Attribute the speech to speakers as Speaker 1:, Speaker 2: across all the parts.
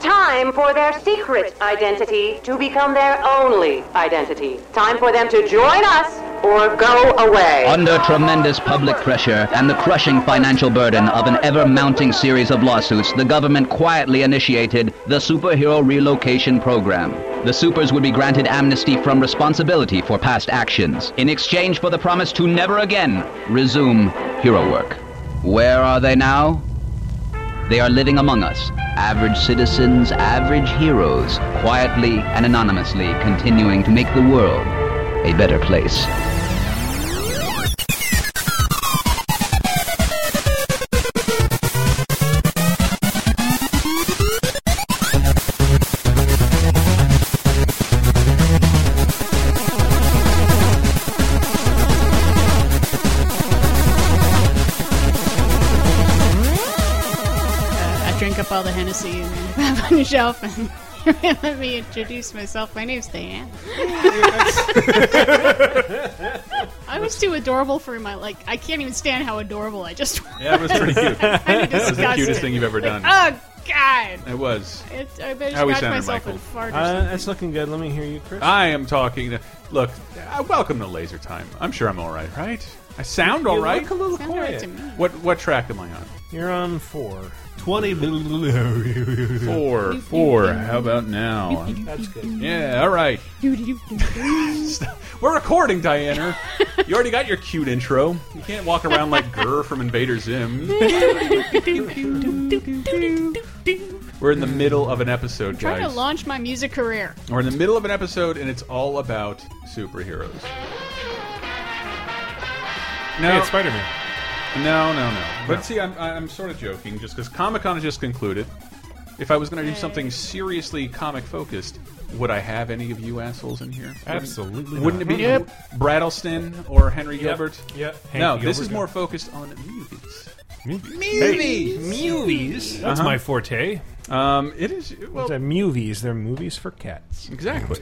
Speaker 1: time for their secret identity to become their only identity. Time for them to join us or go away.
Speaker 2: Under tremendous public pressure and the crushing financial burden of an ever mounting series of lawsuits, the government quietly initiated the Superhero Relocation Program. The supers would be granted amnesty from responsibility for past actions in exchange for the promise to never again resume hero work. Where are they now? They are living among us, average citizens, average heroes, quietly and anonymously continuing to make the world a better place.
Speaker 3: I drank up all the Hennessy and have on the shelf and let me introduce myself. My name's Diane. I was too adorable for my like. I can't even stand how adorable I just was.
Speaker 4: Yeah, it was pretty cute. That
Speaker 3: I'm
Speaker 4: was the cutest thing you've ever done.
Speaker 3: Oh God!
Speaker 4: It was.
Speaker 3: It, I better
Speaker 4: How we
Speaker 3: scratch
Speaker 4: sounded,
Speaker 3: myself
Speaker 4: Michael?
Speaker 3: and fart or
Speaker 5: Uh,
Speaker 3: something.
Speaker 5: that's looking good. Let me hear you, Chris.
Speaker 4: I am talking. To, look, uh, welcome to Laser Time. I'm sure I'm all right, right? I sound all
Speaker 5: You
Speaker 4: right.
Speaker 5: look a little
Speaker 3: Sounded right
Speaker 5: quiet.
Speaker 3: to me.
Speaker 4: What what track am I on?
Speaker 5: You're on four.
Speaker 4: 20 four four how about now
Speaker 5: That's good.
Speaker 4: yeah all right Stop. we're recording diana you already got your cute intro you can't walk around like Gurr from invader zim we're in the middle of an episode
Speaker 3: Trying to
Speaker 4: guys
Speaker 3: launch my music career.
Speaker 4: we're in the middle of an episode and it's all about superheroes
Speaker 5: Hey,
Speaker 4: no
Speaker 5: it's Spider Man.
Speaker 4: no, no, no. But see, I'm, I'm sort of joking, just because Comic Con has just concluded. If I was going to do something seriously comic focused, would I have any of you assholes in here? Wouldn't-
Speaker 5: Absolutely
Speaker 4: Wouldn't
Speaker 5: not.
Speaker 4: it be Brattleston or Henry Gilbert?
Speaker 5: Yep.
Speaker 4: No, this is more focused on movies.
Speaker 5: movies. movies. That's
Speaker 6: Uh-huh.
Speaker 5: my forte.
Speaker 4: Um, it is well,
Speaker 5: They're movies. They're movies for cats.
Speaker 4: Exactly.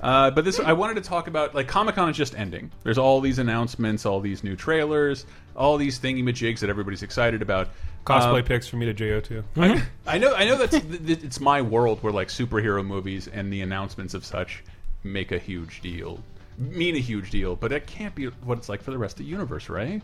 Speaker 4: Uh, but this, I wanted to talk about like Comic Con is just ending. There's all these announcements, all these new trailers, all these thingy majigs that everybody's excited about.
Speaker 6: Cosplay
Speaker 5: Uh,
Speaker 4: Um,
Speaker 6: picks for me to JO2.
Speaker 5: Mm-hmm.
Speaker 4: I know, I know that's th- th- it's my world where like superhero movies and the announcements of such make a huge deal, mean a huge deal, but that can't be what it's like for the rest of the universe, right?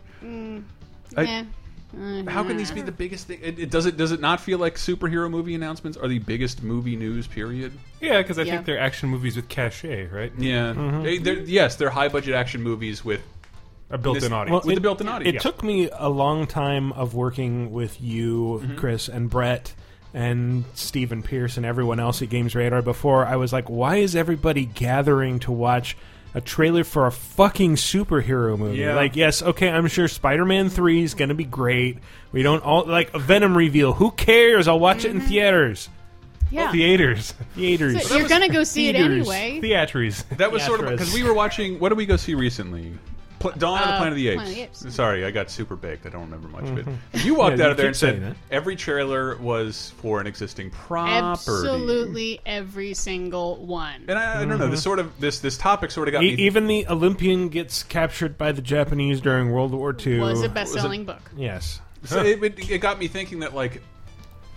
Speaker 4: I-
Speaker 3: yeah. Uh,
Speaker 4: How can these be the biggest thing? It, it does it does it not feel like superhero movie announcements are the biggest movie news period?
Speaker 6: Yeah, because I
Speaker 3: Yeah.
Speaker 6: think they're action movies with cachet, right?
Speaker 4: Yeah, They- they're- yes, they're high budget action movies with
Speaker 6: A built-in
Speaker 4: This-
Speaker 6: audience.
Speaker 4: With the built-in audience.
Speaker 5: It took me a long time of working with you,
Speaker 4: Mm-hmm.
Speaker 5: Chris, and Brett, and Stephen Pierce, and everyone else at Games Radar before I was like, why is everybody gathering to watch a trailer for a fucking superhero movie?
Speaker 4: Yeah.
Speaker 5: Like, yes, okay, I'm sure Spider-Man Three is gonna be great. We don't all like a Venom reveal. Who cares? I'll watch it in theaters.
Speaker 3: Mm-hmm. yeah.
Speaker 6: Theaters.
Speaker 5: Theaters.
Speaker 3: So you're gonna go see it
Speaker 5: Theaters.
Speaker 3: anyway.
Speaker 6: Theatries.
Speaker 4: That was
Speaker 5: Yeah,
Speaker 4: sort of
Speaker 5: for us.
Speaker 4: because we were watching. What did we go see recently? Pla Dawn of the
Speaker 3: Uh,
Speaker 4: Planet of the Apes.
Speaker 3: Planet of the Apes.
Speaker 4: Sorry, I got super baked. I don't remember much of it. You walked
Speaker 5: Mm-hmm. Yeah,
Speaker 4: out
Speaker 5: you
Speaker 4: of there
Speaker 5: keep
Speaker 4: and said
Speaker 5: saying that.
Speaker 4: every trailer was for an existing property.
Speaker 3: Absolutely every single one.
Speaker 4: And I, I don't know. This sort of this this topic sort of got
Speaker 5: Mm-hmm. E-
Speaker 4: me.
Speaker 5: even the Olympian gets captured by the Japanese during World War II.
Speaker 3: was a best-selling book.
Speaker 5: yes.
Speaker 4: so it, it, it got me thinking that like,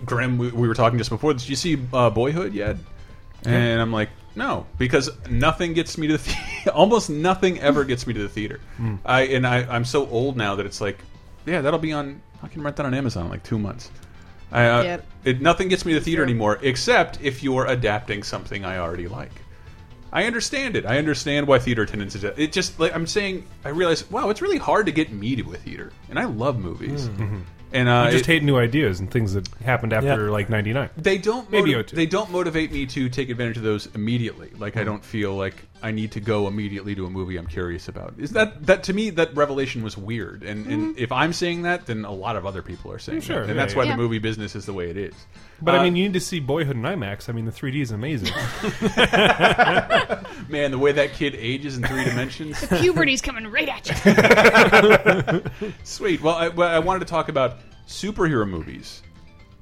Speaker 4: Grim, we, we were talking just before. Did you see uh, Boyhood yet? And I'm like, no, because nothing gets me to the the almost nothing ever gets me to the theater. I and I, I'm so old now that it's like, yeah, that'll be on. I can rent that on Amazon in like two months. I, uh,
Speaker 3: Yep.
Speaker 4: it, nothing gets me to the theater
Speaker 3: True.
Speaker 4: anymore, except if you're adapting something I already like. I understand it. I understand why theater attendance is. It just like I'm saying. I realize, wow, it's really hard to get me to a theater, and I love movies. And uh,
Speaker 6: I Mm. Mm-hmm. just
Speaker 4: it-
Speaker 6: hate new ideas and things that happened after
Speaker 5: Yeah.
Speaker 6: like '99.
Speaker 4: they don't
Speaker 6: Maybe
Speaker 4: motiv-
Speaker 6: O two. Mm.
Speaker 4: they don't motivate me to take advantage of those immediately. Like I don't feel like I need to go immediately to a movie I'm curious about. Is that that to me that revelation was weird? And and if I'm saying that, then a lot of other people are saying
Speaker 6: Mm-hmm. Sure,
Speaker 4: that. and
Speaker 6: yeah,
Speaker 4: that's
Speaker 6: yeah.
Speaker 4: why the
Speaker 3: Yeah.
Speaker 4: movie business is the way it is.
Speaker 6: But
Speaker 4: Uh,
Speaker 6: I mean, you need to see Boyhood in IMAX. I mean, the 3D is amazing.
Speaker 4: Man, the way that kid ages in three dimensions.
Speaker 3: Puberty's coming right at you.
Speaker 4: Sweet. Well, I, well, I wanted to talk about superhero movies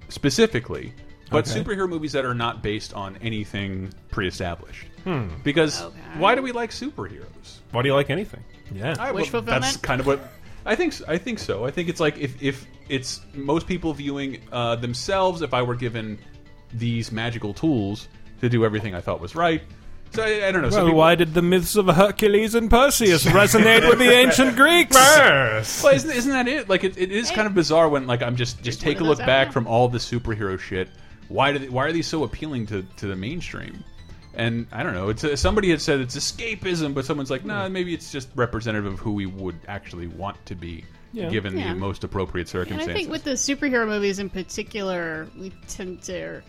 Speaker 4: specifically, but superhero movies that are not based on anything pre-established.
Speaker 5: Hmm.
Speaker 4: Because
Speaker 3: Okay.
Speaker 4: why do we like superheroes?
Speaker 6: Why do you like anything?
Speaker 5: Yeah.
Speaker 4: I,
Speaker 3: Wish
Speaker 4: well, That's
Speaker 3: fulfillment?
Speaker 4: kind of what I think. I think so. I think it's like if if it's most people viewing uh, themselves. If I were given these magical tools to do everything I thought was right. So I, I don't know. some
Speaker 5: Well,
Speaker 4: people-
Speaker 5: why did the myths of Hercules and Perseus resonate with the ancient Greeks?
Speaker 4: Well, isn't, isn't that it? Like, it, it is kind of bizarre when, like, I'm just just take a
Speaker 3: one of
Speaker 4: look
Speaker 3: those out
Speaker 4: back
Speaker 3: there.
Speaker 4: from all the superhero shit. Why do they, why are these so appealing to to the mainstream? And I don't know. It's uh, somebody had said it's escapism, but someone's like, nah, maybe it's just representative of who we would actually want to be, given
Speaker 3: Yeah.
Speaker 4: the most appropriate
Speaker 3: And I
Speaker 4: circumstances.
Speaker 3: think with the superhero movies in particular, we tend to. or-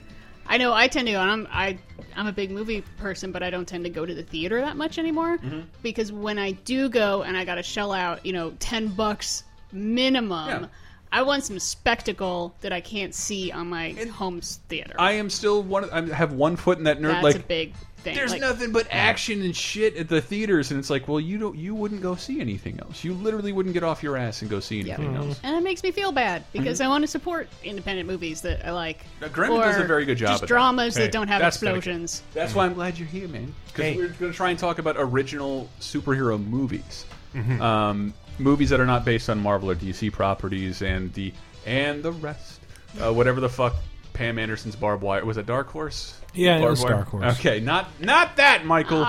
Speaker 3: I know I tend to. And I'm I I'm a big movie person, but I don't tend to go to the theater that much anymore
Speaker 4: Mm-hmm.
Speaker 3: because when I do go and I got to shell out, you know, ten bucks minimum.
Speaker 4: Yeah.
Speaker 3: I want some spectacle that I can't see on my home theater.
Speaker 4: I am still one. of- I have one foot in that nerd.
Speaker 3: That's
Speaker 4: like,
Speaker 3: a big thing.
Speaker 4: There's
Speaker 3: Like,
Speaker 4: nothing but action and shit at the theaters, and it's like, well, you don't, you wouldn't go see anything else. You literally wouldn't get off your ass and go see anything else.
Speaker 3: and it makes me feel bad because I want to support independent movies that I like.
Speaker 4: Mm-hmm. Now, Gremlin does
Speaker 3: or
Speaker 4: a very good job
Speaker 3: Just
Speaker 4: at that.
Speaker 3: dramas
Speaker 6: Hey,
Speaker 3: that don't have
Speaker 4: that's dedicated.
Speaker 3: explosions.
Speaker 4: That's why I'm glad you're here, man. Because
Speaker 5: Hey.
Speaker 4: we're going to try and talk about original superhero movies,
Speaker 5: Mm-hmm.
Speaker 4: um, movies that are not based on Marvel or DC properties, and the and the rest, uh, whatever the fuck. Pam Anderson's Barbed Wire was it Dark Horse?
Speaker 5: Yeah, it
Speaker 4: Barbed
Speaker 5: was
Speaker 4: Wire?
Speaker 5: Dark Horse.
Speaker 4: Okay, not not that, Michael.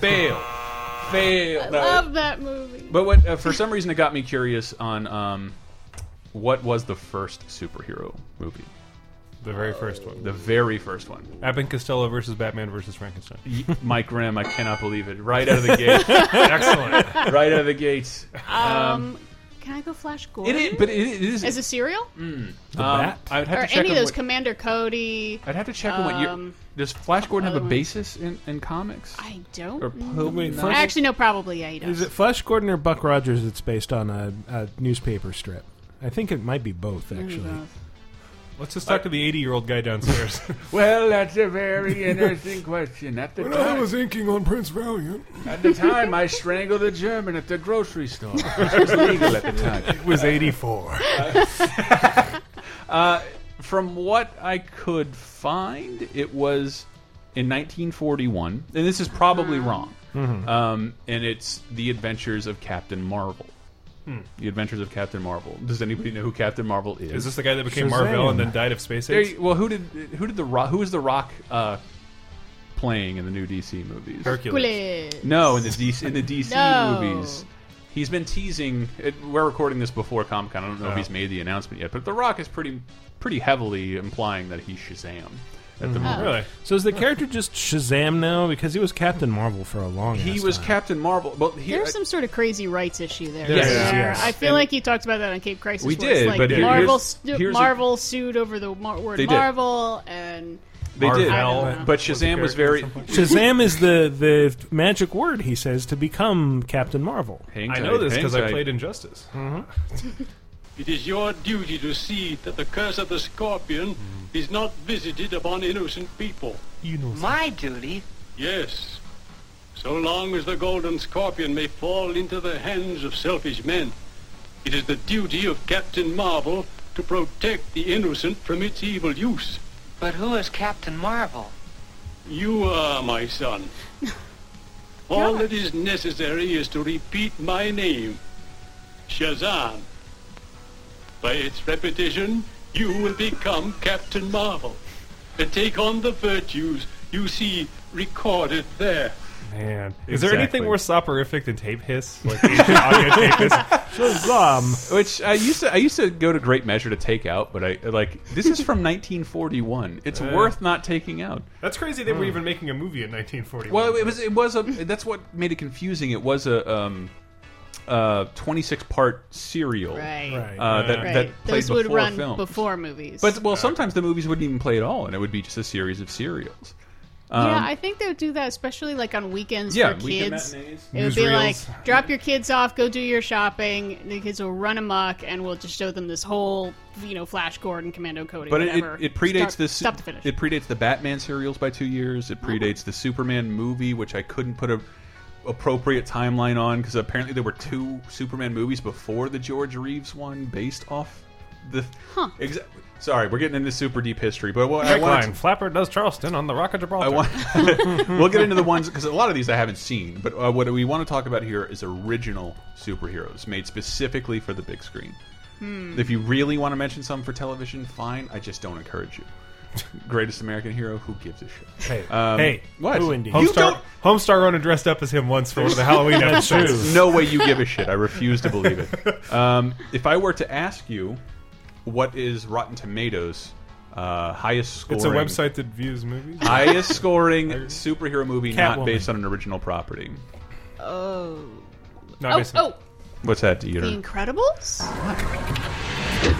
Speaker 4: Fail, fail. No.
Speaker 3: Ah. Love that movie.
Speaker 4: But what uh, for some reason it got me curious on um, what was the first superhero movie,
Speaker 6: The very first one.
Speaker 4: the very first one.
Speaker 6: Abbott and Costello versus Batman versus Frankenstein.
Speaker 4: Y- Mike Grimm, I cannot believe it. Right out of the gate,
Speaker 6: Excellent.
Speaker 4: right out of the gates.
Speaker 3: Um, can I go Flash
Speaker 4: It
Speaker 3: Gordon?
Speaker 4: is, but it is.
Speaker 3: As a serial?
Speaker 4: um,
Speaker 5: bat?
Speaker 4: I would have
Speaker 3: or
Speaker 4: to check
Speaker 3: any of
Speaker 4: on
Speaker 3: those
Speaker 4: what-
Speaker 3: Commander Cody?
Speaker 4: I'd have to check on what year.
Speaker 3: um,
Speaker 4: Does Flash Gordon have a
Speaker 3: ones.
Speaker 4: basis in, in comics?
Speaker 3: I don't.
Speaker 4: or
Speaker 3: know.
Speaker 4: Poe-
Speaker 5: Wait,
Speaker 4: no.
Speaker 5: Flash-
Speaker 3: Actually, no, probably, yeah, he does.
Speaker 5: Is it Flash Gordon or Buck Rogers that's based on a, a newspaper strip? I think it might be both, actually.
Speaker 6: Let's just talk to the 80 year old guy downstairs.
Speaker 4: Well, that's a very interesting question. At the time,
Speaker 5: inking on Prince Valiant.
Speaker 4: at the time, I strangled a German at the grocery store. It was legal at the time.
Speaker 5: It was 84.
Speaker 4: from what I could find, it was in 1941, and this is probably wrong. Um, and it's the Adventures of Captain Marvel. The Adventures of Captain Marvel. Does anybody know who Captain Marvel is?
Speaker 6: Is this the guy that became
Speaker 5: Shazam.
Speaker 6: Marvel and then died of space
Speaker 4: There
Speaker 6: age?
Speaker 4: you- well, who did who did the rock? Who is the Rock uh, playing in the new DC movies?
Speaker 6: Hercules.
Speaker 4: No, in the DC in the DC
Speaker 3: No.
Speaker 4: movies. He's been teasing. It, we're recording this before Comic Con. I don't know if he's made the announcement yet, but The Rock is pretty pretty heavily implying that he's Shazam at the moment.
Speaker 6: Really?
Speaker 5: So is the character just Shazam now? Because he was Captain Marvel for a long
Speaker 4: He
Speaker 5: ass
Speaker 4: was
Speaker 5: time.
Speaker 4: Captain Marvel. Well, he, uh,
Speaker 3: There's some sort of crazy rights issue there.
Speaker 5: There
Speaker 4: Yes. is,
Speaker 3: There.
Speaker 5: yes.
Speaker 3: I feel
Speaker 4: And-
Speaker 3: like you talked about that on Cape Crisis.
Speaker 4: We
Speaker 3: where it's
Speaker 4: did,
Speaker 3: like
Speaker 4: but here-
Speaker 3: Marvel,
Speaker 4: here's-
Speaker 3: stu-
Speaker 4: here's a-
Speaker 3: Marvel sued over the mar- word
Speaker 4: They did.
Speaker 3: Marvel, and
Speaker 4: they did,
Speaker 3: Marvel.
Speaker 4: but Shazam was
Speaker 6: character
Speaker 4: very.
Speaker 6: at some point.
Speaker 5: Shazam is the, the magic word, he says, to become Captain Marvel.
Speaker 4: Hang
Speaker 6: I
Speaker 4: tight,
Speaker 6: know this
Speaker 4: hang
Speaker 6: because I
Speaker 4: tight.
Speaker 6: played Injustice.
Speaker 7: It is your duty to see that the curse of the scorpion is not visited upon innocent people.
Speaker 6: You know.
Speaker 8: My duty?
Speaker 7: Yes. So long as the golden scorpion may fall into the hands of selfish men, it is the duty of Captain Marvel to protect the innocent from its evil use.
Speaker 8: But who is Captain Marvel?
Speaker 7: You are my son. All that is necessary is to repeat my name, Shazam. By its repetition, you will become Captain Marvel and take on the virtues you see recorded there.
Speaker 6: Man. Is there
Speaker 4: Exactly.
Speaker 6: anything more soporific than tape hiss? Like ancient audio tape hiss?
Speaker 5: Shazam!
Speaker 4: Which I used to. I used to go to great measure to take out, but I like this is from 1941. It's worth not taking out.
Speaker 6: That's crazy
Speaker 5: Hmm.
Speaker 6: they were even making a movie in 1941.
Speaker 4: Well, it was. It was a. That's what made it confusing. It was a um, uh, 26 part serial.
Speaker 3: right,
Speaker 5: Right.
Speaker 4: Uh, that,
Speaker 3: right.
Speaker 4: that played
Speaker 3: those would
Speaker 4: before
Speaker 3: run
Speaker 4: films.
Speaker 3: before movies.
Speaker 4: But well, sometimes the movies wouldn't even play at all, and it would be just a series of serials.
Speaker 3: yeah, I think they would do that, especially like on weekends
Speaker 4: Um, Yeah,
Speaker 3: for
Speaker 4: weekend
Speaker 3: kids.
Speaker 4: matinees.
Speaker 3: It would be
Speaker 6: Newsreels.
Speaker 3: like drop your kids off, go do your shopping. The kids will run amok, and we'll just show them this whole, you know, Flash Gordon, Commando Cody,
Speaker 4: But it,
Speaker 3: whatever.
Speaker 4: it, it predates
Speaker 3: Start-
Speaker 4: this.
Speaker 3: Stop to finish.
Speaker 4: It predates the Batman serials by two years.
Speaker 3: Uh-huh.
Speaker 4: It predates the Superman movie, which I couldn't put a appropriate timeline on because apparently there were two Superman movies before the George Reeves one, based off the.
Speaker 3: Huh.
Speaker 4: Exa- Sorry, we're getting into super deep history, but what I wanted
Speaker 6: Headline, Flapper does Charleston on the Rock of Gibraltar.
Speaker 4: I want. we'll get into the ones because a lot of these I haven't seen. But uh, what we want to talk about here is original superheroes made specifically for the big screen. If you really want to mention some for television, fine. I just don't encourage you. greatest American hero. Who gives a shit?
Speaker 5: Hey,
Speaker 4: Um,
Speaker 6: Hey,
Speaker 4: what?
Speaker 5: who indeed?
Speaker 4: You
Speaker 6: Homestar,
Speaker 4: don't.
Speaker 6: Homestar Runner dressed up as him once for one of the Halloween
Speaker 5: That's
Speaker 6: episodes.
Speaker 5: true.
Speaker 4: No way you give a shit. I refuse to believe it. Um, if I were to ask you, what is Rotten Tomatoes uh, highest scoring?
Speaker 6: It's a website that views movies.
Speaker 4: Highest scoring superhero movie not
Speaker 5: Catwoman.
Speaker 4: based on an original property.
Speaker 3: Oh.
Speaker 6: Not
Speaker 3: Oh,
Speaker 6: based on-
Speaker 3: oh,
Speaker 4: What's that,
Speaker 3: The
Speaker 4: Dieter?
Speaker 3: Incredibles?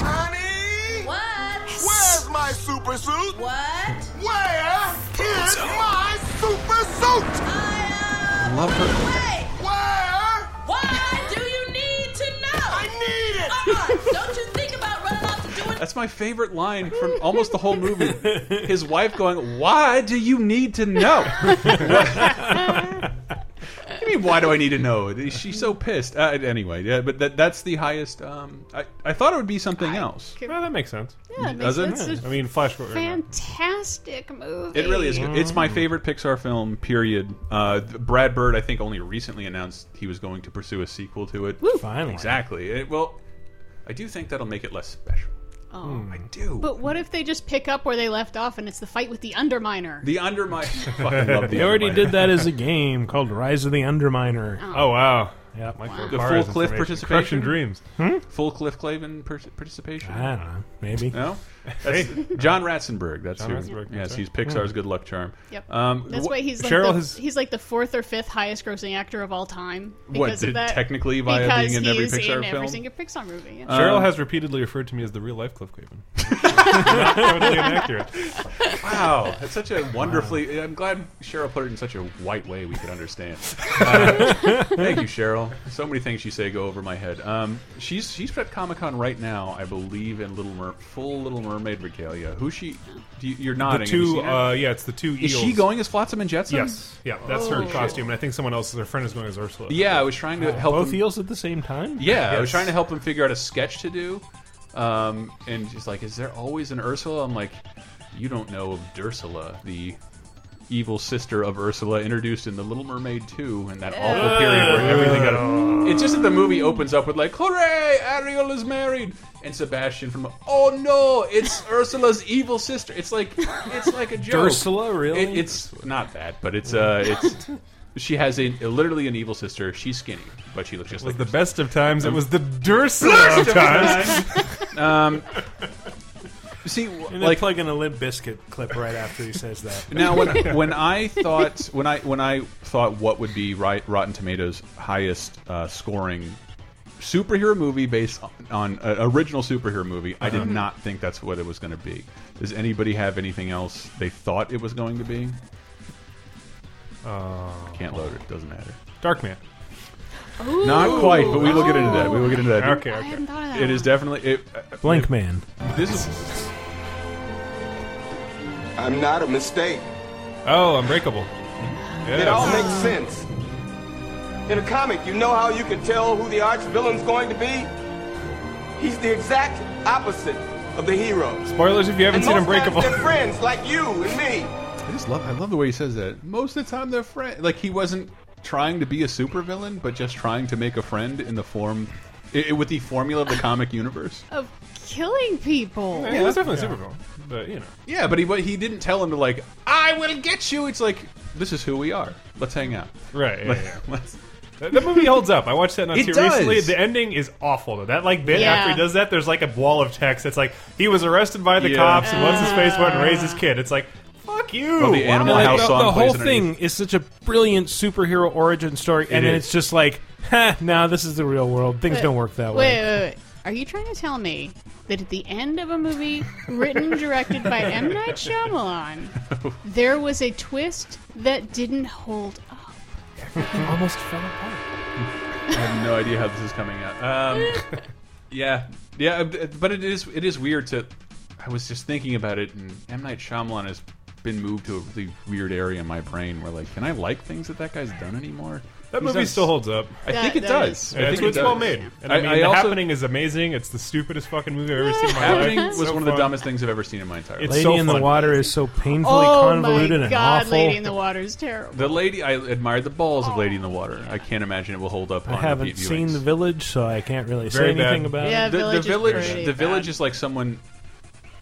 Speaker 9: Honey! What? Where's my super suit? What? Where is my super suit? I
Speaker 4: Love her.
Speaker 9: Wait! Where? Why do you need to know? I need it! Uh-uh. Don't you think about running off to do it?
Speaker 4: That's my favorite line from almost the whole movie. His wife going, "Why do you need to know?" what do you mean? Why do I need to know? She's so pissed. Uh, anyway, yeah, but that, that's the highest. Um, I I thought it would be something else.
Speaker 6: Well, that makes sense.
Speaker 3: Yeah, it makes
Speaker 4: Doesn't
Speaker 3: sense.
Speaker 4: it?
Speaker 3: It's
Speaker 6: I mean, Flash Gordon.
Speaker 3: fantastic movie.
Speaker 4: It really is. Good. It's my favorite Pixar film. Period. Uh, Brad Bird, I think, only recently announced he was going to pursue a sequel to it.
Speaker 5: Finally.
Speaker 4: Exactly. It- well, I do think that'll make it less special.
Speaker 3: Oh.
Speaker 4: I do.
Speaker 3: But what if they just pick up where they left off and it's the fight with the Underminer?
Speaker 4: the Undermine. fucking love the
Speaker 5: They already
Speaker 4: Underminer.
Speaker 5: did that as a game called Rise of the Underminer.
Speaker 6: Oh wow.
Speaker 5: Yeah, Michael.
Speaker 4: The
Speaker 6: Barr's
Speaker 4: full cliff
Speaker 6: information.
Speaker 4: participation?
Speaker 6: Crushing dreams.
Speaker 4: Full Cliff Clavin per- participation.
Speaker 6: Ah.
Speaker 5: I don't know. Maybe.
Speaker 6: Uh,
Speaker 4: No, that's John Ratzenberg. That's
Speaker 6: John
Speaker 4: who.
Speaker 6: Ratzenberg, that's
Speaker 4: yes,
Speaker 6: right.
Speaker 4: he's Pixar's good luck charm.
Speaker 3: Yep.
Speaker 4: Um,
Speaker 3: That's
Speaker 4: wh-
Speaker 3: why he's like,
Speaker 6: Cheryl
Speaker 3: the,
Speaker 6: has-
Speaker 3: he's like the fourth or fifth highest grossing actor of all time. Because
Speaker 4: What,
Speaker 3: of
Speaker 4: did-
Speaker 3: that.
Speaker 4: technically via
Speaker 3: because
Speaker 4: being in
Speaker 3: he's
Speaker 4: every Pixar
Speaker 3: in
Speaker 4: film? Oh,
Speaker 3: every single Pixar movie. yeah.
Speaker 6: Cheryl has repeatedly referred to me as the real life Cliff Clavin. Not totally inaccurate.
Speaker 4: Wow, that's such a wonderfully. I'm glad Cheryl put it in such a white way we could understand. Uh, thank you, Cheryl. So many things you say go over my head. Um, she's she's at Comic Con right now, I believe, in Little Mer full Little Mermaid regalia. Who's she? Do you, you're
Speaker 6: The
Speaker 4: nodding. Have you
Speaker 6: two,
Speaker 4: seen her?
Speaker 6: uh, yeah, it's the two eels.
Speaker 4: is she going as Flotsam and Jetsam?
Speaker 6: Yes, yeah, that's her costume, and I think someone else, her friend, is going as Ursula.
Speaker 4: Yeah, I was trying
Speaker 6: Uh,
Speaker 4: to help.
Speaker 5: Both
Speaker 4: him-
Speaker 5: eels at the same time?
Speaker 4: Yeah, I was
Speaker 6: Yes.
Speaker 4: trying to help him figure out a sketch to do. Um, and she's like, Is there always an Ursula? I'm like, You don't know of Dursula, the evil sister of Ursula, introduced in The Little Mermaid 2, and that awful period where everything got. It's just that the movie opens up with, like, Hooray, Ariel is married! And Sebastian from, Oh no, it's Ursula's evil sister. It's like, it's like a joke.
Speaker 5: Ursula, really?
Speaker 4: It, it's not that, but it's, uh, it's. She has a literally an evil sister. She's skinny, but she looks just
Speaker 6: It was
Speaker 4: like
Speaker 6: the
Speaker 4: her
Speaker 6: best of times. It was the Dursula of times.
Speaker 4: See, like
Speaker 5: and they plug in a Limp Biscuit clip right after he says that.
Speaker 4: now, when when I thought when I when I thought what would be right, Rotten Tomatoes' highest uh, scoring superhero movie based on, on uh, original superhero movie, I did not think that's what it was going to be. Does anybody have anything else they thought it was going to be? Can't load it. Doesn't matter.
Speaker 6: Dark Man.
Speaker 4: Not quite, but we will get into that. We will get into that.
Speaker 6: Okay,
Speaker 3: I
Speaker 6: okay.
Speaker 3: hadn't thought of that.
Speaker 4: It is definitely it. uh,
Speaker 5: Blank Man.
Speaker 4: This is
Speaker 9: I'm not a mistake.
Speaker 6: Oh, Unbreakable.
Speaker 9: It all
Speaker 6: Yes.
Speaker 9: makes sense. In a comic, you know how you can tell who the arch villain's going to be? He's the exact opposite of the hero.
Speaker 6: Spoilers if you haven't
Speaker 9: And
Speaker 6: seen
Speaker 9: most times
Speaker 6: Unbreakable.
Speaker 9: They're friends like you and me.
Speaker 4: I just love. I love the way he says that. Most of the time, they're friend. Like he wasn't trying to be a supervillain, but just trying to make a friend in the form, i i- with the formula of the comic universe.
Speaker 3: Of killing people.
Speaker 6: Yeah, that's definitely super cool. But you know,
Speaker 4: Yeah, but he but he didn't tell him to like. I will get you. It's like this is who we are. Let's hang out.
Speaker 6: right? Yeah,
Speaker 4: Like,
Speaker 6: yeah.
Speaker 4: let's-
Speaker 6: That, that movie holds up. I watched that not
Speaker 4: It
Speaker 6: too recently.
Speaker 4: does.
Speaker 6: The ending is awful though. That like bit
Speaker 3: Yeah.
Speaker 6: after he does that, there's like a wall of text that's like he was arrested by the
Speaker 4: Yeah.
Speaker 6: cops and once his face went and
Speaker 4: Ah.
Speaker 6: raised his kid. It's like fuck you.
Speaker 4: Well, the
Speaker 6: Why?
Speaker 4: Animal
Speaker 5: And
Speaker 4: House
Speaker 5: the,
Speaker 4: song
Speaker 5: the
Speaker 4: plays
Speaker 5: whole thing
Speaker 4: underneath.
Speaker 5: is such a brilliant superhero origin story, and then
Speaker 4: is.
Speaker 5: it's just like, huh, now this is the real world. Things don't work that
Speaker 3: wait, Wait,
Speaker 5: way.
Speaker 3: wait, wait. Are you trying to tell me that at the end of a movie written and directed by M. Night Shyamalan, there was a twist that didn't hold up?
Speaker 5: Almost fell apart.
Speaker 4: I have no idea how this is coming out. Um, yeah, yeah, uh, but it is it is weird to. I was just thinking about it, and M Night Shyamalan has been moved to a really weird area in my brain where like, can I like things that that guy's done anymore?
Speaker 6: That
Speaker 4: He's
Speaker 6: movie
Speaker 4: done-
Speaker 6: still holds up.
Speaker 4: I
Speaker 3: That-
Speaker 4: think it
Speaker 3: that
Speaker 4: does.
Speaker 3: is-
Speaker 4: I
Speaker 6: Yeah,
Speaker 4: think
Speaker 6: it's,
Speaker 4: it
Speaker 6: it's well
Speaker 4: does.
Speaker 6: made. And I, mean,
Speaker 4: I- I
Speaker 6: the
Speaker 4: also-
Speaker 6: happening is amazing. It's the stupidest fucking movie I've ever seen in my life.
Speaker 4: Happening was
Speaker 6: It's so
Speaker 4: one of the
Speaker 6: fun.
Speaker 4: dumbest things I've ever seen in my entire
Speaker 6: It's
Speaker 4: life.
Speaker 5: Lady
Speaker 6: so
Speaker 5: in the
Speaker 6: fun.
Speaker 5: Water is so painfully
Speaker 3: Oh
Speaker 5: convoluted
Speaker 3: my
Speaker 5: and
Speaker 3: god,
Speaker 5: awful.
Speaker 3: Lady in the Water is terrible.
Speaker 4: The lady, I admired the balls of Lady in the Water. I can't imagine it will hold up.
Speaker 5: I
Speaker 4: on
Speaker 5: haven't
Speaker 4: repeat
Speaker 5: seen
Speaker 4: viewings.
Speaker 5: The Village, so I can't really
Speaker 6: Very
Speaker 5: say anything
Speaker 6: bad.
Speaker 5: about
Speaker 3: yeah,
Speaker 5: it.
Speaker 4: the, the
Speaker 3: village.
Speaker 4: village.
Speaker 3: is pretty
Speaker 4: the village
Speaker 3: bad.
Speaker 4: is like someone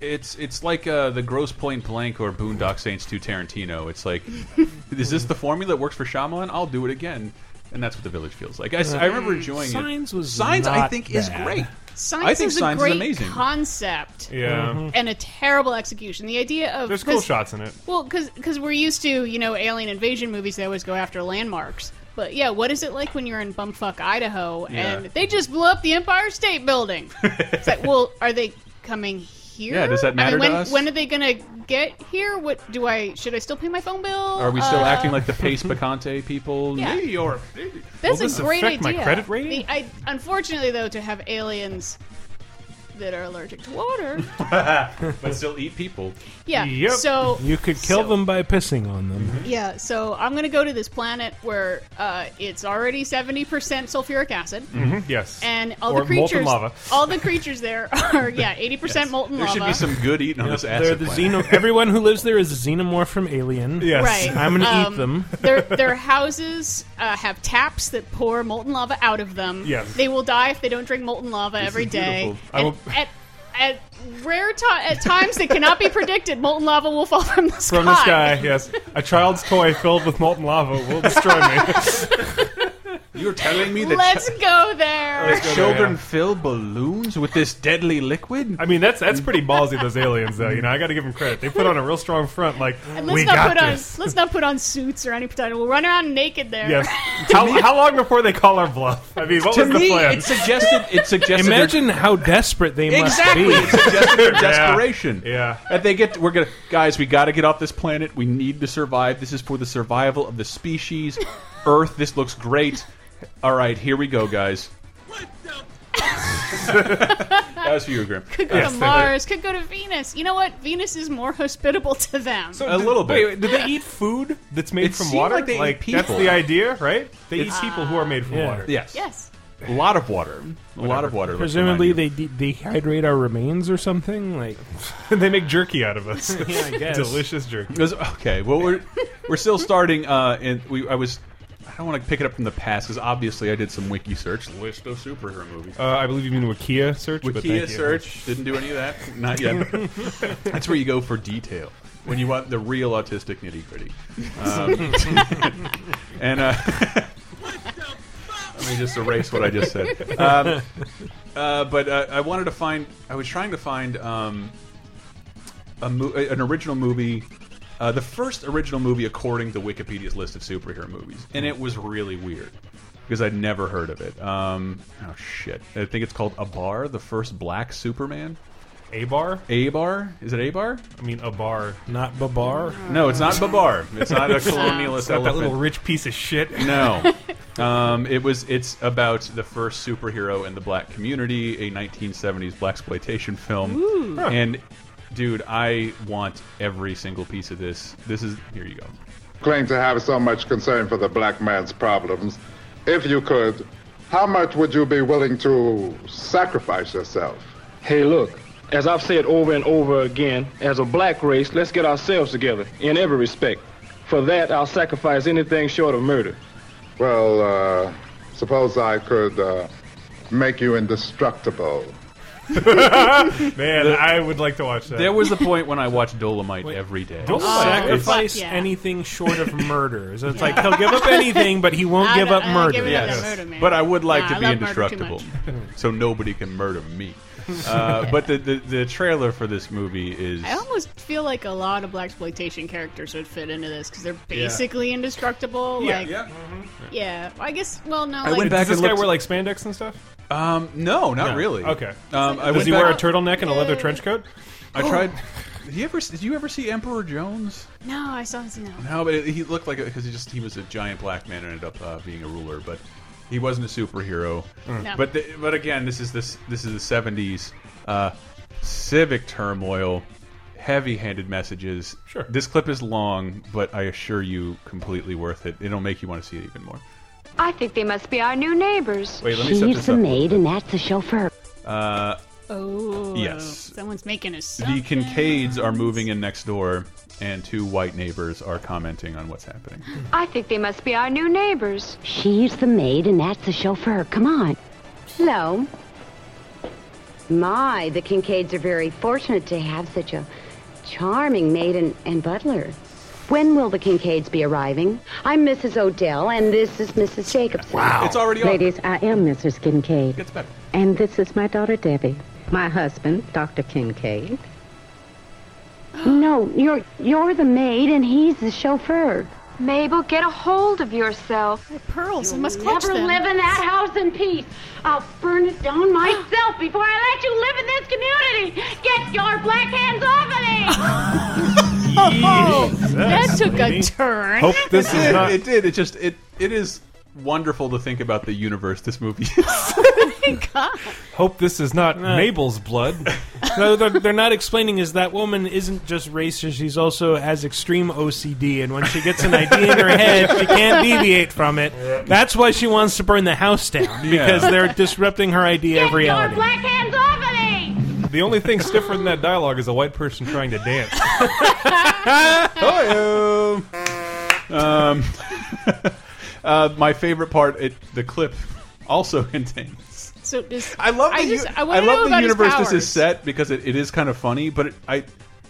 Speaker 4: It's it's like uh, the Gross Point Blank or Boondock Saints to Tarantino. It's like, is this the formula that works for Shyamalan? I'll do it again, and that's what the Village feels like. I, I remember enjoying
Speaker 5: Uh, Signs
Speaker 4: it.
Speaker 5: was
Speaker 4: Signs, I
Speaker 5: not
Speaker 4: think, is
Speaker 5: bad.
Speaker 4: great.
Speaker 3: Science
Speaker 4: I think
Speaker 3: is a
Speaker 4: Signs is
Speaker 3: great
Speaker 4: amazing.
Speaker 3: concept
Speaker 6: Yeah.
Speaker 4: Mm-hmm.
Speaker 3: and a terrible execution. The idea of
Speaker 6: There's cool
Speaker 3: 'cause-
Speaker 6: shots in it.
Speaker 3: Well, because we're used to you know alien invasion movies, they always go after landmarks. But yeah, what is it like when you're in bumfuck Idaho and
Speaker 4: Yeah.
Speaker 3: they just blew up the Empire State Building? it's like, well, are they coming here?
Speaker 4: Yeah, does that matter
Speaker 3: I
Speaker 4: to
Speaker 3: mean, when,
Speaker 4: us?
Speaker 3: When are they gonna get here? What do I? Should I still pay my phone bill?
Speaker 4: Are we still
Speaker 3: Uh,
Speaker 4: acting like the Pace Picante people?
Speaker 3: Yeah.
Speaker 4: New York.
Speaker 3: That's
Speaker 6: Will
Speaker 3: a
Speaker 6: this
Speaker 3: great
Speaker 6: affect my
Speaker 3: idea.
Speaker 6: credit rating?
Speaker 3: The- I, unfortunately, though, to have aliens that are allergic to water.
Speaker 4: But still eat people.
Speaker 3: Yeah.
Speaker 6: Yep.
Speaker 3: So
Speaker 5: You could kill
Speaker 3: so-
Speaker 5: them by pissing on them.
Speaker 3: Yeah, so I'm gonna go to this planet where uh, it's already 70% sulfuric acid,
Speaker 6: Yes.
Speaker 3: and all
Speaker 6: Mm-hmm. or
Speaker 3: the creatures,
Speaker 6: molten lava.
Speaker 3: all the creatures there are yeah 80% molten
Speaker 4: There
Speaker 3: lava.
Speaker 4: should be some good eating on this
Speaker 5: They're
Speaker 4: acid
Speaker 5: the
Speaker 4: planet.
Speaker 5: xeno- Everyone who lives there is a xenomorph from Alien.
Speaker 6: Yes.
Speaker 3: Right.
Speaker 5: I'm gonna eat
Speaker 3: Um,
Speaker 5: them.
Speaker 3: their their houses uh, have taps that pour molten lava out of them.
Speaker 6: Yes.
Speaker 3: They will die if they don't drink molten lava every
Speaker 4: is
Speaker 3: day.
Speaker 4: beautiful.
Speaker 6: I
Speaker 3: And
Speaker 6: will-
Speaker 3: at, at rare ti at times that cannot be predicted, molten lava will fall from the sky.
Speaker 6: From the sky, yes. A child's toy filled with molten lava will destroy me.
Speaker 4: You're telling me that
Speaker 3: Let's go there.
Speaker 6: go there,
Speaker 4: children
Speaker 6: yeah.
Speaker 4: fill balloons with this deadly liquid?
Speaker 6: I mean, that's that's pretty ballsy. Those aliens, though, you know, I got to give them credit. They put on a real strong front. Like
Speaker 3: And let's
Speaker 6: we
Speaker 3: not
Speaker 6: got
Speaker 3: put
Speaker 6: this.
Speaker 3: on let's not put on suits or any pretend. We'll run around naked there.
Speaker 6: Yes. How, how long before they call our bluff? I mean, what
Speaker 4: to
Speaker 6: was the
Speaker 4: me,
Speaker 6: plan?
Speaker 4: it suggested it suggested their-
Speaker 5: Imagine how desperate they
Speaker 4: exactly
Speaker 5: must
Speaker 4: it suggested their desperation.
Speaker 6: Yeah.
Speaker 4: That they get we're gonna guys, we gotta get off this planet. We need to survive. This is for the survival of the species. Earth, this looks great. All right, here we go, guys. That was for you, Graham.
Speaker 3: Could go to Mars. Could go to Venus. You know what? Venus is more hospitable to them.
Speaker 4: A little bit.
Speaker 6: Wait, did they eat food that's made
Speaker 4: It
Speaker 6: from
Speaker 4: seemed
Speaker 6: water?
Speaker 4: like they eat
Speaker 6: that's
Speaker 4: people.
Speaker 6: the idea, right? They eat people who are made from
Speaker 5: Yeah.
Speaker 6: water.
Speaker 4: Uh, Yes.
Speaker 3: yes.
Speaker 4: A lot of water. A lot of water.
Speaker 5: be.
Speaker 4: let's
Speaker 5: Presumably,
Speaker 4: remind you.
Speaker 5: they de- dehydrate our remains or something. Like,
Speaker 6: they make jerky out of us.
Speaker 5: yeah, I guess.
Speaker 6: Delicious jerky.
Speaker 4: It was- okay. Well, we're we're still starting. Uh, and we I was I don't want to pick it up from the past because obviously I did some wiki search list of superhero movies.
Speaker 6: Uh, I believe you mean Wikia search. but thank
Speaker 4: Wikia
Speaker 6: you.
Speaker 4: search didn't do any of that. Not yet. That's where you go for detail when you want the real autistic nitty gritty. Um, and uh, let me just erase what I just said. Um, uh, but uh, I wanted to find. I was trying to find um, a mo an original movie. Uh, the first original movie according to Wikipedia's list of superhero movies, and it was really weird because I'd never heard of it. Um, oh shit! I think it's called Abar, the first Black Superman.
Speaker 6: A bar?
Speaker 4: Abar? Is it Abar?
Speaker 6: I mean, a bar.
Speaker 5: not Babar.
Speaker 4: No, it's not Babar. It's not a colonialist
Speaker 6: Not that
Speaker 4: elephant.
Speaker 6: little rich piece of shit.
Speaker 4: No. Um, it was. It's about the first superhero in the black community, a 1970s black exploitation film. And dude, I want every single piece of this. This is here. You go.
Speaker 10: claim to have so much concern for the black man's problems. If you could, how much would you be willing to sacrifice yourself?
Speaker 11: Hey, look, as I've said over and over again, as a black race, let's get ourselves together in every respect. For that, I'll sacrifice anything short of murder.
Speaker 10: Well, uh, suppose I could uh, make you indestructible.
Speaker 6: Man, I would like to watch that.
Speaker 4: There was a point when I watched Dolomite every day.
Speaker 5: Don't sacrifice
Speaker 3: fuck yeah.
Speaker 5: anything short of murder. So it's like he'll give up anything, but he won't
Speaker 3: I
Speaker 5: give
Speaker 3: don't-
Speaker 5: up
Speaker 3: I don't
Speaker 5: murder.
Speaker 3: give it up.
Speaker 4: Yes,
Speaker 3: murder, man.
Speaker 4: but I would like
Speaker 3: Nah,
Speaker 4: to
Speaker 3: I
Speaker 4: be
Speaker 3: love murder too
Speaker 4: indestructible, so nobody can murder me. Uh, but the, the the trailer for this movie is
Speaker 3: I almost feel like a lot of black exploitation characters would fit into this because they're basically indestructible. like, yeah. I guess. Well, no. like,
Speaker 4: went back
Speaker 6: Does this
Speaker 4: and
Speaker 6: guy
Speaker 4: looked-
Speaker 6: wear like spandex and stuff?
Speaker 4: um no, not really.
Speaker 6: Okay.
Speaker 4: Um, I
Speaker 6: Does
Speaker 4: went
Speaker 6: he
Speaker 4: back-
Speaker 6: wear a turtleneck and a leather trench coat?
Speaker 4: I tried. Did you ever? Did you ever see Emperor Jones?
Speaker 3: No, I saw this. No.
Speaker 4: No, but he looked like because he just he was a giant black man and ended up uh, being a ruler, but he wasn't a superhero.
Speaker 3: No.
Speaker 4: But the, but again, this is this this is the seventies uh, civic turmoil, heavy-handed messages.
Speaker 6: Sure.
Speaker 4: This clip is long, but I assure you, completely worth it. It'll make you want to see it even more.
Speaker 12: I think they must be our new neighbors.
Speaker 4: Wait, let me set this up.
Speaker 12: and that's the chauffeur.
Speaker 4: Uh,
Speaker 3: Oh.
Speaker 4: Yes.
Speaker 3: Someone's making a.
Speaker 4: the
Speaker 3: something.
Speaker 4: Kincaids are moving in next door, and two white neighbors are commenting on what's happening.
Speaker 12: I think they must be our new neighbors.
Speaker 11: She's the maid, and that's the chauffeur. Come on.
Speaker 12: Hello.
Speaker 13: My, the Kincaids are very fortunate to have such a charming maid and, and butler. When will the Kincaids be arriving? I'm Mrs. Odell, and this is Mrs. Jacobson.
Speaker 14: Wow. It's already on.
Speaker 13: Ladies, I am Mrs. Kincaid.
Speaker 4: Gets better.
Speaker 13: And this is my daughter, Debbie. My husband, Dr. Kincaid. no, you're you're the maid, and he's the chauffeur.
Speaker 12: Mabel, get a hold of yourself.
Speaker 3: pearls,
Speaker 12: you must
Speaker 13: clutch
Speaker 12: never
Speaker 13: them.
Speaker 12: live in that house in peace. I'll burn it down myself before I let you live in this community. Get your black hands off of me!
Speaker 3: Oh,
Speaker 4: Jesus,
Speaker 3: that took
Speaker 4: lady.
Speaker 3: a turn.
Speaker 4: Hope this
Speaker 3: It
Speaker 4: is
Speaker 3: did.
Speaker 4: It did. It just it it is wonderful to think about the universe this movie
Speaker 6: Hope this is not Mabel's blood.
Speaker 5: no, they're, they're not explaining is that woman isn't just racist. She's also has extreme OCD, and when she gets an idea in her head, she can't deviate from it. That's why she wants to burn the house down because
Speaker 6: Yeah.
Speaker 5: they're disrupting her idea of reality.
Speaker 12: black hands off of me!
Speaker 6: The only thing stiffer than that dialogue is a white person trying to dance. Hoyo.
Speaker 4: um, uh, my favorite part, it, the clip, also contains.
Speaker 3: So does,
Speaker 4: I love.
Speaker 3: I
Speaker 4: the
Speaker 3: just
Speaker 4: u-
Speaker 3: I, wanna
Speaker 4: love
Speaker 3: know
Speaker 4: the
Speaker 3: about his
Speaker 4: universe this
Speaker 3: powers.
Speaker 4: is set because it, it is kind of funny. But it, I,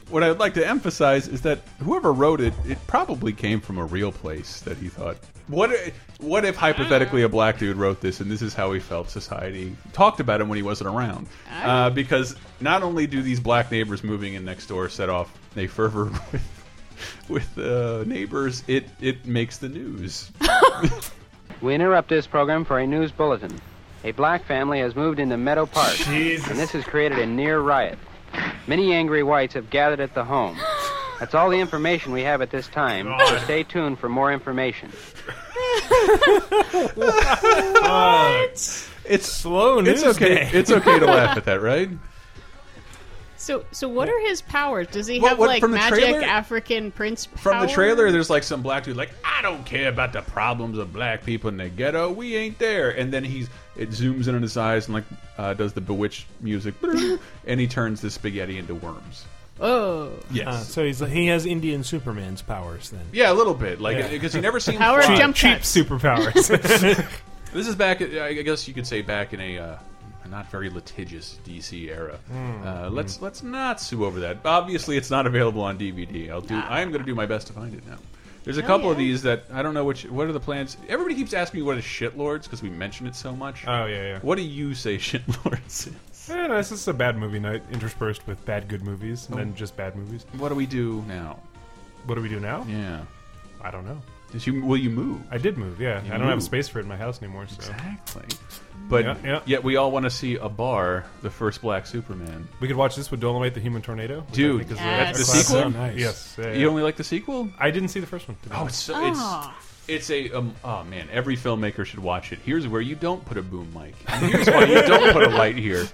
Speaker 4: what I would like to emphasize is that whoever wrote it, it probably came from a real place that he thought. What i- what if
Speaker 3: Ah.
Speaker 4: hypothetically a black dude wrote this and this is how he felt society talked about him when he wasn't around?
Speaker 3: Ah.
Speaker 4: Uh, because not only do these black neighbors moving in next door set off a fervor with with uh, neighbors, it it makes the news.
Speaker 15: We interrupt this program for a news bulletin. A black family has moved into Meadow Park, and this has created a near riot. Many angry whites have gathered at the home. That's all the information we have at this time, so stay tuned for more information.
Speaker 4: It's
Speaker 5: slow
Speaker 4: It's okay. It's okay to laugh at that, right?
Speaker 3: So so what are his powers? Does he
Speaker 4: What-
Speaker 3: have
Speaker 4: what,
Speaker 3: like
Speaker 4: from the
Speaker 3: magic
Speaker 4: trailer?
Speaker 3: African prince powers?
Speaker 4: From the trailer, there's like some black dude like, I don't care about the problems of black people in the ghetto. We ain't there. And then he's it zooms in on his eyes and like uh, does the bewitched music, and he turns the spaghetti into worms.
Speaker 3: Oh,
Speaker 4: Yes.
Speaker 5: Uh, so he's he has Indian Superman's powers then.
Speaker 4: Yeah, a little bit, like
Speaker 5: Yeah.
Speaker 4: because you never seen
Speaker 5: Power
Speaker 4: fly.
Speaker 5: jump Cheap cuts. superpowers.
Speaker 4: this is back, at- I guess you could say, back in a uh, not very litigious DC era.
Speaker 6: Mm.
Speaker 4: Uh, let's let's not sue over that. Obviously, it's not available on DVD. I'll do. I am going to do my best to find it now. There's a
Speaker 6: Oh,
Speaker 4: couple of
Speaker 6: Ah. yeah.
Speaker 4: these that I don't know which. What are the plans? Everybody keeps asking me what is shitlords because we mention it so much.
Speaker 6: Oh, yeah, yeah.
Speaker 4: What do you say shitlords is?
Speaker 6: I don't know, this is a bad movie night interspersed with bad good movies and
Speaker 4: Oh.
Speaker 6: then just bad movies.
Speaker 4: What do we do now?
Speaker 6: What do we do now?
Speaker 4: Yeah.
Speaker 6: I don't know.
Speaker 4: Did you? Will you move?
Speaker 6: I did move, yeah.
Speaker 4: You
Speaker 6: I don't have
Speaker 4: moved.
Speaker 6: space for it in my house anymore, so.
Speaker 4: Exactly. But
Speaker 6: Yeah, yeah.
Speaker 4: yet we all want to see a bar, the first Black Superman.
Speaker 6: We could watch this with Dolomite the Human Tornado. which I
Speaker 4: Dude,
Speaker 6: think is
Speaker 4: that's the
Speaker 6: a classic.
Speaker 4: sequel.
Speaker 6: Yes. yeah, yeah.
Speaker 4: You only like the sequel?
Speaker 6: I didn't see the first one. to be
Speaker 4: Oh,
Speaker 6: honest.
Speaker 4: it's so,
Speaker 3: Ah.
Speaker 4: it's it's a um, oh man, every filmmaker should watch it. Here's where you don't put a boom mic. And here's why you don't put a light here.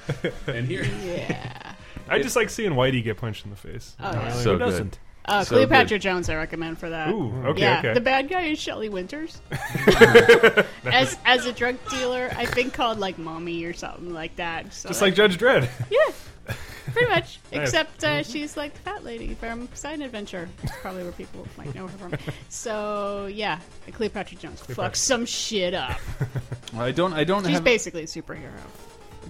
Speaker 4: And here,
Speaker 3: yeah.
Speaker 6: I just like seeing Whitey get punched in the face.
Speaker 3: Oh, yeah.
Speaker 4: So
Speaker 6: Who
Speaker 4: good.
Speaker 6: doesn't?
Speaker 3: Uh,
Speaker 4: So
Speaker 3: Cleopatra Jones, I recommend for that.
Speaker 6: Ooh, okay,
Speaker 3: yeah,
Speaker 6: okay.
Speaker 3: The bad guy is Shelley Winters. as
Speaker 6: Nice.
Speaker 3: as a drug dealer, I think called like mommy or something like that. So
Speaker 6: Just like Judge Dredd.
Speaker 3: yeah, pretty much.
Speaker 6: Nice. Mm-hmm.
Speaker 3: Except uh, she's like the fat lady from Sign Adventure. That's probably where people might know her from. So yeah, Cleopatra Jones
Speaker 4: Cleopatra.
Speaker 3: fucks some shit up.
Speaker 4: I don't I don't
Speaker 3: She's
Speaker 4: have
Speaker 3: basically a superhero.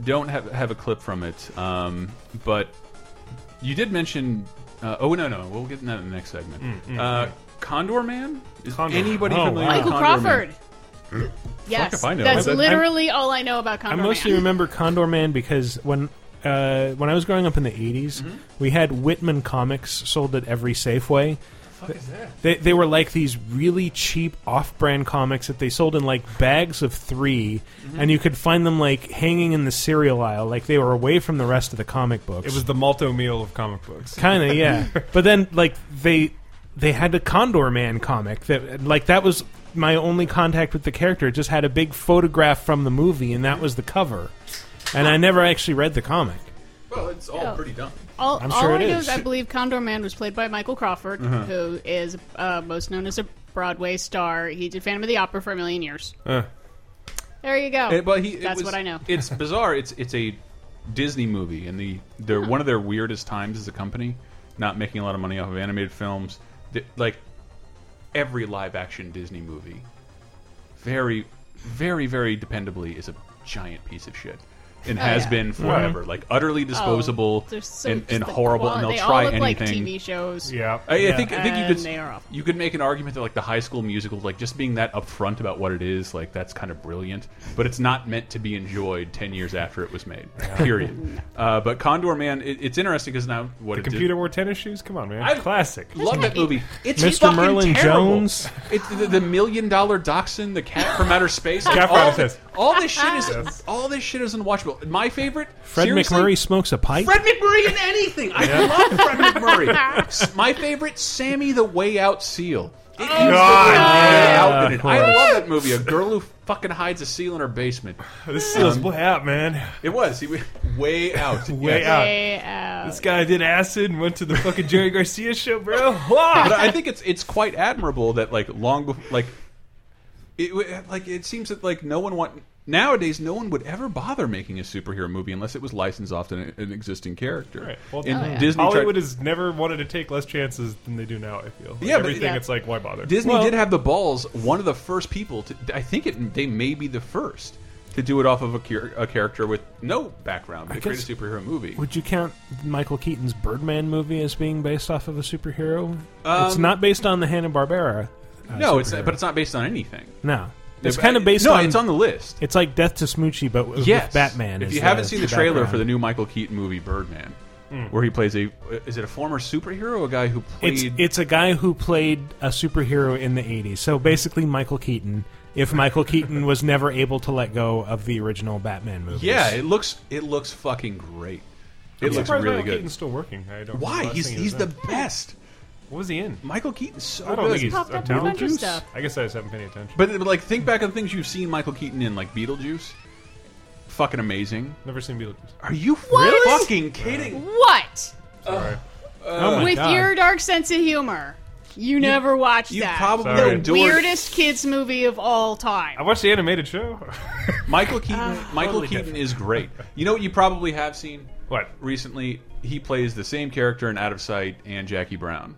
Speaker 4: don't have have a clip from it. Um, but you did mention. Uh, oh no no, we'll get into that in the next segment.
Speaker 6: mm,
Speaker 4: uh,
Speaker 6: mm.
Speaker 4: Condor Man. Is
Speaker 6: Condor Man.
Speaker 4: anybody
Speaker 6: Oh,
Speaker 4: familiar?
Speaker 6: wow.
Speaker 4: with
Speaker 3: Michael
Speaker 4: Condor Man?
Speaker 3: Crawford. yes,
Speaker 4: Hmm? if I know.
Speaker 3: that's
Speaker 4: I- I-
Speaker 3: literally all I know about
Speaker 5: I
Speaker 3: Condor
Speaker 5: mostly
Speaker 3: Man.
Speaker 5: remember Condor Man because when uh, when I was growing up in the 80s,
Speaker 6: Mm-hmm.
Speaker 5: we had Whitman comics sold at every Safeway. They, they were like these really cheap off-brand comics that they sold in like bags of 3
Speaker 6: Mm-hmm.
Speaker 5: and you could find them like hanging in the cereal aisle, like they were away from the rest of the comic books.
Speaker 6: It was the Malto meal of comic books.
Speaker 5: kind of yeah but then like they they had the condor man comic that like that was my only contact with the character it just had a big photograph from the movie and that was the cover and i never actually read the comic
Speaker 4: Well, it's all
Speaker 3: Oh.
Speaker 4: pretty dumb.
Speaker 3: All,
Speaker 5: I'm
Speaker 3: all
Speaker 5: sure it
Speaker 3: I know
Speaker 5: is.
Speaker 3: is I believe Condor Man was played by Michael Crawford,
Speaker 5: Uh-huh.
Speaker 3: who is uh, most known as a Broadway star. He did Phantom of the Opera for a million years. There you go.
Speaker 4: Uh, but he, it
Speaker 3: That's
Speaker 4: was-
Speaker 3: what I know.
Speaker 4: It's bizarre. It's it's a Disney movie, and the they're one of their weirdest times as a company, not making a lot of money off of animated films. Th- like every live action Disney movie, very, very, very dependably is a giant piece of shit. and
Speaker 3: Oh,
Speaker 4: has
Speaker 3: yeah.
Speaker 4: been forever,
Speaker 3: Mhm.
Speaker 4: like utterly disposable
Speaker 3: Oh, they're so-
Speaker 4: and,
Speaker 3: just
Speaker 4: and
Speaker 3: the
Speaker 4: horrible,
Speaker 3: quali-
Speaker 4: and
Speaker 3: they
Speaker 4: they'll
Speaker 3: all
Speaker 4: try
Speaker 3: look like
Speaker 4: anything.
Speaker 3: TV shows.
Speaker 5: Yeah.
Speaker 4: I, I think I think you
Speaker 3: And
Speaker 4: could
Speaker 3: they are awful.
Speaker 4: you could make an argument that like the High School Musical, like just being that upfront about what it is, like that's kind of brilliant. But it's not meant to be enjoyed ten years after it was made. Period. uh, but Condor Man, it, it's interesting because now what
Speaker 6: The
Speaker 4: it did-
Speaker 6: computer wore tennis shoes. Come on, man.
Speaker 4: I-
Speaker 6: Classic.
Speaker 4: Love that movie. It's
Speaker 6: Mr.
Speaker 4: fucking
Speaker 6: Merlin
Speaker 4: terrible.
Speaker 6: Jones.
Speaker 4: It's the, the million dollar dachshund, the cat from outer space.
Speaker 6: Cat
Speaker 4: like,
Speaker 6: from
Speaker 4: all,
Speaker 6: outer
Speaker 4: the-
Speaker 6: space.
Speaker 4: all this shit is all this shit is unwatchable. My favorite,
Speaker 5: Fred
Speaker 4: seriously,
Speaker 5: McMurray smokes a pipe.
Speaker 4: Fred McMurray in anything. I
Speaker 5: Yeah.
Speaker 4: love Fred McMurray. S- My favorite, Sammy the Way Out Seal. It is the
Speaker 6: God,
Speaker 4: Way Out
Speaker 6: yeah,
Speaker 4: in it.
Speaker 6: of
Speaker 4: I
Speaker 6: course.
Speaker 4: love that movie. A girl who fucking hides a seal in her basement.
Speaker 6: This seal's
Speaker 4: Um,
Speaker 6: way out, man.
Speaker 4: It was. He, w- way out.
Speaker 6: Way
Speaker 4: Yes.
Speaker 6: out.
Speaker 3: Way out.
Speaker 6: This guy did acid and went to the fucking Jerry Garcia show, bro.
Speaker 4: but
Speaker 6: Wow.
Speaker 4: I think it's it's quite admirable that like long before like it w- like it seems that like no one want nowadays no one would ever bother making a superhero movie unless it was licensed off to an, an existing character.
Speaker 6: Right. Well,
Speaker 4: And Disney
Speaker 6: Disney Hollywood
Speaker 4: tried-
Speaker 6: has never wanted to take less chances than they do now. I feel. Like,
Speaker 4: Yeah, but-
Speaker 6: everything.
Speaker 4: Yeah.
Speaker 6: It's like why bother?
Speaker 4: Disney
Speaker 6: Well,
Speaker 4: did have the balls. One of the first people to I think it they may be the first to do it off of a, char a character with no background to create a
Speaker 5: guess-
Speaker 4: superhero movie.
Speaker 5: Would you count Michael Keaton's Birdman movie as being based off of a superhero?
Speaker 4: Um,
Speaker 5: it's not based on the Hanna Barbera. Uh,
Speaker 4: no, it's
Speaker 5: superhero.
Speaker 4: but it's not based on anything.
Speaker 5: no.
Speaker 4: Yeah,
Speaker 5: It's
Speaker 4: but-
Speaker 5: kind of based
Speaker 4: no,
Speaker 5: on.
Speaker 4: it's on the list.
Speaker 5: It's like Death to Smoochie, but with,
Speaker 4: yes,
Speaker 5: with Batman.
Speaker 4: If
Speaker 5: is
Speaker 4: you haven't seen the, trailer
Speaker 5: background.
Speaker 4: for the new Michael Keaton movie Birdman,
Speaker 5: Mm.
Speaker 4: where he plays a is it a former superhero, a guy who
Speaker 5: It's
Speaker 4: played
Speaker 5: it's a guy who played a superhero in the '80s. So basically, Michael Keaton. If Michael Keaton was never able to let go of the original Batman movie,
Speaker 4: yeah, it looks it looks fucking great. It
Speaker 6: I'm
Speaker 4: looks
Speaker 6: surprised
Speaker 4: really
Speaker 6: Michael
Speaker 4: good.
Speaker 6: Keaton's still working. I don't.
Speaker 4: Why?
Speaker 6: know the last
Speaker 4: He's
Speaker 6: thing he
Speaker 4: he's
Speaker 6: was
Speaker 4: the Oh,
Speaker 6: in.
Speaker 4: best.
Speaker 6: What was he in?
Speaker 4: Michael Keaton's so
Speaker 6: I don't
Speaker 4: good.
Speaker 6: think he's
Speaker 3: Popped
Speaker 6: a
Speaker 3: up with a bunch of
Speaker 6: Beetlejuice?
Speaker 3: stuff.
Speaker 6: I guess I just haven't paid any attention.
Speaker 4: But, but, like think back on things you've seen Michael Keaton in, like Beetlejuice. Fucking amazing.
Speaker 6: Never seen Beetlejuice.
Speaker 4: Are you
Speaker 3: What?
Speaker 4: fucking kidding?
Speaker 3: What?
Speaker 6: Sorry.
Speaker 5: Oh my
Speaker 3: With
Speaker 5: God.
Speaker 3: your dark sense of humor, you, never watched
Speaker 4: you
Speaker 3: that.
Speaker 4: probably
Speaker 6: Sorry.
Speaker 4: endured
Speaker 3: Weirdest kids movie of all time.
Speaker 6: I watched the animated show.
Speaker 4: Michael Keaton.
Speaker 3: Ah.
Speaker 4: Michael
Speaker 6: Totally
Speaker 4: Keaton
Speaker 6: different.
Speaker 4: is great. You know what you probably have seen
Speaker 6: What?
Speaker 4: recently? He plays the same character in Out of Sight and Jackie Brown.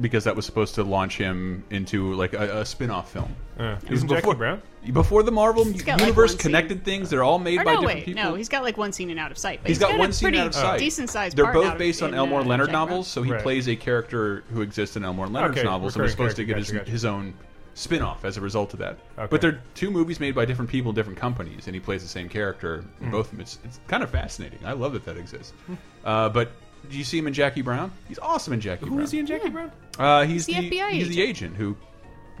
Speaker 4: Because that was supposed to launch him into like a, a spin-off film.
Speaker 6: Uh,
Speaker 4: It was
Speaker 6: isn't Jackie
Speaker 4: before-
Speaker 6: Brown?
Speaker 4: Before the Marvel
Speaker 3: got, like,
Speaker 4: universe
Speaker 3: one scene.
Speaker 4: connected things, they're all made
Speaker 3: Or
Speaker 4: by
Speaker 3: no,
Speaker 4: different
Speaker 3: wait,
Speaker 4: people.
Speaker 3: no, he's got like one scene in Out of Sight. But
Speaker 4: He's got,
Speaker 3: a
Speaker 4: one scene
Speaker 3: pretty
Speaker 4: out of uh, sight.
Speaker 3: Decent sized.
Speaker 4: They're both based on Elmore Leonard
Speaker 3: novels.
Speaker 4: novels, so he
Speaker 6: Right.
Speaker 4: plays a character who exists in Elmore Leonard's
Speaker 6: Okay,
Speaker 4: novels and was
Speaker 6: recurring
Speaker 4: supposed to get
Speaker 6: character,
Speaker 4: his,
Speaker 6: gotcha, gotcha.
Speaker 4: his own spin off as a result of that.
Speaker 6: Okay.
Speaker 4: But they're two movies made by different people, different companies, and he plays the same character
Speaker 6: Hmm.
Speaker 4: in both of them. It's, it's kind of fascinating. I love that that exists. Uh, but do you see him in Jackie Brown? He's awesome in Jackie
Speaker 6: Who
Speaker 4: Brown.
Speaker 6: is he in Jackie Brown?
Speaker 4: Uh, he's,
Speaker 3: He's the FBI
Speaker 4: he's the agent who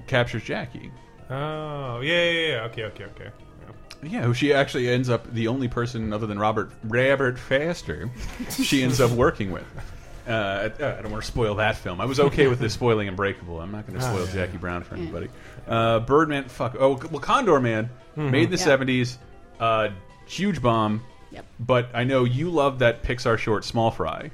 Speaker 4: captures Jackie.
Speaker 6: Oh, yeah, yeah, yeah. Okay, okay, okay.
Speaker 4: Yeah, who she actually ends up the only person other than Robert Robert Faster she ends up working with. Uh, I don't want to spoil that film. I was okay with this spoiling Unbreakable. I'm not going to
Speaker 6: Ah,
Speaker 4: spoil
Speaker 6: yeah,
Speaker 4: Jackie Brown for anybody. Uh, Birdman, fuck. Oh, well, Condor Man
Speaker 6: Mm-hmm.
Speaker 4: made in the
Speaker 3: Yeah.
Speaker 4: 70s. Uh, huge bomb.
Speaker 3: Yep.
Speaker 4: But I know you love that Pixar short, Small Fry,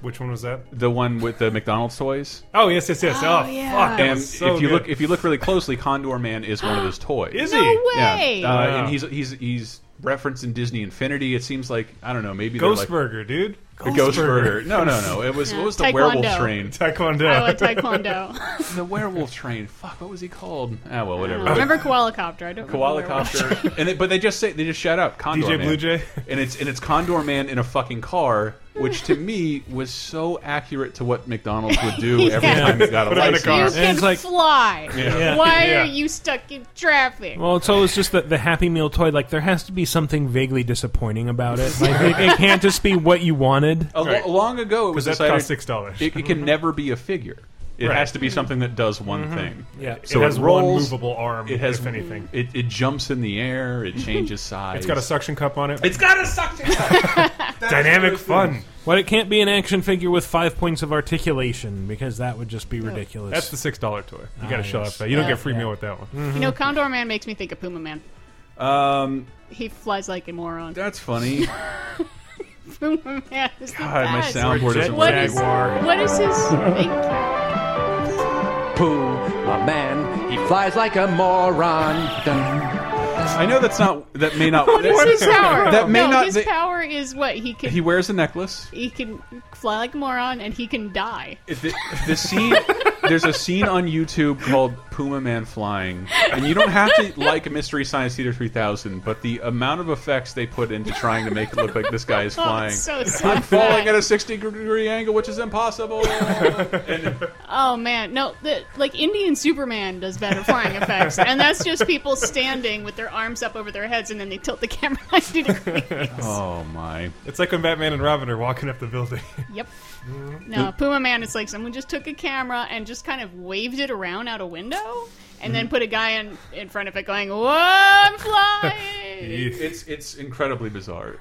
Speaker 6: Which one was that?
Speaker 4: the one with the McDonald's toys.
Speaker 6: Oh, yes, yes, yes. Oh,
Speaker 3: Oh, yeah.
Speaker 6: fuck. that
Speaker 4: And
Speaker 6: was so
Speaker 4: if you
Speaker 6: good.
Speaker 4: look, if you look really closely, Condor Man is one of those toys.
Speaker 6: Is
Speaker 3: No
Speaker 6: he?
Speaker 3: way.
Speaker 4: Yeah, uh,
Speaker 6: Wow.
Speaker 4: and he's he's he's referenced in Disney Infinity. It seems like I don't know, maybe
Speaker 6: Ghost
Speaker 4: they're like,
Speaker 6: Burger, dude.
Speaker 4: the Ghost Burger. No, no, no. It was
Speaker 3: Yeah.
Speaker 4: what was the
Speaker 3: Taekwondo.
Speaker 4: werewolf train?
Speaker 6: Taekwondo.
Speaker 3: I like Oh, Taekwondo.
Speaker 4: the werewolf train. Fuck, what was he called? Ah, well, whatever.
Speaker 3: I remember Koala Copter. I don't
Speaker 4: Koala
Speaker 3: remember werewolf.
Speaker 4: copter, and they, but they just say they just shout out Condor
Speaker 6: DJ
Speaker 4: Man.
Speaker 6: Blue Jay.
Speaker 4: and it's and it's Condor Man in a fucking car, which to me was so accurate to what McDonald's would do every
Speaker 3: Yeah.
Speaker 4: time it got a
Speaker 6: Put him in a
Speaker 4: license.
Speaker 6: car.
Speaker 3: You
Speaker 6: And
Speaker 3: can
Speaker 5: it's like-
Speaker 3: fly.
Speaker 6: Yeah.
Speaker 3: Why
Speaker 6: Yeah.
Speaker 3: are you stuck in traffic?
Speaker 5: Well, it's always just the, the Happy Meal toy. Like there has to be something vaguely disappointing about it. Like it, it can't just be what you wanted.
Speaker 4: A lo-
Speaker 6: Right.
Speaker 4: Long ago, it was
Speaker 6: that
Speaker 4: decided
Speaker 6: cost $6.
Speaker 4: It, it can never be a figure. It
Speaker 6: Right. Mm-hmm.
Speaker 4: has to be something that does one thing.
Speaker 5: Yeah.
Speaker 6: So it has one
Speaker 4: rolls,
Speaker 6: movable arm,
Speaker 4: It has
Speaker 6: if anything.
Speaker 4: It, it jumps in the air. It changes size.
Speaker 6: It's got a suction cup on it.
Speaker 4: It's got a suction cup.
Speaker 6: dynamic fun.
Speaker 5: But it can't be an action figure with five points of articulation because that would just be ridiculous.
Speaker 6: That's the six dollar toy. You got to
Speaker 5: Ah,
Speaker 6: shut
Speaker 5: yes.
Speaker 6: up. though. You don't
Speaker 3: Yeah.
Speaker 6: get free meal with that one.
Speaker 3: You know, Condor Man makes me think of Puma Man.
Speaker 4: um,
Speaker 3: He flies like a moron.
Speaker 4: that's funny.
Speaker 3: Puma Man is the
Speaker 4: God, my
Speaker 3: best.
Speaker 4: soundboard
Speaker 6: Jet
Speaker 4: isn't
Speaker 3: What
Speaker 4: working.
Speaker 3: is, what is his thing?
Speaker 14: Pooh, my man, he flies like a moron. Dun.
Speaker 4: I know that's not. That may not.
Speaker 3: What is his power?
Speaker 4: That may
Speaker 3: no,
Speaker 4: not.
Speaker 3: His
Speaker 4: that-
Speaker 3: power is what he can.
Speaker 4: he
Speaker 3: He,
Speaker 4: wears a necklace.
Speaker 3: can fly like a moron, and he can die.
Speaker 4: If The, the scene. There's a scene on YouTube called Puma Man flying, and you don't have to like Mystery Science Theater 3000, but the amount of effects they put into trying to make it look like this guy is
Speaker 3: Oh,
Speaker 4: flying.
Speaker 3: so
Speaker 4: I'm
Speaker 3: sad.
Speaker 4: falling at a 60 degree angle, which is impossible. and
Speaker 3: Oh man, no! The, like Indian Superman does better flying effects, and that's just people standing with their arms up over their heads, and then they tilt the camera ninety degrees.
Speaker 4: Oh my!
Speaker 6: It's like when Batman and Robin are walking up the building.
Speaker 3: Yep. No, Puma Man is like someone just took a camera and just kind of waved it around out a window, and then put a guy in in front of it going, "Whoa, I'm flying!"
Speaker 4: it's it's incredibly bizarre.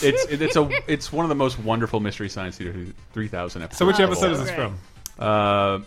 Speaker 4: It's it's a it's one of the most wonderful Mystery Science Theater 3000 episodes.
Speaker 6: So which
Speaker 4: of all
Speaker 6: episode is
Speaker 4: time.
Speaker 6: this from?
Speaker 4: Uh,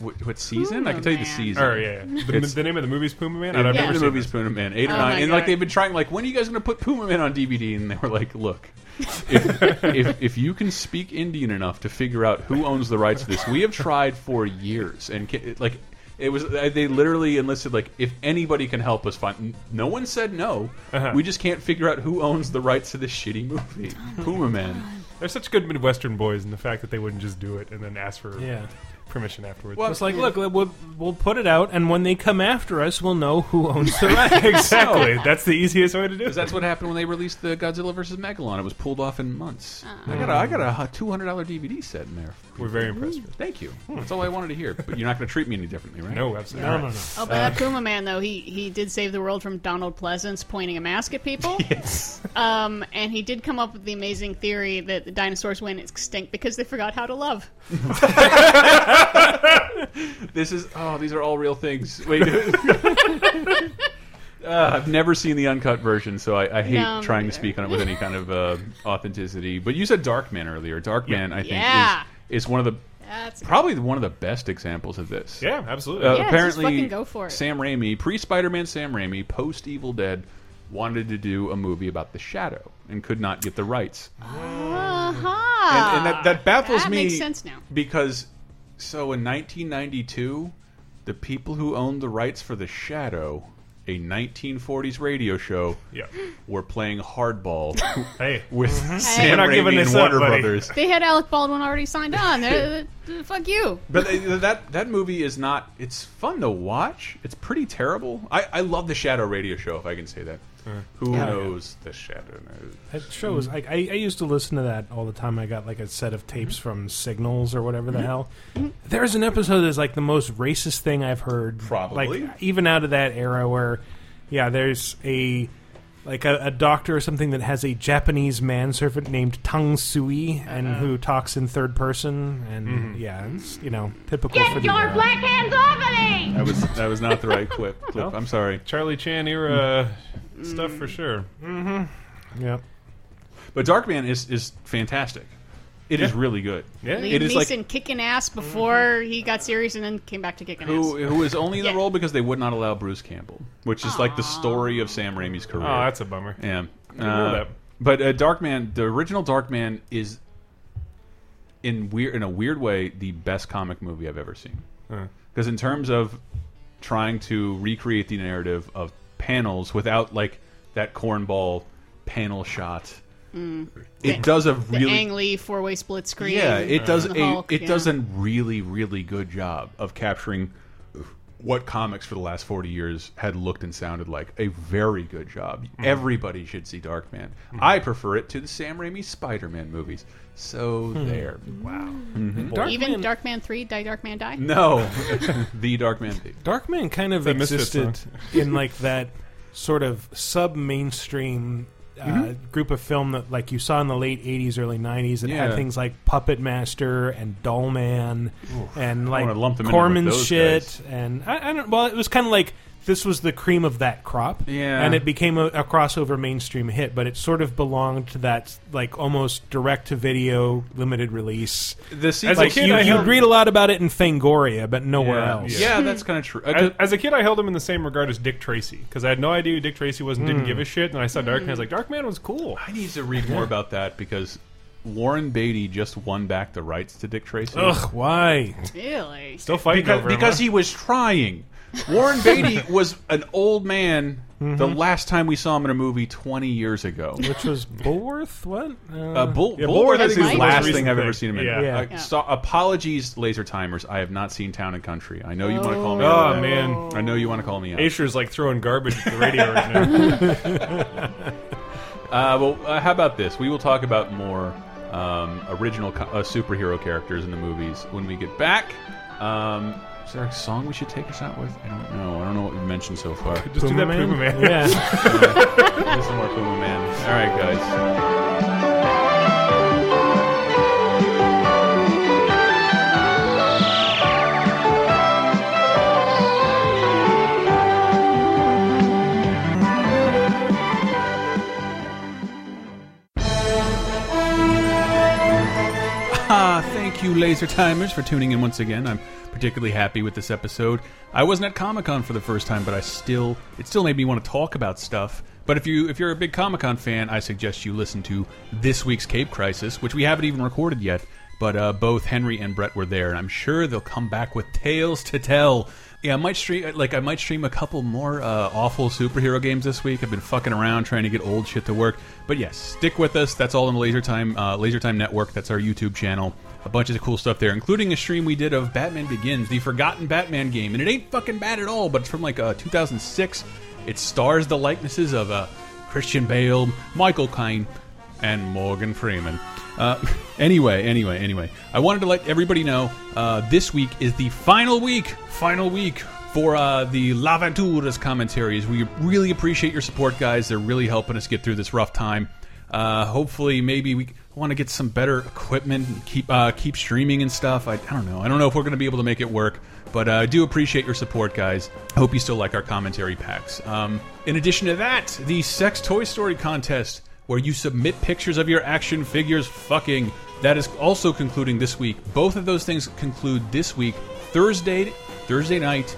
Speaker 4: what, what season? I can tell you the
Speaker 6: Puma
Speaker 4: season.
Speaker 6: Man. Oh, yeah, yeah. The- the name of the movie is Puma Man?
Speaker 4: I
Speaker 6: I've
Speaker 4: don't
Speaker 6: never
Speaker 4: remember the
Speaker 6: seen
Speaker 4: movie's
Speaker 6: it.
Speaker 4: Puma Man. Eight or
Speaker 6: Oh,
Speaker 4: nine.
Speaker 6: my
Speaker 4: And like
Speaker 6: God.
Speaker 4: they've been trying, like, when are you guys going to put Puma Man on DVD? And they were like, look, if, if if you can speak Indian enough to figure out who owns the rights to this, we have tried for years, and ca- like. It was uh, they literally enlisted like if anybody can help us find. No one said no.
Speaker 6: Uh-huh.
Speaker 4: We just can't figure out who owns the rights to this shitty movie.
Speaker 6: Oh
Speaker 4: Puma Man.
Speaker 6: They're such good Midwestern boys, and the fact that they wouldn't just do it and then ask for
Speaker 5: Yeah.
Speaker 6: permission afterwards.
Speaker 5: Well, it's like, look, we'll, we'll put it out, and when they come after us, we'll know who owns the rights.
Speaker 6: exactly. That's the easiest way to do it.
Speaker 4: Because that's what happened when they released the Godzilla vs Megalon. It was pulled off in months.
Speaker 6: Uh-uh.
Speaker 4: I got a, I got a uh, two hundred dollar DVD set in there.
Speaker 6: We're very impressed with.
Speaker 4: Mm.
Speaker 6: Hmm.
Speaker 4: Thank you. That's all I wanted to hear. But you're not going to treat me any differently, right?
Speaker 6: No, absolutely No, not. no, no.
Speaker 3: Oh, but that Puma Man though, he he did save the world from Donald Pleasance pointing a mask at people.
Speaker 4: Yes.
Speaker 3: Um, and he did come up with the amazing theory that the dinosaurs went extinct because they forgot how to love.
Speaker 4: This is oh, these are all real things. Wait, Uh, I've never seen the uncut version, so I, I hate
Speaker 3: No, me
Speaker 4: trying to
Speaker 3: neither.
Speaker 4: speak on it with any kind of uh, authenticity. But you said Dark Man earlier. Dark Man, I think,
Speaker 3: Yeah.
Speaker 4: is, is one of the
Speaker 3: That's
Speaker 4: probably one of the best examples of this.
Speaker 6: Yeah, absolutely.
Speaker 4: Uh,
Speaker 6: Yeah, just
Speaker 4: apparently,
Speaker 6: fucking go for it.
Speaker 4: Sam Raimi, pre Spider Man Sam Raimi, post Evil Dead, wanted to do a movie about the Shadow and could not get the rights.
Speaker 3: Uh-huh.
Speaker 4: And, and that, that baffles
Speaker 3: That
Speaker 4: me.
Speaker 3: makes sense now.
Speaker 4: Because, so in 1992, the people who owned the rights for The Shadow, a 1940s radio show,
Speaker 6: Yeah.
Speaker 4: were playing hardball
Speaker 6: hey.
Speaker 4: with
Speaker 6: Mm-hmm. Hey. We're
Speaker 4: Sam
Speaker 6: not
Speaker 4: Raimi
Speaker 6: giving
Speaker 4: and
Speaker 6: this up,
Speaker 4: Warner
Speaker 6: buddy.
Speaker 4: Brothers.
Speaker 3: They had Alec Baldwin already signed on. They're- they're- fuck you.
Speaker 4: But they- that that movie is not. It's fun to watch. It's pretty terrible. I, I love the Shadow radio show, if I can say that. Who
Speaker 5: Yeah.
Speaker 4: knows the Shadow knows?
Speaker 5: That show was like I, I used to listen to that all the time. I got like a set of tapes from Signals or whatever the
Speaker 4: Mhm.
Speaker 5: hell. There's an episode that's like the most racist thing I've heard.
Speaker 4: Probably.
Speaker 5: like even out of that era where, yeah, there's a like a, a doctor or something that has a Japanese manservant named Tang Sui and who talks in third person and
Speaker 4: Mhm.
Speaker 5: yeah, it's you know typical for
Speaker 12: Get
Speaker 5: the
Speaker 12: your
Speaker 5: era.
Speaker 12: black hands off of
Speaker 4: That
Speaker 12: me!
Speaker 4: was that was not the right clip. clip. I'm sorry.
Speaker 6: Charlie Chan era stuff for sure. Mm-hmm.
Speaker 5: Yep.
Speaker 4: But Darkman is is fantastic. It is
Speaker 6: Yeah.
Speaker 4: really good.
Speaker 6: Yeah.
Speaker 3: Liam
Speaker 4: it is like
Speaker 3: Neeson kicking ass before he got serious and then came back to kicking
Speaker 4: who
Speaker 3: ass.
Speaker 4: who is only in the role because they would not allow Bruce Campbell, which is like the story of Sam Raimi's career.
Speaker 6: Oh, that's a bummer.
Speaker 4: Yeah.
Speaker 6: I didn't know
Speaker 4: Uh,
Speaker 6: that.
Speaker 4: But uh, Darkman, the original Darkman is in weird in a weird way the best comic movie I've ever seen.
Speaker 6: Huh.
Speaker 4: Because in terms of trying to recreate the narrative of panels without like that cornball panel shot,
Speaker 3: Mm.
Speaker 4: it
Speaker 3: The-
Speaker 4: does a
Speaker 3: the
Speaker 4: really
Speaker 3: Ang Lee four way split screen.
Speaker 4: yeah, it does
Speaker 3: and
Speaker 4: a
Speaker 3: the Hulk,
Speaker 4: it
Speaker 3: yeah.
Speaker 4: does a really really good job of capturing what comics for the last 40 years had looked and sounded like. A very good job. Everybody should see Darkman. I prefer it to the Sam Raimi Spider-Man movies. So there. Wow.
Speaker 3: Even Darkman three, Die Darkman Die.
Speaker 4: No. the Darkman.
Speaker 5: Darkman kind of
Speaker 6: The Misfits
Speaker 5: existed
Speaker 6: song.
Speaker 5: in like that sort of sub mainstream uh,
Speaker 6: Mhm.
Speaker 5: group of film that like you saw in the late '80s, early '90s, and
Speaker 6: Yeah.
Speaker 5: had things like Puppet Master and Doll Man
Speaker 6: Oof.
Speaker 5: and
Speaker 6: I
Speaker 5: like
Speaker 6: wanna lump them in with
Speaker 5: Corman's
Speaker 6: those
Speaker 5: shit,
Speaker 6: guys.
Speaker 5: and I, I don't. Well, it was kind of like this was the cream of that crop,
Speaker 6: Yeah.
Speaker 5: and it became a, a crossover mainstream hit, but it sort of belonged to that like almost direct to video limited release.
Speaker 4: The
Speaker 5: This
Speaker 4: sequel-
Speaker 5: like
Speaker 4: As a kid,
Speaker 5: you,
Speaker 4: I
Speaker 5: you'd
Speaker 4: held-
Speaker 5: read a lot about it in Fangoria, but nowhere
Speaker 6: Yeah.
Speaker 5: else.
Speaker 4: Yeah, that's kind of true.
Speaker 6: As, as a kid, I held him in the same regard as Dick Tracy because I had no idea who Dick Tracy was and didn't
Speaker 5: Mm.
Speaker 6: give a shit. And I saw Darkman, I was
Speaker 5: Mm.
Speaker 6: like, Darkman was cool.
Speaker 4: I need to read more about that because Warren Beatty just won back the rights to Dick Tracy.
Speaker 5: Ugh, why?
Speaker 3: Really?
Speaker 6: Still fighting
Speaker 4: because,
Speaker 6: over him,
Speaker 4: because
Speaker 6: huh?
Speaker 4: he was trying. Warren Beatty was an old man the last time we saw him in a movie 20 years ago.
Speaker 5: Which was Bullworth? What? Uh,
Speaker 4: Uh, Bull,
Speaker 5: yeah,
Speaker 4: Bullworth is
Speaker 5: was
Speaker 4: the last
Speaker 5: recent
Speaker 4: thing I've ever seen him in.
Speaker 5: Yeah.
Speaker 4: Uh, so- apologies, laser timers. I have not seen Town and Country. I know you want to call me.
Speaker 6: Oh.
Speaker 4: out
Speaker 6: Oh,
Speaker 4: on that.
Speaker 6: man.
Speaker 4: I know you want to call me out.
Speaker 6: Asher's like throwing garbage at the radio right now.
Speaker 4: Uh, well, uh, how about this? We will talk about more um, original co uh, superhero characters in the movies when we get back. Um, is there a song we should take us out with? I don't know. I don't know what we've mentioned so far.
Speaker 5: Uh,
Speaker 6: Just do Puma that Man? Puma Man.
Speaker 4: Yeah.
Speaker 6: Yeah.
Speaker 4: There's some more Puma Man. All right, guys. Ah, thank you, Laser Timers, for tuning in once again. I'm particularly happy with this episode. I wasn't at Comic Con for the first time, but I still it still made me want to talk about stuff. But if you if you're a big Comic Con fan, I suggest you listen to this week's Cape Crisis, which we haven't even recorded yet. But uh, both Henry and Brett were there, and I'm sure they'll come back with tales to tell. Yeah, I might stream like I might stream a couple more uh, awful superhero games this week. I've been fucking around trying to get old shit to work, but yes, stick with us. That's all on the Laser Time uh, Laser Time Network. That's our YouTube channel. A bunch of cool stuff there, including a stream we did of Batman Begins, the forgotten Batman game, and it ain't fucking bad at all. But it's from like uh, 2006. It stars the likenesses of uh, Christian Bale, Michael Caine, and Morgan Freeman. Uh, anyway, anyway, anyway, I wanted to let everybody know uh, this week is the final week, final week for uh, the Laventuras commentaries. We really appreciate your support, guys. They're really helping us get through this rough time. Uh, hopefully, maybe we want to get some better equipment, and keep uh, keep streaming and stuff. I, I don't know. I don't know if we're going to be able to make it work, but uh, I do appreciate your support, guys. I hope you still like our commentary packs. Um, in addition to that, the Sex Toy Story contest where you submit pictures of your action figures fucking. That is also concluding this week. Both of those things conclude this week, Thursday, Thursday night,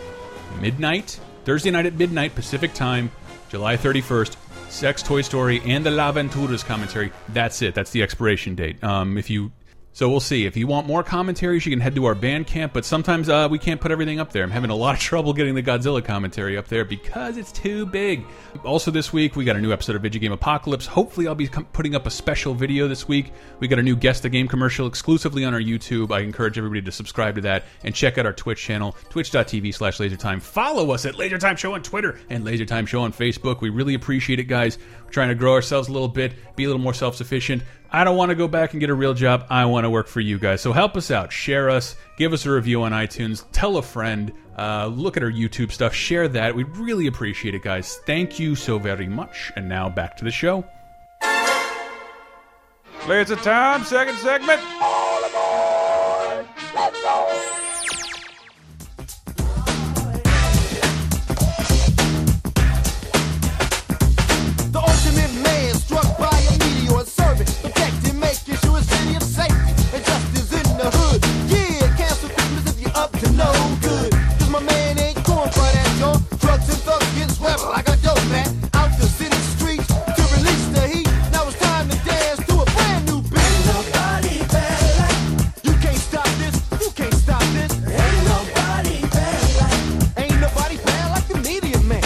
Speaker 4: midnight, Thursday night at midnight Pacific time, July 31st. Sex, Toy Story, and the La Venturas commentary. That's it. That's the expiration date. Um, if you so we'll see. If you want more commentaries, you can head to our Bandcamp. But sometimes uh, we can't put everything up there. I'm having a lot of trouble getting the Godzilla commentary up there because it's too big. Also, this week we got a new episode of Video Game Apocalypse. Hopefully, I'll be com- putting up a special video this week. We got a new guest the game commercial exclusively on our YouTube. I encourage everybody to subscribe to that and check out our Twitch channel, Twitch.tv/slash LaserTime. Follow us at LaserTime Show on Twitter and LaserTime Show on Facebook. We really appreciate it, guys. We're trying to grow ourselves a little bit, be a little more self-sufficient. I don't want to go back and get a real job. I want to work for you guys. So help us out. Share us. Give us a review on iTunes. Tell a friend. Uh, look at our YouTube stuff. Share that. We'd really appreciate it, guys. Thank you so very much. And now back to the show.
Speaker 6: Laser time, second segment.
Speaker 16: The ultimate man struck by a meteor, serving, protecting, making sure a city of safety and justice in the hood. Yeah, cancel Christmas if you're up to no good. Cause my man ain't going for that, yo. Drugs and thugs get swept like a dope rat. Out the city streets to release the heat. Now it's time to dance to a brand new beat. Ain't nobody better like you can't stop this. You can't stop this. Ain't nobody better like. Ain't nobody better like the media man.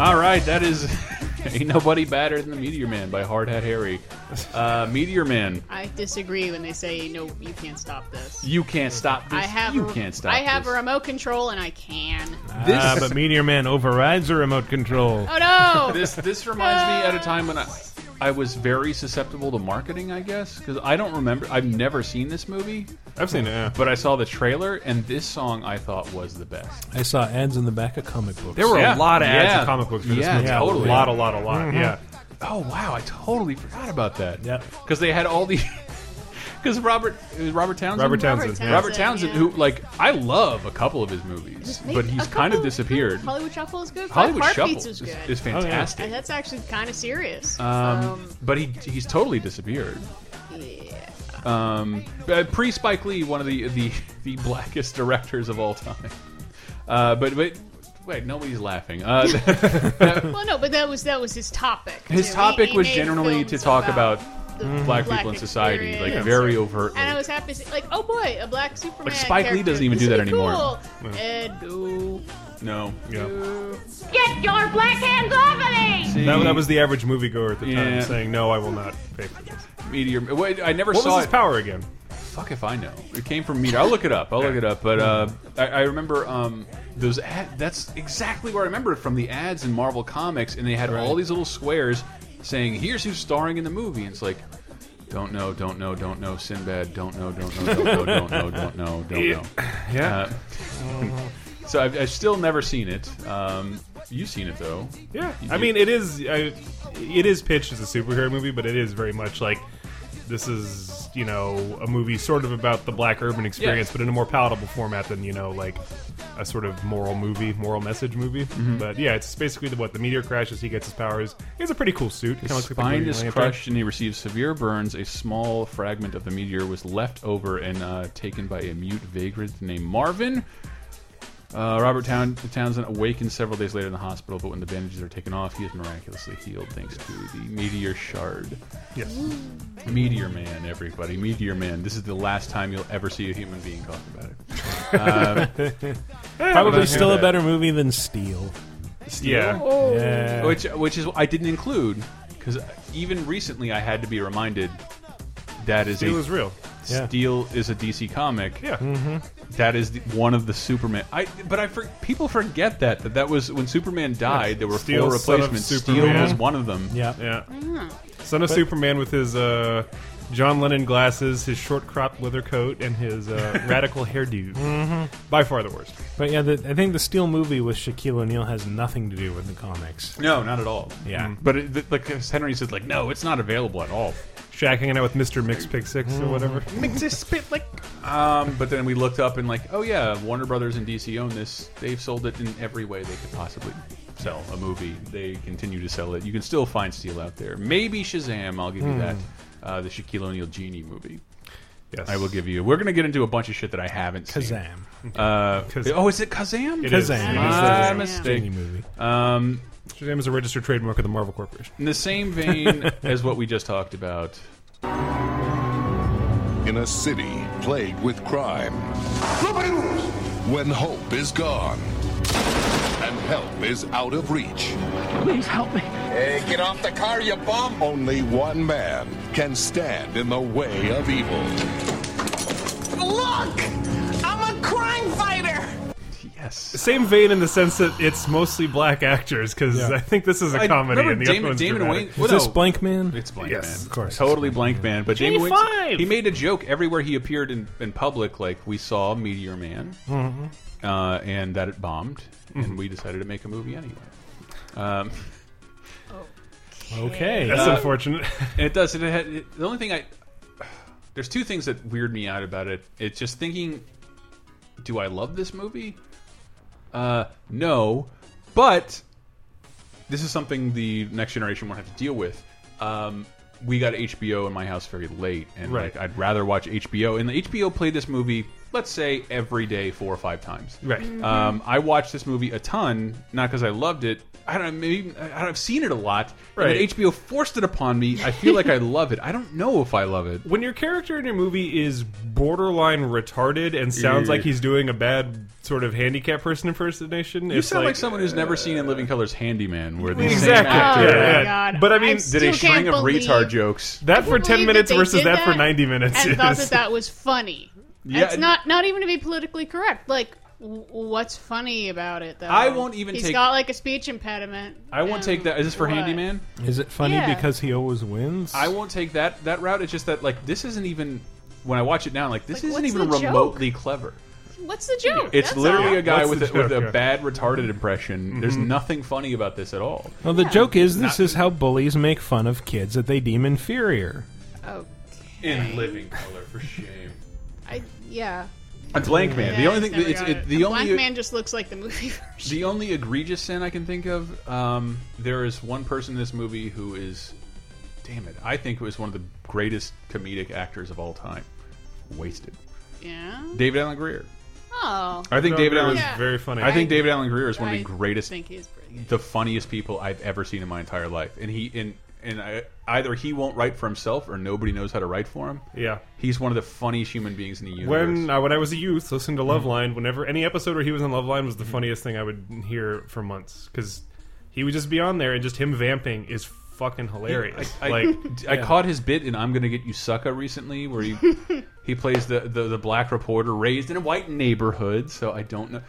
Speaker 4: All right, that is Ain't Nobody Badder Than the Meteor Man by Hard Hat Harry. Uh, Meteor Man,
Speaker 3: I disagree when they say no, you can't stop this.
Speaker 4: you can't stop this.
Speaker 3: I have
Speaker 4: you
Speaker 3: a-
Speaker 4: can't stop
Speaker 3: I have
Speaker 4: this.
Speaker 3: a remote control and I can.
Speaker 4: This-
Speaker 5: Ah, but Meteor Man overrides a remote control.
Speaker 3: Oh no!
Speaker 4: this this reminds me at a time when I I was very susceptible to marketing, I guess, because I don't remember. I've never seen this movie.
Speaker 6: I've seen it, yeah.
Speaker 4: but I saw the trailer, and this song I thought was the best.
Speaker 5: I saw ads in the back of comic books.
Speaker 6: There were
Speaker 4: Yeah.
Speaker 6: a lot of ads
Speaker 4: Yeah.
Speaker 6: in comic books for
Speaker 4: Yeah,
Speaker 6: this movie.
Speaker 4: totally.
Speaker 6: A lot, a lot, Mm-hmm. a lot.
Speaker 4: Mhm.
Speaker 6: Yeah.
Speaker 4: Oh wow, I totally forgot about that. Yeah, because they had all the. Because Robert, it was Robert Townsend.
Speaker 6: Robert Townsend, yeah.
Speaker 4: Robert Townsend, who like I love a couple of his movies,
Speaker 3: They-
Speaker 4: but
Speaker 3: a
Speaker 4: he's
Speaker 3: couple
Speaker 4: kind of
Speaker 3: good-
Speaker 4: disappeared.
Speaker 3: Hollywood Shuffle is good.
Speaker 4: Hollywood
Speaker 3: Five
Speaker 4: Shuffle
Speaker 3: Heartbeats is
Speaker 4: is-
Speaker 3: good. Oh,
Speaker 4: is fantastic.
Speaker 3: And that's actually kind of serious.
Speaker 4: Um, but he he's totally disappeared. Um, uh, pre Spike Lee, one of the the the blackest directors of all time. Uh, but but wait, nobody's laughing. Uh,
Speaker 3: well, no, but that was that was his topic.
Speaker 4: his
Speaker 3: too.
Speaker 4: topic
Speaker 3: He- he
Speaker 4: was
Speaker 3: made
Speaker 4: generally
Speaker 3: films
Speaker 4: to talk about,
Speaker 3: the
Speaker 4: black, people in society,
Speaker 3: experience.
Speaker 4: like very overtly.
Speaker 3: And I was happy to see, like, oh boy, a black Superman.
Speaker 4: Like, Spike Lee
Speaker 3: character.
Speaker 4: doesn't even
Speaker 3: This
Speaker 4: do
Speaker 3: would
Speaker 4: that
Speaker 3: be
Speaker 4: anymore.
Speaker 3: Cool.
Speaker 4: Yeah.
Speaker 3: And no.
Speaker 4: no,
Speaker 12: Get your black hands off of me!
Speaker 6: That, that was the average moviegoer at the
Speaker 4: Yeah.
Speaker 6: time saying, "No, I will not pay for this."
Speaker 4: Meteor. Wait, I never
Speaker 6: What was
Speaker 4: saw
Speaker 6: his
Speaker 4: it.
Speaker 6: power again?
Speaker 4: Fuck if I know. It came from Meteor. I'll look it up. I'll look it up. But uh, I, I remember um, those. Ad, that's exactly where I remember it from the ads in Marvel Comics, and they had all these little squares saying, "Here's who's starring in the movie." And it's like, don't know, don't know, don't know, Sinbad, don't know, don't know, don't know, don't know, don't know, don't know.
Speaker 6: Yeah.
Speaker 4: Uh, so I've, I've still never seen it. Um, you've seen it though.
Speaker 6: Yeah,
Speaker 4: You
Speaker 6: I
Speaker 4: do.
Speaker 6: mean, it is I, it is pitched as a superhero movie, but it is very much like this is you know a movie sort of about the black urban experience,
Speaker 4: Yeah.
Speaker 6: but in a more palatable format than you know like a sort of moral movie, moral message movie.
Speaker 4: Mhm.
Speaker 6: But yeah, it's basically the, what the meteor crashes, he gets his powers. He has a pretty cool suit.
Speaker 4: His
Speaker 6: kinda looks like the
Speaker 4: spine
Speaker 6: Green
Speaker 4: is
Speaker 6: Lantern.
Speaker 4: crushed and he receives severe burns. A small fragment of the meteor was left over and uh, taken by a mute vagrant named Marvin. Uh, Robert Town Townsend awakens several days later in the hospital, but when the bandages are taken off, he is miraculously healed thanks to the meteor shard.
Speaker 6: Yes.
Speaker 4: Meteor Man, everybody. Meteor Man. This is the last time you'll ever see a human being talk about it. Uh,
Speaker 5: Probably still a
Speaker 4: that.
Speaker 5: better movie than Steel. Uh,
Speaker 4: Yeah.
Speaker 5: Yeah.
Speaker 4: Which which is I didn't include because even recently I had to be reminded that is
Speaker 6: Steel
Speaker 4: a,
Speaker 6: is real. Yeah.
Speaker 4: Steel is a DC comic. Mm-hmm.
Speaker 6: Yeah. Mhm.
Speaker 4: That is the, one of the Superman. I but I for, people forget that that that was when Superman died. There were
Speaker 6: Steel,
Speaker 4: four
Speaker 6: Son of
Speaker 4: replacements. Steel
Speaker 6: Superman.
Speaker 4: was one of them.
Speaker 5: Yeah.
Speaker 6: Yeah.
Speaker 3: Mm.
Speaker 6: Son of
Speaker 5: But-
Speaker 6: Superman with his uh, John Lennon glasses, his short cropped leather coat, and his uh, radical
Speaker 5: Mhm.
Speaker 6: hairdo.
Speaker 4: Mm-hmm.
Speaker 6: By far the worst.
Speaker 5: But yeah, the, I think the Steel movie with Shaquille O'Neal has nothing to do with the comics.
Speaker 4: No, not at all.
Speaker 5: Yeah.
Speaker 4: Mm. but it, like Henry said, like no, it's not available at all.
Speaker 6: Shaq hanging out with Mr. Mix Pick Six or whatever.
Speaker 4: Mix this spit like. Um, but then we looked up and like, oh yeah, Warner Brothers and DC own this. They've sold it in every way they could possibly sell a movie. They continue to sell it. You can still find Steel out there. Maybe Shazam. I'll give you
Speaker 6: Hmm.
Speaker 4: that. Uh, the Shaquille O'Neal genie movie.
Speaker 6: Yes.
Speaker 4: I will give you. We're gonna get into a bunch of shit that I haven't seen.
Speaker 5: Kazam.
Speaker 4: Uh, oh, is it Kazam?
Speaker 6: It is.
Speaker 5: Kazam.
Speaker 6: It is
Speaker 4: My
Speaker 6: Kazam.
Speaker 4: mistake.
Speaker 6: Genie movie.
Speaker 4: Um,
Speaker 6: Shazam is a registered trademark of the Marvel Corporation.
Speaker 4: in the same vein as what we just talked about.
Speaker 17: In a city plagued with crime. When hope is gone and help is out of reach.
Speaker 14: Please help me.
Speaker 17: Hey, get off the car, you bum! Only one man can stand in the way of evil.
Speaker 16: Look! I'm a crime fighter!
Speaker 4: Yes.
Speaker 6: Same vein in the sense that it's mostly black actors because
Speaker 5: Yeah.
Speaker 6: I think this is a
Speaker 5: I
Speaker 6: comedy
Speaker 5: remember
Speaker 6: and the
Speaker 5: Damon-
Speaker 6: other one's
Speaker 5: Damon
Speaker 6: dramatic.
Speaker 5: Wayne- Is this Blank Man?
Speaker 4: It's Blank
Speaker 5: Yes,
Speaker 4: Man.
Speaker 5: of course.
Speaker 4: Totally Blank Man. But Damon Wayans-
Speaker 5: J5!
Speaker 4: he made a joke everywhere he appeared in, in public, like we saw Meteor Man,
Speaker 5: Mhm.
Speaker 6: Mm-hmm.
Speaker 4: uh, and that it bombed, and we decided to make a movie anyway. Um,
Speaker 5: Okay.
Speaker 6: That's
Speaker 4: uh,
Speaker 6: unfortunate.
Speaker 4: and it does. It, had- it, the only thing I there's two things that weird me out about it. It's just thinking, do I love this movie? Uh, no, but this is something the next generation won't have to deal with. Um, we got HBO in my house very late, and
Speaker 6: Right.
Speaker 4: like I'd rather watch HBO. And the HBO played this movie, let's say every day, four or five times.
Speaker 6: Right. Mhm.
Speaker 4: Um, I watched this movie a ton, not because I loved it. I don't know. Maybe I- I've seen it a lot. Right.
Speaker 6: Right.
Speaker 4: HBO forced it upon me. I feel like I love it. I don't know if I love it.
Speaker 6: When your character in your movie is borderline retarded and sounds
Speaker 4: Yeah.
Speaker 6: like he's doing a bad sort of handicap person impersonation,
Speaker 4: You
Speaker 6: it's
Speaker 4: sound like,
Speaker 6: like uh,
Speaker 4: someone who's never seen in Living Color's Handyman, where the same
Speaker 6: Exactly.
Speaker 4: actor-
Speaker 6: Yeah, yeah. Oh, God. But I mean-
Speaker 4: did
Speaker 6: I
Speaker 4: a
Speaker 6: still can't
Speaker 4: string of
Speaker 6: believe-
Speaker 4: retard jokes.
Speaker 6: That
Speaker 3: Can't
Speaker 6: for
Speaker 3: believe
Speaker 6: 10 minutes
Speaker 3: they
Speaker 6: versus
Speaker 3: did
Speaker 6: that for 90 minutes.
Speaker 3: And thought
Speaker 6: is-
Speaker 3: that that was funny.
Speaker 4: Yeah.
Speaker 3: It's not not even to be politically correct. Like, w- what's funny about it? Though
Speaker 4: I won't even
Speaker 3: He's
Speaker 4: take-
Speaker 3: got like a speech impediment.
Speaker 4: I won't take that. Is this for
Speaker 3: What?
Speaker 4: Handyman?
Speaker 5: Is it funny
Speaker 3: Yeah.
Speaker 5: because he always wins?
Speaker 4: I won't take that that route. It's just that like this isn't even when I watch it now. Like
Speaker 3: Like,
Speaker 4: this isn't
Speaker 3: what's
Speaker 4: even
Speaker 3: the joke?
Speaker 4: remotely clever.
Speaker 3: What's the joke?
Speaker 4: It's
Speaker 3: That's
Speaker 4: literally
Speaker 3: all.
Speaker 4: a guy
Speaker 6: What's
Speaker 4: with
Speaker 6: the
Speaker 4: a, with a
Speaker 6: joke? Yeah.
Speaker 4: bad retarded impression. There's
Speaker 6: Mhm.
Speaker 4: nothing funny about this at all.
Speaker 5: Well, the joke is this is how bullies make fun of kids that they deem inferior.
Speaker 4: In living color, for shame.
Speaker 3: I yeah.
Speaker 4: A blank man. the
Speaker 3: Yeah,
Speaker 4: only thing
Speaker 3: never
Speaker 4: it's
Speaker 3: got
Speaker 4: it,
Speaker 3: it.
Speaker 4: the
Speaker 3: Black
Speaker 4: only
Speaker 3: man just looks like the movie.
Speaker 4: The only egregious sin I can think of, um, there is one person in this movie who is, damn it, I think was one of the greatest comedic actors of all time. Wasted.
Speaker 3: Yeah.
Speaker 4: David Allen Greer.
Speaker 3: Oh.
Speaker 4: I think David Allen
Speaker 6: Greer is Yeah. very funny.
Speaker 4: I think
Speaker 6: I-
Speaker 4: David Allen Greer is one of the
Speaker 3: I
Speaker 4: greatest,
Speaker 3: think he's
Speaker 4: the funniest people I've ever seen in my entire life, and he and and I, either he won't write for himself or nobody knows how to write for him.
Speaker 6: Yeah.
Speaker 4: he's one of the funniest human beings in the universe.
Speaker 6: When I, when I was a youth, listening to
Speaker 4: Mhm.
Speaker 6: Loveline, whenever any episode where he was on Loveline was the
Speaker 4: Mm-hmm.
Speaker 6: funniest thing I would hear for months because he would just be on there and just him vamping is fucking hilarious.
Speaker 4: I, I-
Speaker 6: like
Speaker 4: I
Speaker 6: yeah.
Speaker 4: caught his bit in "I'm Gonna Get You, Sucker" recently, where he he plays the, the the black reporter raised in a white neighborhood. So I don't know.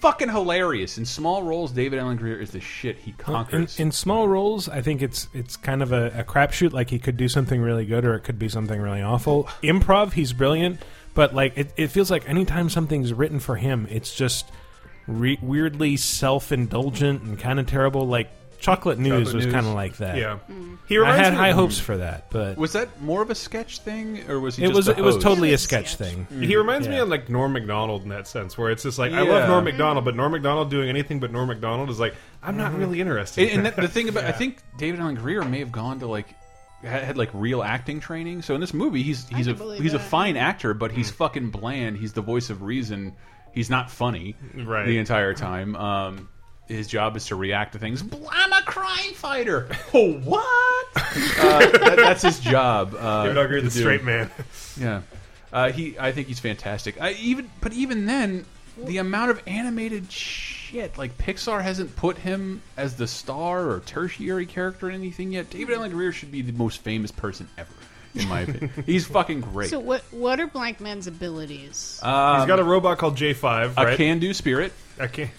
Speaker 4: Fucking hilarious in small roles. David Allen Greer is the shit. He
Speaker 5: In,
Speaker 4: conquers.
Speaker 5: in small roles, I think it's it's kind of a, a crapshoot. Like he could do something really good, or it could be something really awful. Improv, he's brilliant, but like it, it feels like anytime something's written for him, it's just re- weirdly self indulgent and kind of terrible. Like Chocolate News
Speaker 4: Chocolate
Speaker 5: was
Speaker 4: News.
Speaker 5: kind of like that.
Speaker 4: Yeah. He
Speaker 5: I
Speaker 4: reminds
Speaker 5: had
Speaker 4: me-
Speaker 5: high hopes for that, but
Speaker 4: was that more of a sketch thing, or was he?
Speaker 5: it
Speaker 4: just
Speaker 5: was
Speaker 4: the
Speaker 5: it was
Speaker 4: host?
Speaker 5: totally a sketch thing.
Speaker 6: He reminds me of like Norm Macdonald in that sense, where it's just like I
Speaker 4: Yeah.
Speaker 6: love Norm Macdonald, but Norm Macdonald doing anything but Norm Macdonald is like I'm not
Speaker 4: Mhm.
Speaker 6: really interested.
Speaker 4: And, and that, the thing about I
Speaker 6: Yeah.
Speaker 4: think David Allen Greer may have gone to like had, had like real acting training. So in this movie, he's he's a
Speaker 6: believe
Speaker 4: he's a
Speaker 6: that.
Speaker 4: fine actor, but
Speaker 6: Mm.
Speaker 4: he's fucking bland. He's the voice of reason. He's not funny
Speaker 6: Right.
Speaker 4: the entire time. Um, his job is to react to things. I'm a crime fighter.
Speaker 6: Oh,
Speaker 4: what? Uh, that, that's his job. Uh,
Speaker 6: David Allen Greer,
Speaker 4: to
Speaker 6: the
Speaker 4: do.
Speaker 6: straight man.
Speaker 4: yeah, uh, he. I think he's fantastic. I even, but even then, the amount of animated shit like Pixar hasn't put him as the star or tertiary character in anything yet. David Allen Greer should be the most famous person ever, in my opinion. he's fucking great.
Speaker 3: So what? What are Blank Man's abilities?
Speaker 4: Um,
Speaker 6: He's got a robot called J5,
Speaker 4: a
Speaker 6: right?
Speaker 4: can-do spirit.
Speaker 6: I can't.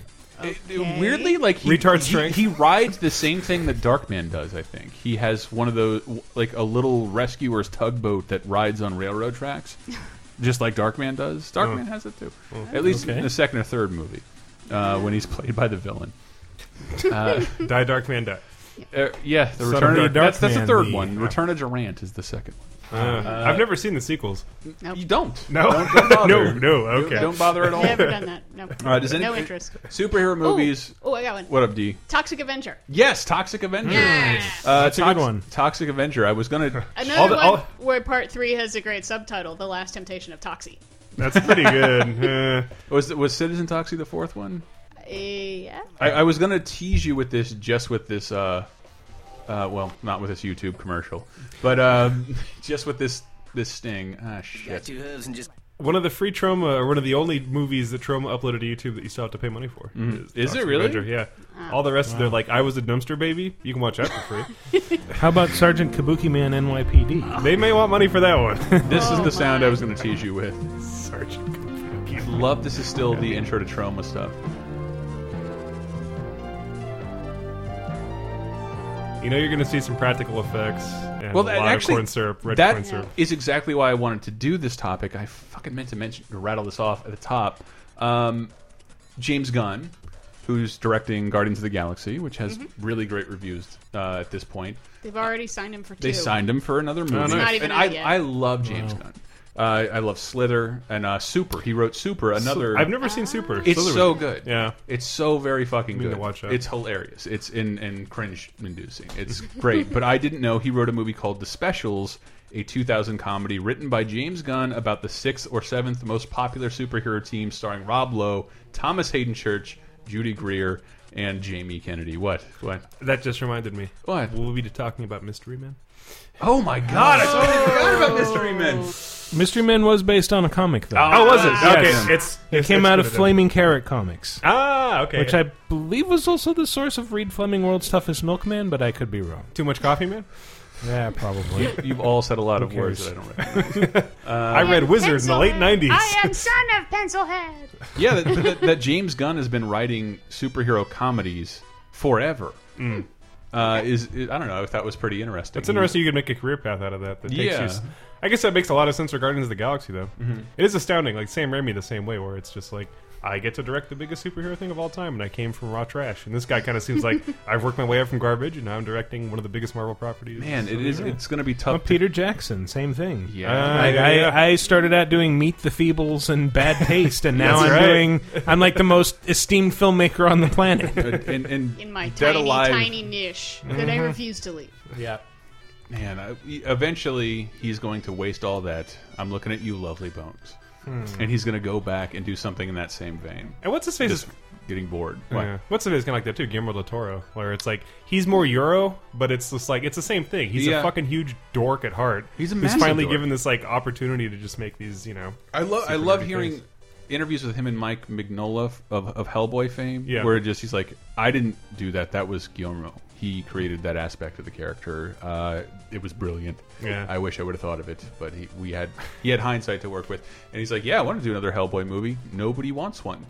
Speaker 3: Okay.
Speaker 4: Weirdly, like he,
Speaker 6: Retard
Speaker 4: he-
Speaker 6: strength.
Speaker 4: He, rides the same thing that Darkman does. I think he has one of those, like a little rescuer's tugboat that rides on railroad tracks, just like Darkman does. Darkman has it too,
Speaker 6: Oh.
Speaker 4: at least
Speaker 6: Hmm. Okay.
Speaker 4: in the second or third movie, uh, when he's played by the villain.
Speaker 6: die Darkman die.
Speaker 4: Uh, yeah, the
Speaker 6: Son of
Speaker 4: return of,
Speaker 6: Dark-
Speaker 4: that's, that's the
Speaker 6: Darkman,
Speaker 4: third
Speaker 6: the-
Speaker 4: one. Return of Durant is the second one.
Speaker 6: Uh, I've never seen the sequels.
Speaker 4: You don't.
Speaker 6: No.
Speaker 4: Don't, don't bother.
Speaker 6: No, no,
Speaker 4: Don't-
Speaker 6: okay.
Speaker 4: Don't, bother at all.
Speaker 3: Never done that. No.
Speaker 4: Uh, does any-
Speaker 3: No interest.
Speaker 4: Superhero movies.
Speaker 3: Oh, I got one.
Speaker 4: What up, D?
Speaker 3: Toxic Avenger.
Speaker 4: Yes, Toxic Avenger.
Speaker 3: Yes.
Speaker 4: Uh,
Speaker 5: That's a good
Speaker 4: Tox-
Speaker 5: one.
Speaker 4: Toxic Avenger. I was gonna.
Speaker 3: Another
Speaker 4: all the-
Speaker 3: one
Speaker 4: all-
Speaker 3: where part three has a great subtitle: "The Last Temptation of Toxie."
Speaker 6: That's pretty good. Uh,
Speaker 4: oh, was was Citizen Toxie the fourth one?
Speaker 3: Uh, yeah.
Speaker 4: I, I was gonna tease you with this, just with this. Uh, uh, well, not with this YouTube commercial, but um, just with this this sting. Ah, shit.
Speaker 6: One of the free trauma, or one of the only movies that trauma uploaded to YouTube that you still have to pay money for.
Speaker 4: Mhm. Is it
Speaker 6: Toxic
Speaker 4: really?
Speaker 6: Avenger, Yeah. All the rest of their like, I was a dumpster baby. You can watch that for free.
Speaker 5: How about Sergeant Kabuki Man
Speaker 4: Oh.
Speaker 5: NYPD?
Speaker 6: they may want money for that one.
Speaker 4: This is the sound I was going to tease you with. Love this is still the intro to trauma stuff.
Speaker 6: You know you're going to see some practical effects and
Speaker 4: well,
Speaker 6: a
Speaker 4: that,
Speaker 6: lot
Speaker 4: actually,
Speaker 6: of corn syrup, red
Speaker 4: that
Speaker 6: corn syrup.
Speaker 4: is exactly why I wanted to do this topic. I fucking meant to mention to rattle this off at the top. Um, James Gunn, who's directing Guardians of the Galaxy, which has
Speaker 3: Mm-hmm.
Speaker 4: really great reviews uh, at this point.
Speaker 3: They've already signed him for two.
Speaker 4: They signed him for
Speaker 6: Oh,
Speaker 4: another
Speaker 3: It's
Speaker 4: movie,
Speaker 3: not even
Speaker 4: and
Speaker 3: out
Speaker 4: I,
Speaker 3: yet.
Speaker 4: I love James Gunn. Uh, I love Slither and uh, Super. He wrote Super, another.
Speaker 6: I've never seen Super.
Speaker 4: It's
Speaker 6: Slither
Speaker 4: so
Speaker 6: was-
Speaker 4: good.
Speaker 6: Yeah.
Speaker 4: it's so very fucking
Speaker 6: Need to
Speaker 4: good.
Speaker 6: watch that.
Speaker 4: It's hilarious. It's in and cringe inducing. It's great. but I didn't know he wrote a movie called The Specials, a 2000 comedy written by James Gunn about the sixth or seventh most popular superhero team, starring Rob Lowe, Thomas Hayden Church, Judy Greer, and Jamie Kennedy. What? What?
Speaker 6: That just reminded me.
Speaker 4: What?
Speaker 6: We'll be talking about Mystery Man.
Speaker 4: Oh my God! I totally forgot about Mystery Men.
Speaker 5: Mystery Man was based on a comic, though.
Speaker 6: Oh, was it?
Speaker 5: Yes.
Speaker 6: Okay, it's-
Speaker 5: it
Speaker 6: it's-
Speaker 5: came
Speaker 6: it's
Speaker 5: out
Speaker 6: good
Speaker 5: of
Speaker 6: then.
Speaker 5: Flaming Carrot Comics.
Speaker 6: Ah, okay.
Speaker 5: Which I believe was also the source of Reed Fleming World's Toughest Milkman, but I could be wrong.
Speaker 6: Too much coffee, man?
Speaker 5: Yeah, probably.
Speaker 4: You- you've all said a lot
Speaker 5: Who
Speaker 4: of words
Speaker 5: cares?
Speaker 4: that I don't recognize. Uh,
Speaker 6: I read Wizard in the late 90s.
Speaker 3: Oh,
Speaker 12: I am son of Pencilhead.
Speaker 4: yeah, that, that, that James Gunn has been writing superhero comedies forever. Uh, is, is I don't know if that was pretty interesting.
Speaker 6: It's interesting you could make a career path out of that. that takes
Speaker 4: Yeah.
Speaker 6: you s- I guess that makes a lot of sense for Guardians of the Galaxy, though.
Speaker 5: Mm-hmm.
Speaker 4: Mhm.
Speaker 6: It is astounding. Like, Sam Raimi the same way, where it's just like, I get to direct the biggest superhero thing of all time, and I came from raw trash. And this guy kind of seems like I've worked my way up from garbage, and now I'm directing one of the biggest Marvel properties.
Speaker 4: Man, it
Speaker 6: So,
Speaker 4: is.
Speaker 6: yeah.
Speaker 4: It's going to be tough.
Speaker 5: Well, Peter Jackson, same thing.
Speaker 4: Yeah.
Speaker 5: Like, I, I started out doing Meet the Feebles and Bad Taste, and now I'm
Speaker 6: That's right.
Speaker 5: doing. I'm like the most esteemed filmmaker on the planet.
Speaker 4: and, and
Speaker 3: in my
Speaker 4: Dead
Speaker 3: tiny,
Speaker 4: Alive. Mm-hmm.
Speaker 3: tiny niche that I
Speaker 5: Mhm.
Speaker 3: refuse to leave.
Speaker 5: Yeah.
Speaker 4: Man, I, eventually he's going to waste all that. I'm looking at you, lovely bones,
Speaker 6: Hmm.
Speaker 4: and he's going to go back and do something in that same vein.
Speaker 6: And what's his face? is
Speaker 4: getting bored. Why?
Speaker 6: Yeah. What's it is kind of like that too, Guillermo del Toro, where it's like he's more Euro, but it's just like it's the same thing. He's
Speaker 4: Yeah.
Speaker 6: a fucking huge dork at heart.
Speaker 4: He's a
Speaker 6: who's
Speaker 4: massive
Speaker 6: finally
Speaker 4: dork.
Speaker 6: given this like opportunity to just make these, you know.
Speaker 4: I love I
Speaker 6: super
Speaker 4: love
Speaker 6: nerdy
Speaker 4: hearing
Speaker 6: things.
Speaker 4: interviews with him and Mike Mignola f- of, of Hellboy fame,
Speaker 6: Yeah.
Speaker 4: where just he's like, I didn't do that. That was Guillermo. He created that aspect of the character. Uh, it was brilliant.
Speaker 6: Yeah.
Speaker 4: I wish I would have thought of it, but he we had he had hindsight to work with, and he's like, Yeah, I want to do another Hellboy movie. Nobody wants one.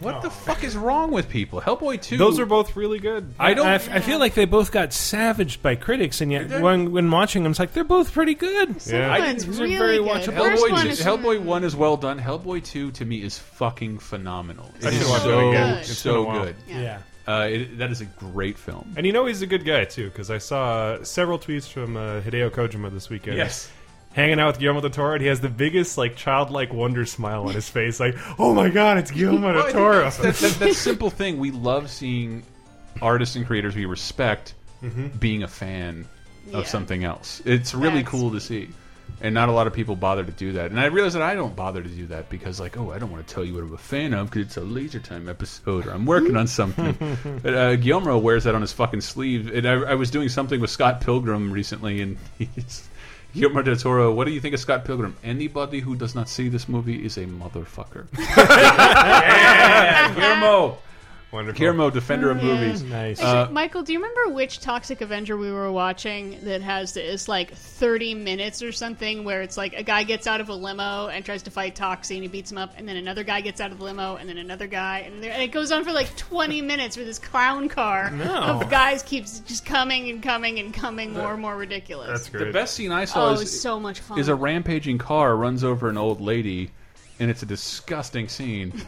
Speaker 4: What the fuck is wrong with people? Hellboy two.
Speaker 6: Oh, Those are both really good.
Speaker 5: I don't. I, f- I feel like they both got savaged by critics, and yet when, when watching them, it's like they're both pretty good.
Speaker 4: Yeah.
Speaker 5: These are very watchable.
Speaker 4: Hellboy, is, Hellboy one is well done. Hellboy two to me is fucking phenomenal.
Speaker 6: I
Speaker 4: It
Speaker 6: should
Speaker 4: is
Speaker 6: watch it
Speaker 4: so
Speaker 6: again. It's been a
Speaker 4: so
Speaker 6: while.
Speaker 4: good.
Speaker 6: Yeah. Yeah.
Speaker 4: uh, it, that is a great film.
Speaker 6: And you know he's a good guy too, because I saw uh, several tweets from uh, Hideo Kojima this weekend.
Speaker 4: Yes.
Speaker 6: Hanging out with Guillermo del Toro, and he has the biggest like childlike wonder smile on his face, like, "Oh my God, it's Guillermo
Speaker 4: Well, I
Speaker 6: del
Speaker 4: think
Speaker 6: Toro."
Speaker 4: That's, that's, that's that simple thing. We love seeing artists and creators we respect
Speaker 6: Mhm.
Speaker 4: being a fan of
Speaker 6: Yeah.
Speaker 4: something else. It's really cool to see. And not a lot of people bother to do that. And I realize that I don't bother to do that because, like, oh, I don't want to tell you what I'm a fan of because it's a Laser Time episode or I'm working on something. but uh, Guillermo wears that on his fucking sleeve. And I, I was doing something with Scott Pilgrim recently, and he's. Guillermo del Toro, what do you think of Scott Pilgrim? Anybody who does not see this movie is a motherfucker. Yeah, Guillermo.
Speaker 6: Wonderful.
Speaker 4: Guillermo, defender
Speaker 3: Oh,
Speaker 4: of movies.
Speaker 5: Nice.
Speaker 4: Uh,
Speaker 3: Michael, do you remember which Toxic Avenger we were watching that has it's like 30 minutes or something where it's like a guy gets out of a limo and tries to fight Toxie and he beats him up, and then another guy gets out of the limo and then another guy, and, there, and it goes on for like 20 minutes with this clown car
Speaker 4: No.
Speaker 3: of guys keeps just coming and coming and coming more and more ridiculous.
Speaker 4: The best scene I saw
Speaker 3: Oh, it
Speaker 4: is
Speaker 3: was so much fun.
Speaker 4: Is a rampaging car runs over an old lady, and it's a disgusting scene.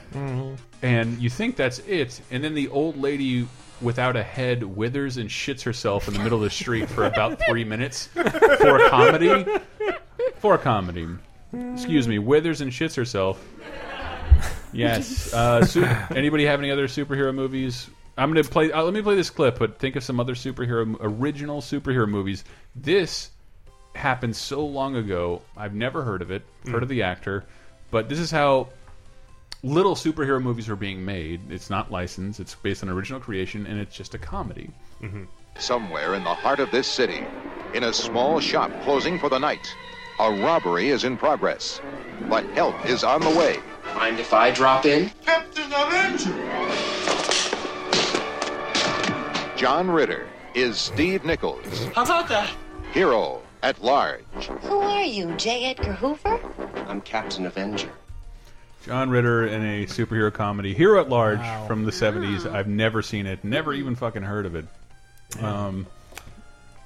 Speaker 4: and you think that's it, and then the old lady without a head withers and shits herself in the middle of the street for about three minutes for a comedy. For a comedy, excuse me, withers and shits herself. Yes. Uh, su- anybody have any other superhero movies? I'm gonna play. Uh, let me play this clip, but think of some other superhero, original superhero movies. This happened so long ago. I've never heard of it. Heard of the actor, but this is how little superhero movies are being made. It's not licensed. It's based on original creation, and it's just a comedy.
Speaker 18: Somewhere in the heart of this city, in a small shop closing for the night, a robbery is in progress. But help is on the way. Mind if I drop in?
Speaker 16: Captain Avenger!
Speaker 18: John Ritter is Steve Nichols,
Speaker 19: How about that?
Speaker 18: hero at large.
Speaker 20: Who are you, J. Edgar Hoover?
Speaker 18: I'm Captain Avenger.
Speaker 4: John Ritter in a superhero comedy, Hero at Large from the 70s. I've never seen it, never even fucking heard of it. Um,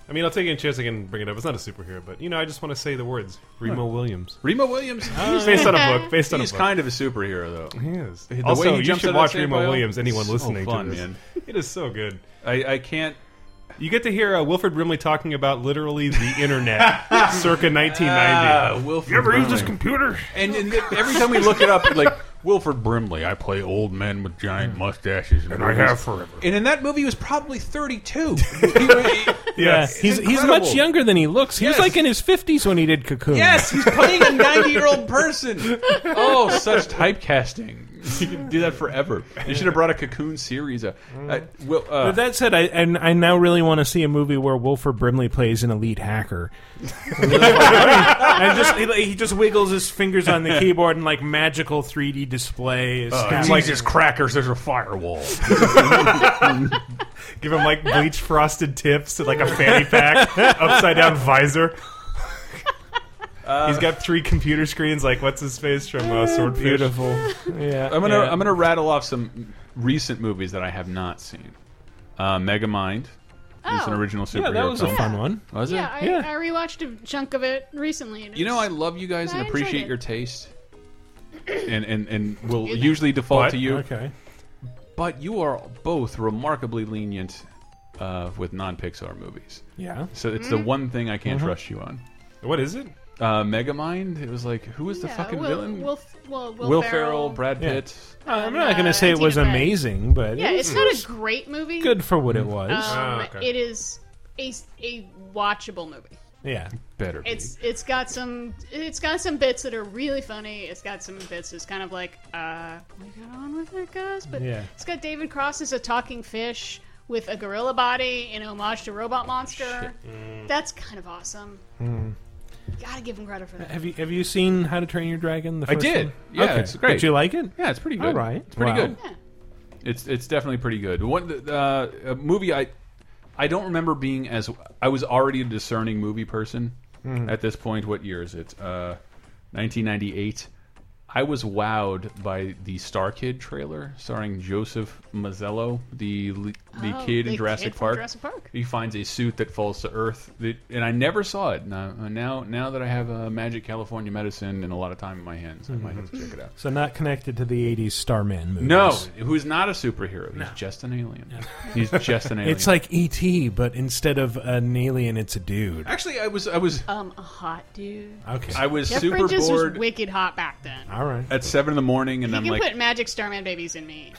Speaker 6: I mean, I'll take any chance I can bring it up. It's not a superhero, but you know, I just want to say the words Remo Williams.
Speaker 4: Remo Williams,
Speaker 6: based on a book. Based on
Speaker 4: He's
Speaker 6: a book.
Speaker 4: kind of a superhero, though.
Speaker 6: He is.
Speaker 4: The
Speaker 6: Also,
Speaker 4: way he
Speaker 6: you
Speaker 4: jumps
Speaker 6: should
Speaker 4: out of
Speaker 6: watch
Speaker 4: that sand
Speaker 6: Remo
Speaker 4: pile,
Speaker 6: Williams, anyone
Speaker 4: so
Speaker 6: listening to
Speaker 4: fun,
Speaker 6: this.
Speaker 4: man.
Speaker 6: It is so good.
Speaker 4: I, I can't.
Speaker 6: You get to hear uh, Wilfred Brimley talking about literally the internet, circa 1990.
Speaker 4: Ah, Wilford
Speaker 6: Uh, you ever use this
Speaker 4: Brimley.
Speaker 6: computer?
Speaker 4: And, and th- every time we look it up, like Wilford Brimley, I play old men with giant mustaches, and,
Speaker 6: And I
Speaker 4: movies.
Speaker 6: have forever.
Speaker 4: And in that movie, he was probably thirty-two.
Speaker 5: Yeah,
Speaker 4: Yes.
Speaker 5: he's
Speaker 4: It's
Speaker 5: he's
Speaker 4: incredible.
Speaker 5: much younger than he looks. He was like in his fifties when he did Cocoon.
Speaker 4: yes, he's playing a ninety-year-old person. Oh, such typecasting! You can do that forever. They should have brought a Cocoon series. Uh, uh, Will, uh,
Speaker 5: But that said, I and I now really want to see a movie where Wilford Brimley plays an elite hacker. and just he, he just wiggles his fingers on the keyboard and like magical 3D display. Is
Speaker 6: Uh,
Speaker 5: happening.
Speaker 6: like his
Speaker 4: crackers. There's a firewall.
Speaker 6: Give him like bleach frosted tips and like a fanny pack, upside down visor.
Speaker 4: Uh,
Speaker 6: He's got three computer screens. Like what's his face from uh, Swordfish?
Speaker 5: Beautiful. Yeah,
Speaker 4: I'm gonna
Speaker 5: yeah.
Speaker 4: I'm gonna rattle off some recent movies that I have not seen. Uh, Megamind is
Speaker 3: Oh.
Speaker 4: an original superhero.
Speaker 5: Yeah, that was a
Speaker 4: film.
Speaker 5: fun one.
Speaker 4: Was it?
Speaker 3: yeah, I, I rewatched a chunk of it recently. And
Speaker 4: You know,
Speaker 3: it's-
Speaker 4: I love you guys
Speaker 3: I
Speaker 4: and
Speaker 3: enjoyed
Speaker 4: appreciate
Speaker 3: it.
Speaker 4: your taste, and and and will
Speaker 3: Excuse me.
Speaker 4: usually default
Speaker 5: But-
Speaker 4: to you.
Speaker 5: okay.
Speaker 4: But you are both remarkably lenient uh, with non-Pixar movies.
Speaker 5: Yeah.
Speaker 4: So it's
Speaker 3: Mm-hmm.
Speaker 4: the
Speaker 5: Mhm.
Speaker 4: one thing I can't
Speaker 5: Mhm.
Speaker 4: trust you on.
Speaker 6: What is it?
Speaker 4: Uh, Megamind. It was like who was the
Speaker 3: Yeah,
Speaker 4: fucking
Speaker 3: Will-
Speaker 4: villain?
Speaker 3: Will, well, Will,
Speaker 4: Will
Speaker 3: Ferrell.
Speaker 4: Ferrell, Brad
Speaker 5: Yeah.
Speaker 4: Pitt.
Speaker 5: Uh, I'm not gonna say it was
Speaker 3: Tina Fey.
Speaker 5: amazing, but
Speaker 3: yeah,
Speaker 5: it
Speaker 3: it's
Speaker 5: was-
Speaker 3: not a great movie.
Speaker 6: Mm. Ah,
Speaker 4: Ah,
Speaker 5: good for what it was.
Speaker 3: Um, It is a, a watchable movie.
Speaker 5: Yeah.
Speaker 4: Better.
Speaker 3: It's it's got some it's got some bits that are really funny. It's got some bits that's kind of like uh we got on with it, guys. But
Speaker 5: Yeah.
Speaker 3: it's got David Cross as a talking fish with a gorilla body in homage to Robot Monster. Mm. That's kind of awesome.
Speaker 4: Hmm.
Speaker 5: Mm.
Speaker 3: Gotta give him credit for that.
Speaker 5: Have you have you seen How to Train Your Dragon? The
Speaker 4: I
Speaker 5: first
Speaker 4: did.
Speaker 5: one?
Speaker 4: Yeah,
Speaker 5: Okay.
Speaker 4: it's great.
Speaker 5: Did you like it?
Speaker 4: Yeah, it's pretty good.
Speaker 5: All right.
Speaker 4: it's pretty
Speaker 5: Wow.
Speaker 4: good. It's it's definitely pretty good. One uh, a movie I I don't remember being as I was already a discerning movie person
Speaker 5: Mhm.
Speaker 4: at this point. What year is it? Uh, 1998. I was wowed by the Star Kid trailer starring Joseph Mazzello, the the
Speaker 3: Oh,
Speaker 4: kid
Speaker 3: the
Speaker 4: in Jurassic
Speaker 3: kid from
Speaker 4: Park.
Speaker 3: Jurassic Park.
Speaker 4: He finds a suit that falls to Earth, that, and I never saw it. Now, now, now that I have uh, Magic California Medicine and a lot of time in my hands, I might have to check it out.
Speaker 5: So not connected to the '80s Starman movies.
Speaker 4: No, who's not a superhero? He's just an alien. He's just an alien.
Speaker 5: It's like ET, but instead of an alien, it's a dude.
Speaker 4: actually, I was I was
Speaker 3: um a hot dude.
Speaker 5: Okay.
Speaker 4: I was
Speaker 3: Jeff
Speaker 4: super
Speaker 3: Bridges
Speaker 4: bored
Speaker 3: was wicked hot back then.
Speaker 5: All right.
Speaker 4: at seven in the morning, and
Speaker 3: You
Speaker 4: I'm
Speaker 3: can
Speaker 4: like,
Speaker 3: put Magic Starman babies in me.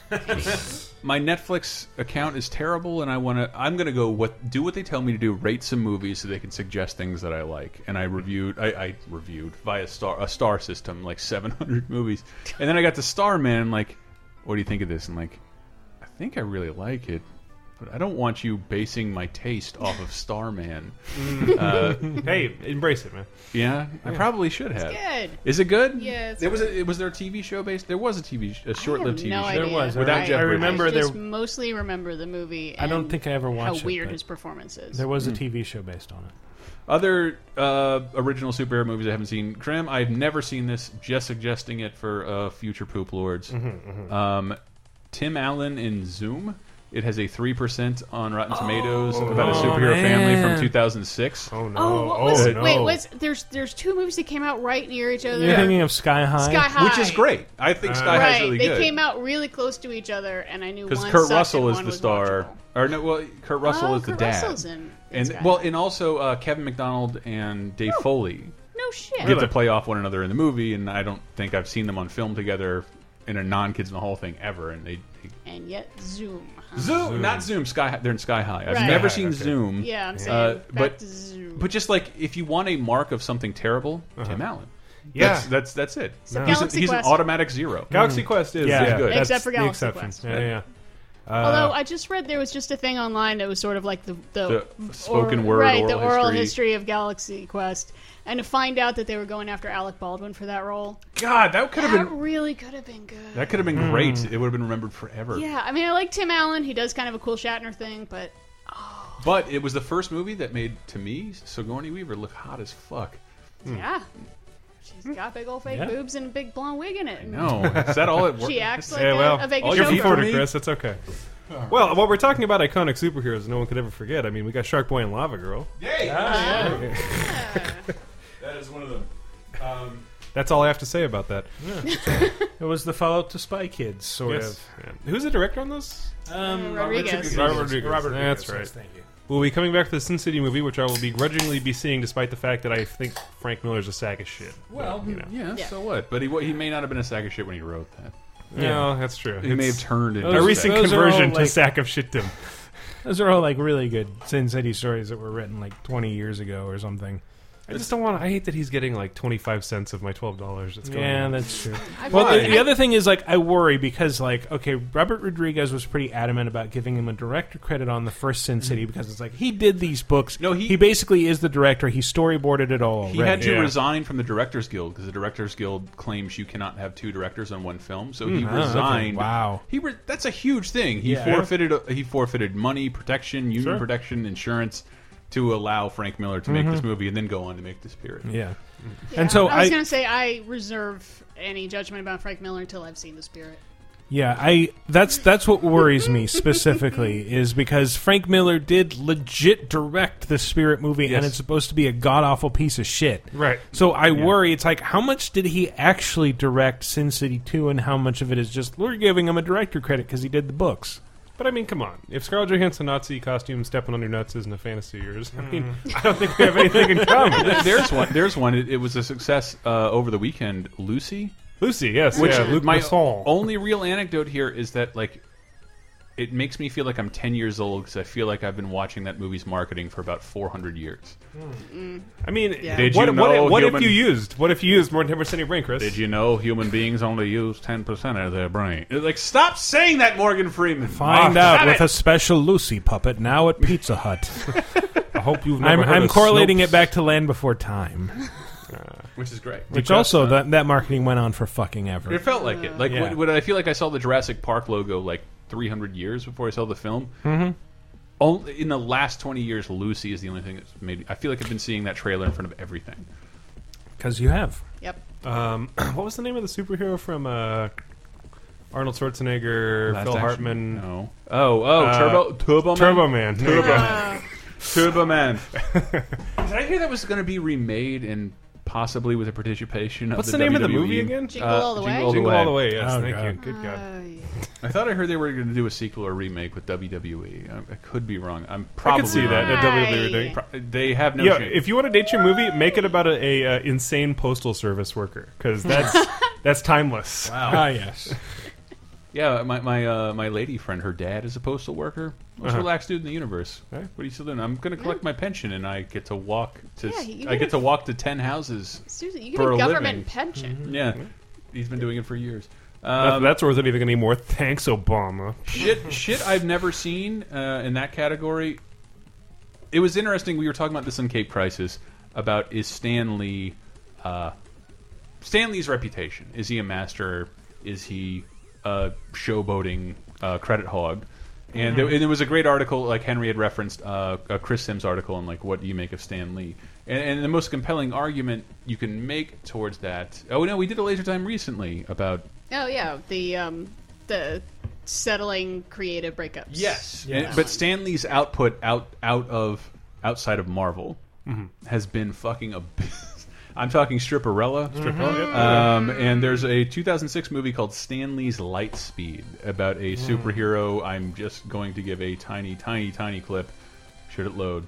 Speaker 4: my Netflix account is terrible, and I want to. I'm gonna go what do what they tell me to do. Rate some movies so they can suggest things that I like. And I reviewed. I, I reviewed via star a star system like 700 movies, and then I got to Starman. I'm like, what do you think of this? And like, I think I really like it. But I don't want you basing my taste off of Starman. Uh,
Speaker 6: hey, embrace it, man.
Speaker 4: Yeah, I
Speaker 6: Yeah.
Speaker 4: probably should have.
Speaker 3: good.
Speaker 4: Is it good?
Speaker 3: Yeah, it's
Speaker 4: There was
Speaker 3: good.
Speaker 4: a, was there a TV show based? There was a TV sh- a short-lived TV
Speaker 3: no
Speaker 4: show.
Speaker 3: idea. There was,
Speaker 4: without
Speaker 5: I-
Speaker 4: Jeff
Speaker 5: I
Speaker 4: Bridges.
Speaker 5: remember
Speaker 3: I
Speaker 5: there-
Speaker 3: just mostly remember the movie.
Speaker 5: I don't
Speaker 3: and
Speaker 5: think I ever watched it,
Speaker 3: How weird
Speaker 5: but
Speaker 3: his performance is.
Speaker 5: There was a
Speaker 4: Mm.
Speaker 5: TV show based on it.
Speaker 4: Other uh, original superhero movies I haven't seen. Grim, I've never seen this. Just suggesting it for uh, future poop lords.
Speaker 5: mhm.
Speaker 4: Um, Tim Allen in Zoom. It has a three percent on Rotten Tomatoes about a
Speaker 5: Oh,
Speaker 4: superhero family
Speaker 5: man.
Speaker 4: from 2006.
Speaker 6: Oh no!
Speaker 3: Oh, what was, wait, was there's there's two movies that came out right near each other.
Speaker 5: You're thinking of Sky High,
Speaker 3: Sky High.
Speaker 4: Which is great. I think Sky High's
Speaker 3: right,
Speaker 4: really
Speaker 3: they
Speaker 4: good.
Speaker 3: came out really close to each other, and I knew
Speaker 4: because
Speaker 3: one
Speaker 4: Kurt
Speaker 3: sucked
Speaker 4: Russell
Speaker 3: and
Speaker 4: is
Speaker 3: one
Speaker 4: the
Speaker 3: was
Speaker 4: star, or no? Well, Kurt Russell
Speaker 3: Oh,
Speaker 4: is the
Speaker 3: Kurt
Speaker 4: dad,
Speaker 3: Russell's in
Speaker 4: and
Speaker 3: Sky
Speaker 4: well, and also uh, Kevin McDonald and Dave
Speaker 3: Oh.
Speaker 4: Foley
Speaker 3: No shit.
Speaker 4: get to play off one another in the movie, and I don't think I've seen them on film together in a non Kids in the Hall thing ever. And they, they
Speaker 3: And yet Zoom.
Speaker 4: Zoom, not Zoom, Sky. High, they're in Sky High. I've
Speaker 3: Right.
Speaker 4: never
Speaker 3: Sky
Speaker 4: seen
Speaker 3: High, okay.
Speaker 4: Zoom.
Speaker 3: Yeah, I'm
Speaker 4: uh,
Speaker 3: saying back
Speaker 4: but
Speaker 3: to Zoom.
Speaker 4: but just like if you want a mark of something terrible, Tim Allen.
Speaker 6: Uh-huh. Yeah.
Speaker 4: that's that's, that's it.
Speaker 3: So
Speaker 4: he's, an-
Speaker 3: Galaxy
Speaker 4: he's an
Speaker 3: Quest. Hmm.
Speaker 4: automatic zero.
Speaker 6: Galaxy Quest is
Speaker 4: He's
Speaker 6: yeah,
Speaker 4: good.
Speaker 6: that's
Speaker 3: Except for
Speaker 6: the
Speaker 3: Galaxy
Speaker 6: exception.
Speaker 3: Quest.
Speaker 6: Yeah, yeah. yeah. Uh,
Speaker 3: Although I just read there was just a thing online that was sort of like the the,
Speaker 4: The spoken word,
Speaker 3: right, the
Speaker 4: oral
Speaker 3: oral
Speaker 4: history.
Speaker 3: history of Galaxy Quest, and to find out that they were going after Alec Baldwin for that role,
Speaker 4: God, that could have
Speaker 3: that
Speaker 4: been
Speaker 3: really could have been good.
Speaker 4: that could have been
Speaker 6: Hmm.
Speaker 4: great. It would have been remembered forever.
Speaker 3: Yeah, I mean, I like Tim Allen; he does kind of a cool Shatner thing, but
Speaker 4: But it was the first movie that made to me Sigourney Weaver look hot as fuck.
Speaker 3: yeah, she's got big old fake
Speaker 4: Hmm. Yeah.
Speaker 3: boobs and a big blonde wig in it.
Speaker 4: No, is that all it was?
Speaker 3: She acts like
Speaker 6: yeah,
Speaker 3: a,
Speaker 6: well,
Speaker 3: a Vegas
Speaker 6: all your
Speaker 3: chauffeur.
Speaker 6: feet for Chris. That's okay. Well, while we're talking about iconic superheroes, no one could ever forget. I mean, we got Shark Boy and Lava Girl.
Speaker 3: Ah.
Speaker 4: That is one of them. Um,
Speaker 6: That's all I have to say about that.
Speaker 5: it was the follow-up to Spy Kids, sort
Speaker 6: Yes.
Speaker 5: of.
Speaker 6: Yeah. Who's the director on this?
Speaker 5: Um,
Speaker 3: Rodriguez.
Speaker 5: Robert
Speaker 6: Rodriguez.
Speaker 5: Rodriguez. Robert Rodriguez,
Speaker 6: That's right.
Speaker 5: yes, thank you.
Speaker 6: We'll be coming back to the Sin City movie, which I will begrudgingly be seeing, despite the fact that I think Frank Miller's a sack of shit.
Speaker 4: well,
Speaker 6: you know.
Speaker 4: yeah,
Speaker 6: Yeah.
Speaker 4: So what? But he wa- he may not have been a sack of shit when he wrote that.
Speaker 6: No, that's true.
Speaker 4: He may have
Speaker 6: It's-
Speaker 4: turned into
Speaker 6: a
Speaker 4: sack.
Speaker 6: recent
Speaker 5: those are all,
Speaker 6: conversion to
Speaker 5: like-
Speaker 6: sack of shitdom.
Speaker 5: Those are all like really good Sin City stories that were written like 20 years ago or something.
Speaker 6: I just don't want. to... I hate that he's getting like twenty five cents of my twelve dollars. That's going
Speaker 5: Yeah,
Speaker 6: on.
Speaker 5: that's true.
Speaker 6: I
Speaker 5: well, the,
Speaker 6: worry.
Speaker 5: the other thing is like I worry because like okay, Robert Rodriguez was pretty adamant about giving him a director credit on the first Sin
Speaker 6: Mm.
Speaker 5: City because it's like he did these books. No, he basically is the director. He storyboarded it all.
Speaker 4: He
Speaker 5: already.
Speaker 4: had to resign from the Directors Guild because the Directors Guild claims you cannot have two directors on one film. So he
Speaker 5: Hmm. Ah, okay.
Speaker 4: resigned.
Speaker 5: Wow.
Speaker 4: he re that's a huge thing. He
Speaker 5: Yeah.
Speaker 4: forfeited he forfeited money, protection, union
Speaker 5: Sure.
Speaker 4: protection, insurance to allow Frank Miller to make
Speaker 5: Mhm.
Speaker 4: this movie and then go on to make this period.
Speaker 5: Yeah.
Speaker 3: Yeah,
Speaker 5: And so
Speaker 3: I was
Speaker 5: I
Speaker 3: gonna say I reserve any judgment about Frank Miller until I've seen The Spirit.
Speaker 5: Yeah, I that's that's what worries me specifically is because Frank Miller did legit direct the Spirit movie
Speaker 6: Yes.
Speaker 5: and it's supposed to be a god awful piece of shit.
Speaker 6: Right.
Speaker 5: So I worry it's like how much did he actually direct Sin City 2 and how much of it is just we're giving him a director credit cuz he did the books.
Speaker 6: But I mean, come on. If Scarlett Johansson Nazi costume stepping on your nuts isn't a fantasy of yours,
Speaker 4: Hmm.
Speaker 6: I mean,
Speaker 5: Mm.
Speaker 6: I don't think we have anything in common.
Speaker 4: There- there's one. There's one. It, it was a success uh, over the weekend. Lucy.
Speaker 6: Lucy, yes,
Speaker 4: Which
Speaker 6: yeah, Luc
Speaker 4: my
Speaker 6: Besson.
Speaker 4: only real anecdote here is that like it makes me feel like I'm 10 years old because I feel like I've been watching that movie's marketing for about 400 years.
Speaker 6: I mean,
Speaker 4: Yeah.
Speaker 6: did
Speaker 4: Did
Speaker 6: what,
Speaker 4: you
Speaker 6: what-
Speaker 4: know
Speaker 6: what if
Speaker 4: human-
Speaker 6: you used? What if you used more than ten percent of your brain, Chris?
Speaker 4: Did you know human beings only use 10% of their brain? Like, stop saying that, Morgan Freeman.
Speaker 5: Find
Speaker 4: Ah,
Speaker 5: out
Speaker 4: stop
Speaker 5: with
Speaker 4: it.
Speaker 5: a special Lucy puppet now at Pizza Hut.
Speaker 6: I hope you've
Speaker 5: I'm,
Speaker 6: never heard
Speaker 5: I'm
Speaker 6: of
Speaker 5: correlating
Speaker 6: Snopes.
Speaker 5: it back to Land Before Time,
Speaker 4: Which is great.
Speaker 5: which
Speaker 6: uh,
Speaker 5: also that that marketing went on for fucking ever.
Speaker 4: It felt like it. Like
Speaker 5: Yeah.
Speaker 4: when, when I feel like I saw the Jurassic Park logo like 300 years before I saw the film.
Speaker 5: Mhm.
Speaker 4: Only in the last 20 years, Lucy is the only thing that's made. I feel like I've been seeing that trailer in front of everything.
Speaker 5: because you have.
Speaker 3: Yep.
Speaker 6: Um, what was the name of the superhero from uh, Arnold Schwarzenegger,
Speaker 4: Last
Speaker 6: Phil
Speaker 4: Action-
Speaker 6: Hartman? Uh,
Speaker 4: No. Oh, oh, Turbo- Turbo Man?
Speaker 6: Turbo Man.
Speaker 4: Turbo Man. Turbo Man. Did I hear that was going to be remade and possibly with a participation
Speaker 6: What's
Speaker 4: of
Speaker 6: the
Speaker 4: the E?
Speaker 6: name of the
Speaker 4: WWE?
Speaker 6: movie again? Jingle All the Way?
Speaker 4: Uh, Jingle All the
Speaker 6: Uh, Jingle
Speaker 4: Way.
Speaker 6: All the Way, yes, Oh, thank God. you. Good God.
Speaker 3: Oh,
Speaker 4: I thought I heard they were going to do a sequel or remake with WWE. I, I could be wrong. I'm
Speaker 6: I
Speaker 4: probably
Speaker 6: could see that at
Speaker 4: wrong.
Speaker 6: WWE. doing-
Speaker 4: Pro- They have no
Speaker 6: yeah,
Speaker 4: shame.
Speaker 6: if you want to date your movie, make it about a, a, uh insane postal service worker because that's that's timeless.
Speaker 4: Wow. Ah, yes. Yeah, my my uh, my lady friend, her dad is a postal worker. Most
Speaker 6: Uh-huh.
Speaker 4: relaxed dude in the universe. What are you still doing? I'm going to collect my pension, and I get to walk to.
Speaker 3: Yeah,
Speaker 4: s-
Speaker 3: you
Speaker 4: I
Speaker 3: get
Speaker 4: get
Speaker 3: a-
Speaker 4: to walk to ten houses.
Speaker 3: Seriously, you get
Speaker 4: for
Speaker 3: a government
Speaker 4: living.
Speaker 3: pension. Mhm.
Speaker 4: Yeah, he's been doing it for years.
Speaker 6: That-
Speaker 4: Um,
Speaker 6: that's worth it even anymore. Thanks, Obama.
Speaker 4: shit, shit I've never seen uh, in that category. It was interesting. We were talking about this in Cape Crisis about is Stan Lee, uh, Stan Lee's reputation. Is he a master? Is he a showboating uh, credit hog? And there, and there was a great article, like Henry had referenced uh, a Chris Sims article on like what do you make of Stan Lee? And, and the most compelling argument you can make towards that. Oh no, we did a laser time recently about
Speaker 3: Oh yeah, the um, the settling creative breakups.
Speaker 4: Yes, And- but Stan Lee's output out out of outside of Marvel
Speaker 6: Mhm.
Speaker 4: has been fucking abyss. I'm talking Stripperella,
Speaker 6: Stripperella, yep.
Speaker 4: um, and there's a 2006 movie called Stan Lee's Lightspeed about a
Speaker 6: Mm.
Speaker 4: superhero. I'm just going to give a tiny, tiny, tiny clip. Should it load?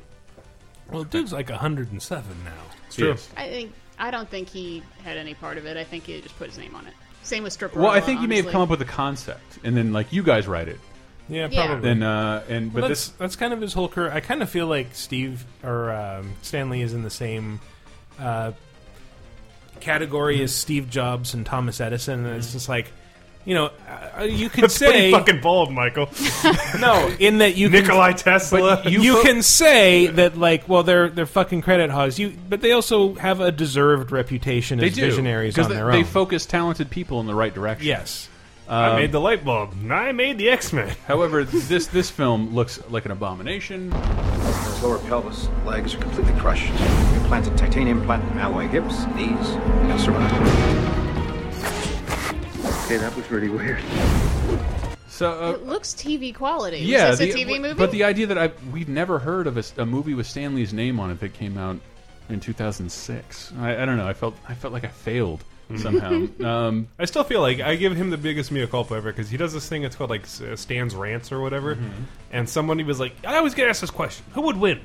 Speaker 5: Well, dude's like 107 now.
Speaker 4: It's true. Yes.
Speaker 3: I think I don't think he had any part of it. I think he just put his name on it. Same with stripper.
Speaker 4: Well, I think you may have come up with a concept, and then like you guys write it.
Speaker 5: Yeah, Yeah. probably.
Speaker 4: And uh, and
Speaker 5: Well,
Speaker 4: but
Speaker 5: that's
Speaker 4: this
Speaker 5: that's kind of his whole career. I kind of feel like Steve or um, Stanley is in the same uh, category as Steve Jobs and Thomas Edison, and it's just like. You know, uh, you could
Speaker 6: That's
Speaker 5: say
Speaker 6: pretty fucking bold, Michael.
Speaker 5: no, in that you
Speaker 6: Nikolai
Speaker 5: can,
Speaker 6: Tesla.
Speaker 5: But you,
Speaker 6: You fo-
Speaker 5: can say that like, well, they're they're fucking credit hogs. You, but they also have a deserved reputation
Speaker 4: they
Speaker 5: as
Speaker 4: do
Speaker 5: visionaries
Speaker 4: 'cause
Speaker 5: on
Speaker 4: they,
Speaker 5: their own.
Speaker 4: They focus talented people in the right direction.
Speaker 5: Yes.
Speaker 6: I
Speaker 4: Um,
Speaker 6: made the light bulb. I made the X Men.
Speaker 4: However, this this film looks like an abomination.
Speaker 19: Lower pelvis, legs are completely crushed. Implanted titanium platinum alloy hips, knees, and cervical. Okay, that was really weird.
Speaker 4: So
Speaker 3: It looks TV quality.
Speaker 4: uh, yeah,
Speaker 3: Is this a
Speaker 4: the-
Speaker 3: TV movie?
Speaker 4: but the idea that I we've never heard of a, s- a movie with Stanley's name on it that came out in 2006. I, I don't know. I felt I felt like I failed
Speaker 6: Mm-hmm.
Speaker 4: somehow. um,
Speaker 6: I still feel like I give him the biggest mea culpa ever because he does this thing. It's called like S- uh, Stan's rants or whatever. And somebody was like, "I always get asked this question: Who would win,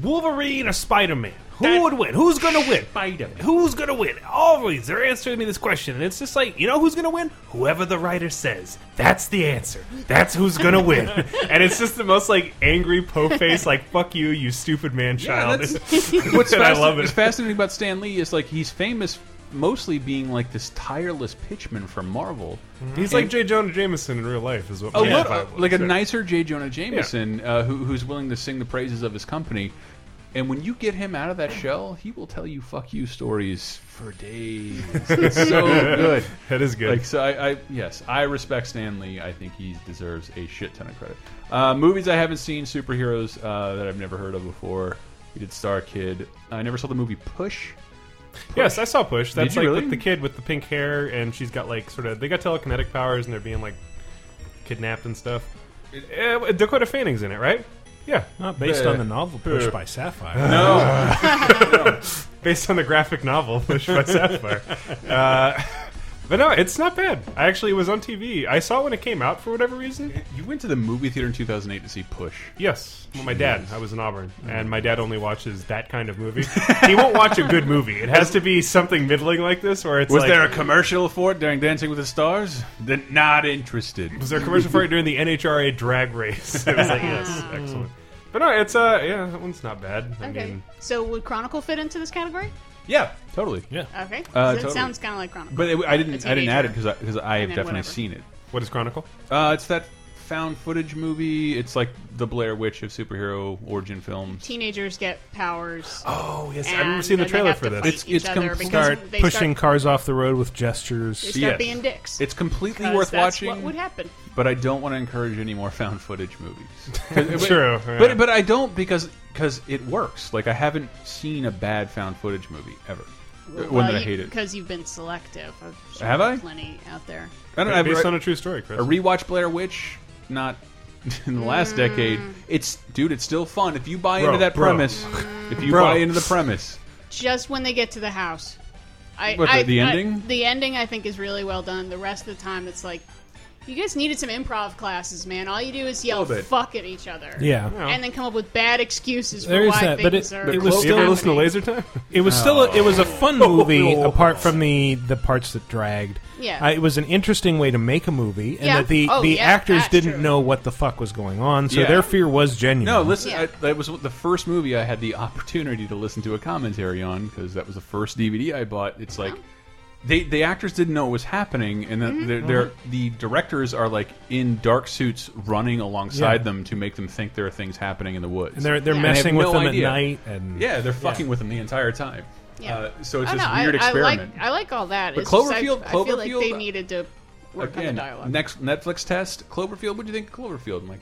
Speaker 6: Wolverine or Spider Man? Who would win? Who's gonna win?
Speaker 4: Spider-Man.
Speaker 6: Who's gonna win? Always they're answering me this question, and it's just like, you know, who's gonna win? Whoever the writer says. That's the answer. That's who's gonna win. and it's just the most like angry po face, like "fuck you, you stupid man child."
Speaker 4: What's
Speaker 6: and I
Speaker 4: fascin-
Speaker 6: love it.
Speaker 4: what's fascinating about Stan Lee is like he's famous mostly being like this tireless pitchman from Marvel.
Speaker 6: He's
Speaker 4: And-
Speaker 6: like J. Jonah Jameson in real life, is what.
Speaker 4: a
Speaker 6: my
Speaker 4: little,
Speaker 6: vibe was,
Speaker 4: Oh, like a
Speaker 6: Oh, yeah.
Speaker 4: nicer J. Jonah Jameson, uh, who, who's willing to sing the praises of his company. And when you get him out of that shell, he will tell you "fuck you" stories for days. It's so good.
Speaker 6: That is good.
Speaker 4: Like so, I, I yes, I respect Stan Lee. I think he deserves a shit ton of credit. Uh, movies I haven't seen, superheroes uh, that I've never heard of before. We did Star Kid. I never saw the movie Push.
Speaker 6: Yes, I saw Push.
Speaker 4: Did
Speaker 6: That's
Speaker 4: you
Speaker 6: like
Speaker 4: really?
Speaker 6: with the kid with the pink hair, and she's got like sort of they got telekinetic powers, and they're being like kidnapped and stuff. Eh, Dakota Fanning's in it, right? Yeah,
Speaker 5: Not based on the novel Push
Speaker 6: Uh,
Speaker 5: by Sapphire.
Speaker 6: No, based on the graphic novel Push by Sapphire. Uh, But no, it's not bad. I actually was on TV. I saw it when it came out for whatever reason.
Speaker 4: You went to the movie theater in 2008 to see Push.
Speaker 6: Yes, well, my
Speaker 4: Jeez. Mm-hmm.
Speaker 6: dad. I was in Auburn, and my dad only watches that kind of movie. he won't watch a good movie. It has to be something middling like this, where it's
Speaker 4: was
Speaker 6: like,
Speaker 4: there a commercial for it during Dancing with the Stars? Then not interested.
Speaker 6: Was there a commercial for it during the NHRA drag race? it was like yes, excellent. But no, it's uh yeah, that one's not bad. I
Speaker 3: Oh. Okay.
Speaker 6: mean,
Speaker 3: so would Chronicle fit into this category?
Speaker 4: Yeah, totally. Yeah.
Speaker 3: Okay. So
Speaker 4: Uh,
Speaker 3: it
Speaker 4: totally.
Speaker 3: sounds kinda like Chronicle.
Speaker 4: But it, I didn't.
Speaker 3: It's
Speaker 4: I didn't add it
Speaker 3: teenager.
Speaker 4: because because I,
Speaker 3: And
Speaker 4: have
Speaker 3: then
Speaker 4: definitely
Speaker 3: whatever.
Speaker 4: seen it.
Speaker 6: What is Chronicle?
Speaker 4: Uh, it's that found footage movie. It's like the Blair Witch of superhero origin films.
Speaker 3: Teenagers get powers. Oh
Speaker 6: yes,
Speaker 3: and
Speaker 6: I remember seeing the
Speaker 3: then they
Speaker 6: trailer
Speaker 3: have
Speaker 6: for
Speaker 3: to
Speaker 6: this.
Speaker 3: fight
Speaker 6: It's-
Speaker 3: each
Speaker 6: it's
Speaker 3: other
Speaker 6: com-
Speaker 3: because
Speaker 5: Start
Speaker 3: they
Speaker 5: pushing
Speaker 3: Start,
Speaker 5: cars off the road with gestures.
Speaker 3: they start being dicks.
Speaker 4: It's completely
Speaker 3: Because
Speaker 4: worth
Speaker 3: that's
Speaker 4: watching.
Speaker 3: What would happen?
Speaker 4: But I don't want to encourage any more found footage movies. 'Cause- but-
Speaker 6: True, yeah.
Speaker 4: But but I don't because because it works. Like I haven't seen a bad found footage movie ever. One that I hated.
Speaker 3: because you've been selective. I'm sure
Speaker 4: Have
Speaker 3: there are
Speaker 4: I?
Speaker 3: Plenty out there.
Speaker 4: I don't know.
Speaker 6: Based
Speaker 4: I've re-
Speaker 6: on a true story, Chris.
Speaker 4: A rewatch Blair Witch, not in the last
Speaker 3: Hmm.
Speaker 4: decade. It's dude, it's still fun if you buy
Speaker 6: Bro,
Speaker 4: into that
Speaker 6: bro.
Speaker 4: premise. If you
Speaker 6: Bro.
Speaker 4: buy into the premise,
Speaker 3: Just when they get to the house. I,
Speaker 4: What,
Speaker 3: I,
Speaker 4: the
Speaker 3: I-
Speaker 4: ending?
Speaker 3: the ending, I think, is really well done. The rest of the time, it's like, you guys needed some improv classes, man. All you do is yell
Speaker 4: Little bit.
Speaker 3: "fuck" at each other,
Speaker 5: Yeah. Yeah.
Speaker 3: and then come up with bad excuses for
Speaker 5: There is
Speaker 3: why
Speaker 5: that,
Speaker 3: things
Speaker 5: but it,
Speaker 3: are.
Speaker 5: it was
Speaker 6: You
Speaker 5: still
Speaker 6: ever listen to Laser Time?
Speaker 5: It was still a, it
Speaker 6: Oh.
Speaker 5: was a fun movie apart from the the parts that dragged.
Speaker 3: Yeah.
Speaker 5: Uh, it was an interesting way to make a movie, and
Speaker 3: Yeah.
Speaker 5: that the
Speaker 3: Oh,
Speaker 5: the
Speaker 3: yeah,
Speaker 5: actors
Speaker 3: that's
Speaker 5: didn't know what the fuck was going on, so
Speaker 4: Yeah.
Speaker 5: their fear was genuine.
Speaker 4: No, listen. I, that was the first movie I had the opportunity to listen to a commentary on because that was the first DVD I bought. It's like they the actors didn't know what was happening, and
Speaker 3: Mm-hmm.
Speaker 4: then they're, they're, the directors are like in dark suits running alongside
Speaker 5: Yeah.
Speaker 4: them to make them think there are things happening in the woods,
Speaker 5: And they're- they're
Speaker 4: they have
Speaker 5: messing with
Speaker 4: no
Speaker 5: them at
Speaker 4: idea.
Speaker 5: night and-
Speaker 4: yeah, they're
Speaker 5: Yeah.
Speaker 4: fucking with them the entire time.
Speaker 3: Yeah.
Speaker 4: Uh, so it's
Speaker 3: Oh,
Speaker 4: this
Speaker 3: no,
Speaker 4: weird
Speaker 3: I,
Speaker 4: experiment.
Speaker 3: I like, I like all that.
Speaker 4: But
Speaker 3: It's just I-
Speaker 4: Cloverfield-
Speaker 3: I, feel like they
Speaker 5: uh,
Speaker 4: Cloverfield-
Speaker 3: needed to work on the dialogue.
Speaker 4: Next Netflix test, Cloverfield. What do you think of Cloverfield? I'm like,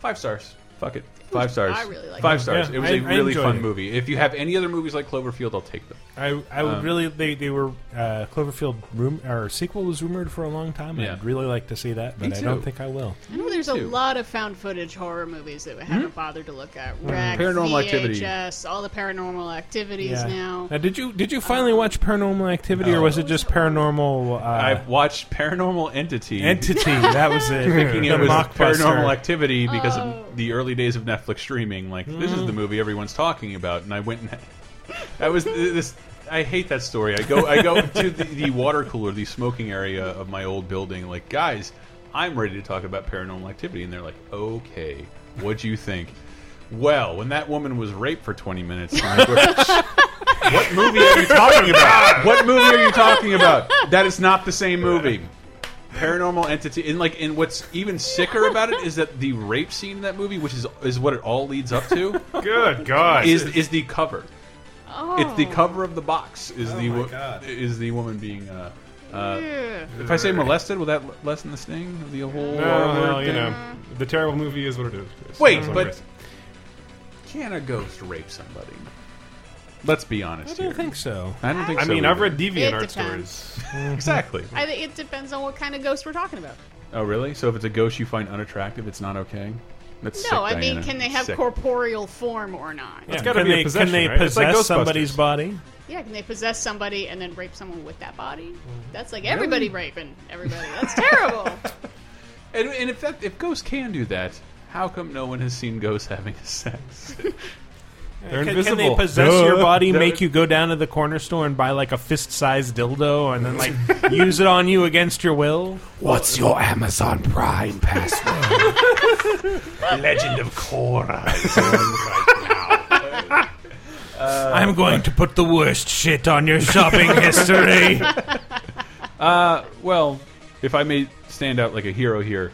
Speaker 4: five stars. Fuck it, five stars.
Speaker 3: I really liked
Speaker 4: five
Speaker 5: it.
Speaker 4: stars.
Speaker 5: Yeah,
Speaker 4: it was
Speaker 5: I-
Speaker 4: a
Speaker 5: I
Speaker 4: really
Speaker 5: enjoyed
Speaker 4: fun
Speaker 5: it.
Speaker 4: movie. If you have any other movies like Cloverfield, I'll take them.
Speaker 5: I I would
Speaker 4: Um,
Speaker 5: really they, they were uh, Cloverfield room or sequel was rumored for a long time.
Speaker 4: Yeah.
Speaker 5: I'd really like to see that,
Speaker 4: Me
Speaker 5: but I don't
Speaker 4: too.
Speaker 5: think I will.
Speaker 3: I know there's a
Speaker 4: too. Hmm?
Speaker 3: lot of found footage horror movies that I haven't bothered to look at.
Speaker 5: Hmm.
Speaker 3: Rec,
Speaker 5: Paranormal Activity.
Speaker 3: VHS, all the paranormal activities
Speaker 5: Yeah.
Speaker 3: now.
Speaker 5: Now, did you did you finally watch Paranormal Activity, or was it just Paranormal? Uh,
Speaker 4: I've watched Paranormal Entity.
Speaker 5: Entity, that was it.
Speaker 4: Thinking
Speaker 5: The
Speaker 4: it was
Speaker 5: mockbuster.
Speaker 4: Paranormal Activity because of the early days of Netflix streaming. Like this is
Speaker 5: Mm.
Speaker 4: the movie everyone's talking about, and I went. And that was this. I hate that story. I go. I go to the, the water cooler, the smoking area of my old building. Like guys, I'm ready to talk about Paranormal Activity, and they're like, "Okay, what do you think?" Well, when that woman was raped for 20 minutes, I'm like, what movie are you talking about? What movie are you talking about? That is not the same movie. Paranormal entity, and like, and what's even sicker about it is that the rape scene in that movie, which is is what it all leads up to.
Speaker 6: Good God.
Speaker 4: is is the cover?
Speaker 3: Oh.
Speaker 4: It's the cover of the box. Is the
Speaker 6: my
Speaker 4: wo- is the woman being? Uh, uh,
Speaker 3: Yeah.
Speaker 4: If I say molested, will that l- lessen the sting of the whole?
Speaker 6: No,
Speaker 4: horror
Speaker 6: well, you
Speaker 4: thing?
Speaker 6: know, the terrible movie is what it is. Chris.
Speaker 4: Wait,
Speaker 6: That's what
Speaker 4: but
Speaker 6: it is.
Speaker 4: can a ghost rape somebody? Let's be honest.
Speaker 5: I don't think so.
Speaker 4: I don't think
Speaker 6: I
Speaker 4: so.
Speaker 6: mean, I've
Speaker 4: either.
Speaker 6: read deviant
Speaker 3: It
Speaker 6: art
Speaker 3: depends.
Speaker 6: stories.
Speaker 4: exactly.
Speaker 3: I think it depends on what kind of ghost we're talking about.
Speaker 4: Oh, really? So if it's a ghost you find unattractive, it's not okay? That's sick,
Speaker 3: no, I mean,
Speaker 4: Diana.
Speaker 3: can they have
Speaker 4: Sick.
Speaker 3: corporeal form or not?
Speaker 5: Yeah.
Speaker 6: gotta
Speaker 5: can
Speaker 6: be a
Speaker 5: they,
Speaker 6: possession,
Speaker 5: Can they
Speaker 6: right? It's like
Speaker 5: possess
Speaker 6: Ghostbusters.
Speaker 5: somebody's body?
Speaker 3: Yeah, can they possess somebody and then rape someone with that body? That's like everybody raping everybody. That's terrible.
Speaker 4: And, and if that if ghosts can do that, how come no one has seen ghosts having sex? They're
Speaker 5: Can,
Speaker 4: invisible.
Speaker 5: can they possess
Speaker 4: Duh.
Speaker 5: your body,
Speaker 4: They're-
Speaker 5: make you go down to the corner store and buy like a fist-sized dildo, and then like use it on you against your will?
Speaker 14: What's your Amazon Prime password?
Speaker 6: Legend of Korra.
Speaker 5: I'm going to put the worst shit on your shopping history.
Speaker 4: Uh, well, if I may stand out like a hero here,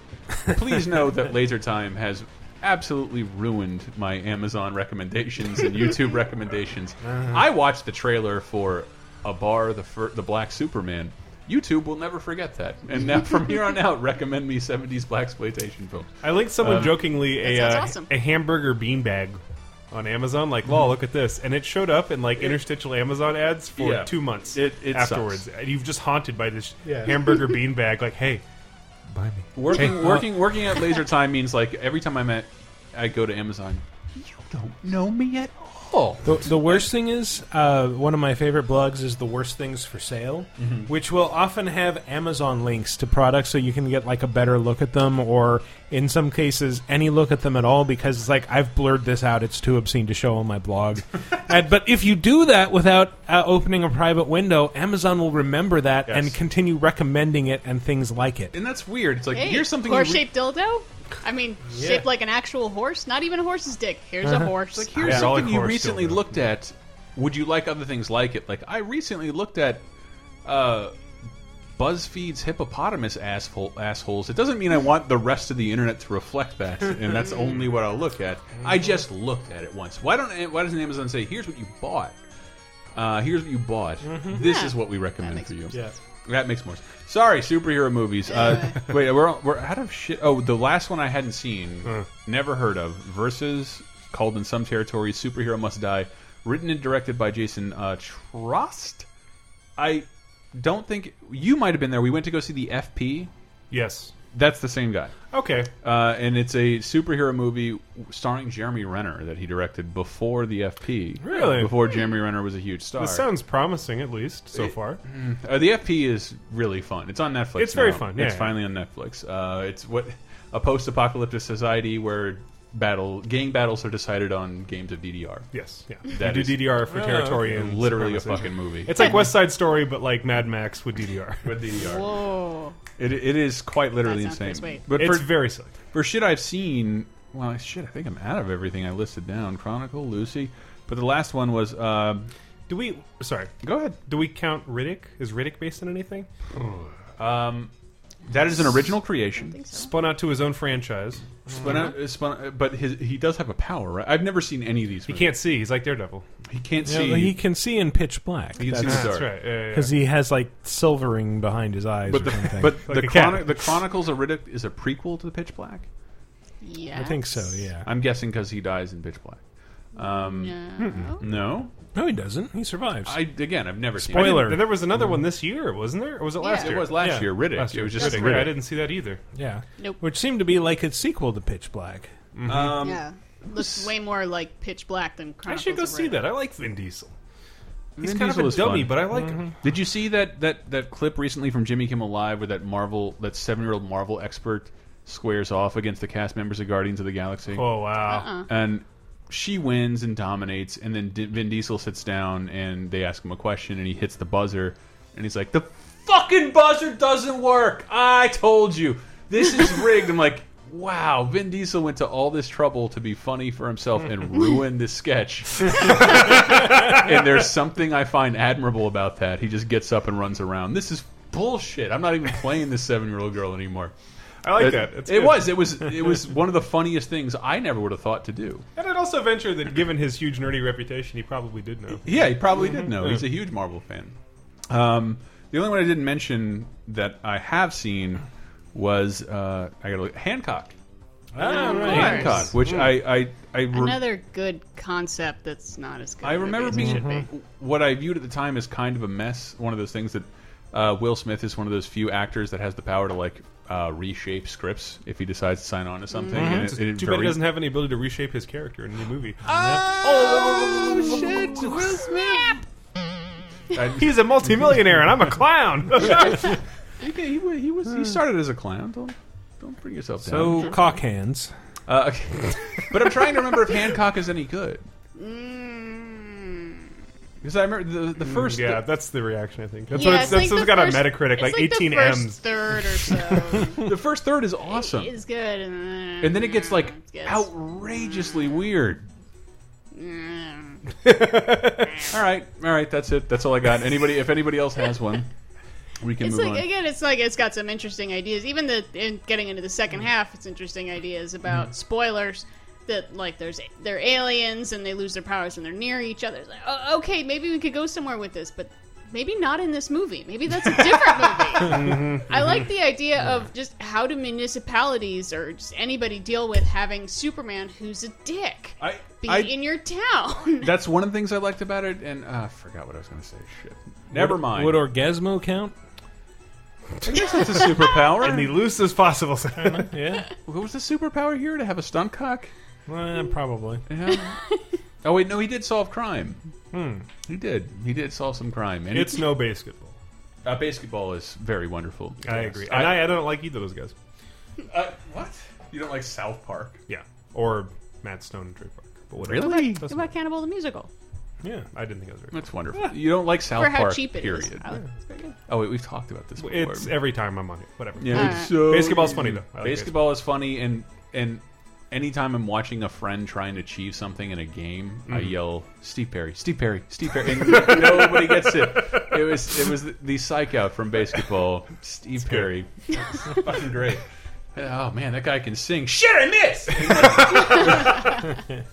Speaker 4: please know that Laser Time has absolutely ruined my Amazon recommendations and YouTube recommendations. I watched the trailer for a bar, the fir the Black Superman. YouTube will never forget that, and now from here on out, recommend me '70s black exploitation films.
Speaker 6: I linked someone
Speaker 4: Um,
Speaker 6: jokingly a
Speaker 4: That
Speaker 6: uh,
Speaker 4: sounds awesome.
Speaker 6: a hamburger beanbag on Amazon. Like, lol, look at this, and it showed up in like interstitial Amazon ads for
Speaker 4: Yeah.
Speaker 6: two months
Speaker 4: It- it
Speaker 6: afterwards.
Speaker 4: sucks.
Speaker 6: And you've just haunted by this
Speaker 4: Yeah.
Speaker 6: hamburger beanbag. Like, hey, buy me.
Speaker 4: Working,
Speaker 6: Hey,
Speaker 4: working, working at Laser Time means like every time I'm at, I go to Amazon. You don't know me at all.
Speaker 14: Oh.
Speaker 5: The, the worst thing is, uh, one of my favorite blogs is the worst things for sale,
Speaker 6: Mm-hmm.
Speaker 14: Mhm.
Speaker 5: which will often have Amazon links to products so you can get like a better look at them, or in some cases, any look at them at all because it's like I've blurred this out; it's too obscene to show on my blog. and, but if you do that without uh, opening a private window, Amazon will remember that and continue recommending it and things like it.
Speaker 4: And that's weird. It's like
Speaker 3: Hey,
Speaker 4: here's something you re-
Speaker 3: horse-shaped dildo. I mean,
Speaker 4: Yeah.
Speaker 3: shaped like an actual horse. Not even a horse's dick. Here's a
Speaker 4: Uh-huh.
Speaker 3: horse.
Speaker 4: Like here's something you recently looked at. Would you like other things like it? Like I recently looked at uh, BuzzFeed's hippopotamus asshole assholes. It doesn't mean I want the rest of the internet to reflect that, and that's only what I'll look at. I
Speaker 5: Mm-hmm.
Speaker 4: just looked at it once. Why don't? Why doesn't Amazon say here's what you bought? Uh, here's what you bought.
Speaker 5: Mhm.
Speaker 4: This
Speaker 5: Yeah.
Speaker 4: is what we recommend for you.
Speaker 5: sense. Yeah.
Speaker 4: That makes more sense. Sorry, superhero movies. Uh, wait, we're we're out of shit. Oh, the last one I hadn't seen,
Speaker 5: Hmm.
Speaker 4: never heard of. Versus called in some territories, superhero must die. Written and directed by Jason uh, Trost. I don't think you might have been there. We went to go see the FP.
Speaker 6: Yes,
Speaker 4: that's the same guy.
Speaker 6: Okay.
Speaker 4: uh, and it's a superhero movie starring Jeremy Renner that he directed before the FP.
Speaker 6: Really?
Speaker 4: before Jeremy Renner was a huge star.
Speaker 6: This sounds promising, at least so
Speaker 4: It-
Speaker 6: far.
Speaker 5: Mm-hmm.
Speaker 4: Mm. Uh, the FP is really fun. It's on Netflix.
Speaker 6: It's very
Speaker 4: now.
Speaker 6: fun,
Speaker 4: it's
Speaker 6: yeah.
Speaker 4: finally on Netflix. Uh, it's what a post-apocalyptic society where battle gang battles are decided on games of DDR.
Speaker 6: Yes, yeah.
Speaker 4: That
Speaker 6: you
Speaker 4: is
Speaker 6: do DDR for
Speaker 4: Oh,
Speaker 6: territory and
Speaker 4: literally a
Speaker 6: supremacy.
Speaker 4: fucking movie.
Speaker 6: It's like West Side Story, but like Mad Max with DDR.
Speaker 4: with DDR.
Speaker 3: Whoa.
Speaker 4: It, it is quite literally
Speaker 3: That sounds
Speaker 4: insane.
Speaker 3: pretty sweet.
Speaker 6: It's very slick.
Speaker 4: For shit I've seen, well, shit, I think I'm out of everything I listed down. Chronicle, Lucy, but the last one was. Um,
Speaker 6: do we? Sorry,
Speaker 4: go ahead.
Speaker 6: Do we count Riddick? Is Riddick based on anything?
Speaker 4: um, that is an original creation.
Speaker 6: Spun out to his own franchise.
Speaker 4: Spun out, uh, spun, uh, but his, he does have a power, right? I've never seen any of these.
Speaker 6: He
Speaker 4: movies.
Speaker 6: can't see. He's like Daredevil.
Speaker 4: He can't
Speaker 5: Yeah,
Speaker 4: see.
Speaker 5: but he can see in pitch black.
Speaker 4: He can see in the
Speaker 5: That's-
Speaker 4: dark. That's right, yeah, yeah, yeah.
Speaker 5: Because he has like silvering behind his eyes
Speaker 4: But
Speaker 5: or
Speaker 4: the,
Speaker 5: something.
Speaker 4: but the, chroni- the Chronicles of Riddick is a prequel to the Pitch Black.
Speaker 3: Yeah.
Speaker 5: I think so, yeah.
Speaker 4: I'm guessing because he dies in Pitch Black. Um,
Speaker 3: No.
Speaker 4: no,
Speaker 5: no, he doesn't. He survives.
Speaker 4: I again, I've never seen.
Speaker 6: Spoiler.
Speaker 4: it.
Speaker 6: there was another one this year, wasn't there? Or was it
Speaker 4: Yeah.
Speaker 6: last
Speaker 4: It
Speaker 6: year?
Speaker 4: was last year, Riddick.
Speaker 6: Last
Speaker 4: It was just
Speaker 6: That's
Speaker 4: Riddick.
Speaker 6: right. I didn't see that either.
Speaker 5: Yeah.
Speaker 3: Nope.
Speaker 5: Which seemed to be like its sequel to Pitch Black.
Speaker 4: Um,
Speaker 3: yeah. Looks way more like pitch black than.
Speaker 6: I
Speaker 3: Chronicles
Speaker 6: should go
Speaker 3: of
Speaker 6: see
Speaker 3: Riddick.
Speaker 6: that. I like Vin Diesel. He's
Speaker 4: Vin
Speaker 6: kind
Speaker 4: Diesel
Speaker 6: of a
Speaker 4: is
Speaker 6: dummy,
Speaker 4: fun.
Speaker 6: but I like him.
Speaker 4: Did you see that that that clip recently from Jimmy Kimmel Live where that Marvel that seven year old Marvel expert squares off against the cast members of Guardians of the Galaxy?
Speaker 6: Oh, wow. Uh-uh.
Speaker 4: And she wins and dominates, and then D Vin Diesel sits down and they ask him a question, and he hits the buzzer, and he's like, "The fucking buzzer doesn't work! I told you this is rigged." I'm like. Wow, Vin Diesel went to all this trouble to be funny for himself and ruined this sketch. and there's something I find admirable about that. He just gets up and runs around. This is bullshit. I'm not even playing this seven year old girl anymore.
Speaker 6: I like
Speaker 4: It-
Speaker 6: that. It's
Speaker 4: it
Speaker 6: good.
Speaker 4: was. It was. It was one of the funniest things I never would have thought to do.
Speaker 6: And I'd also venture that given his huge nerdy reputation, he probably did know.
Speaker 4: Yeah, he probably
Speaker 6: Mhm.
Speaker 4: did know.
Speaker 6: Yeah.
Speaker 4: He's a huge Marvel fan. Um, the only one I didn't mention that I have seen was uh, I got to look Hancock.
Speaker 3: Ah, of right. course.
Speaker 4: Hancock, which
Speaker 3: Mm.
Speaker 4: I I I, re-
Speaker 3: Another good concept that's not as good.
Speaker 4: I
Speaker 3: as it
Speaker 4: remember
Speaker 3: is.
Speaker 4: being
Speaker 3: Should be.
Speaker 4: what I viewed at the time as kind of a mess. One of those things that uh, Will Smith is one of those few actors that has the power to like uh, reshape scripts if he decides to sign on to something.
Speaker 3: Mm-hmm.
Speaker 6: Mhm.
Speaker 4: And
Speaker 6: It's
Speaker 4: it, it
Speaker 6: too bad he
Speaker 4: very-
Speaker 6: doesn't have any ability to reshape his character in the movie.
Speaker 4: Ah. Oh shit! Will Smith.
Speaker 6: He's a multimillionaire, and I'm a clown.
Speaker 4: Okay, he, wa- he was
Speaker 6: Hmm.
Speaker 4: he started as a clown. Don't don't bring yourself down.
Speaker 5: So, cock hands.
Speaker 4: Uh, okay. but I'm trying to remember if Hancock is any good.
Speaker 3: Mm.
Speaker 4: Because I remember the the
Speaker 5: Mm,
Speaker 4: first.
Speaker 6: Hmm, yeah, that's the reaction I think. That's
Speaker 4: Yeah,
Speaker 6: what it's,
Speaker 4: it's
Speaker 6: that's
Speaker 4: like
Speaker 6: what's
Speaker 4: the
Speaker 6: got
Speaker 4: first-
Speaker 6: on Metacritic,
Speaker 4: it's
Speaker 6: like,
Speaker 4: like the
Speaker 6: 18
Speaker 4: first
Speaker 6: M's.
Speaker 3: Third or so
Speaker 4: the first third is awesome,
Speaker 3: is good, and
Speaker 4: and then it gets like
Speaker 3: good.
Speaker 4: outrageously weird.
Speaker 3: then.
Speaker 4: All right, all right, that's it. That's all I got. Anybody, if anybody else has one, we can
Speaker 3: It's
Speaker 4: move
Speaker 3: like
Speaker 4: on.
Speaker 3: again, it's like it's got some interesting ideas. Even the in getting into the second half, it's interesting ideas about
Speaker 4: Mm-hmm.
Speaker 3: spoilers that like there's they're aliens and they lose their powers and they're near each other. It's like, oh, okay, maybe we could go somewhere with this, but maybe not in this movie. Maybe that's a different movie.
Speaker 6: Mm-hmm.
Speaker 3: I like the idea of just how do municipalities or just anybody deal with having Superman who's a dick
Speaker 4: I,
Speaker 3: be
Speaker 4: I-
Speaker 3: in your town.
Speaker 4: that's one of the things I liked about it, and uh, I forgot what I was going to say. Shit, never
Speaker 5: Would-
Speaker 4: mind.
Speaker 5: Would Orgasmo count?
Speaker 4: I guess that's a superpower.
Speaker 6: In the loosest possible sense.
Speaker 5: yeah.
Speaker 4: What was the superpower here to have a stunt cock?
Speaker 5: Well, probably.
Speaker 4: Yeah. Oh wait, no, he did solve crime.
Speaker 5: Hmm.
Speaker 4: He did. He did solve some crime. And
Speaker 5: It's
Speaker 4: he-
Speaker 5: no basketball.
Speaker 4: Uh, basketball is very wonderful.
Speaker 5: I agree. And I- I don't like either of those guys.
Speaker 4: Uh, what? You don't like South Park?
Speaker 5: Yeah. Or Matt Stone and Trey Park. But whatever.
Speaker 4: Really?
Speaker 3: What
Speaker 5: Doesn't
Speaker 3: about Cannibal the Musical?
Speaker 5: matter. Yeah, I didn't think that was very
Speaker 4: That's wonderful. You don't like South
Speaker 3: For how
Speaker 4: Park,
Speaker 3: cheap it is.
Speaker 4: period.
Speaker 3: I like- it's very good.
Speaker 4: Oh wait, we've talked about this. Before.
Speaker 5: It's every time I'm on it. Whatever.
Speaker 4: Yeah.
Speaker 5: Alright. Basketball's funny, though. I like
Speaker 4: basketball is funny, and and anytime I'm watching a friend try and achieve something in a game, I
Speaker 5: Mhm.
Speaker 4: yell Steve Perry, Steve Perry, Steve Perry, and nobody gets it. It was it was the, the psych out from basketball, Steve Perry. It's fucking great. Oh man, that guy can sing. Shit, I miss.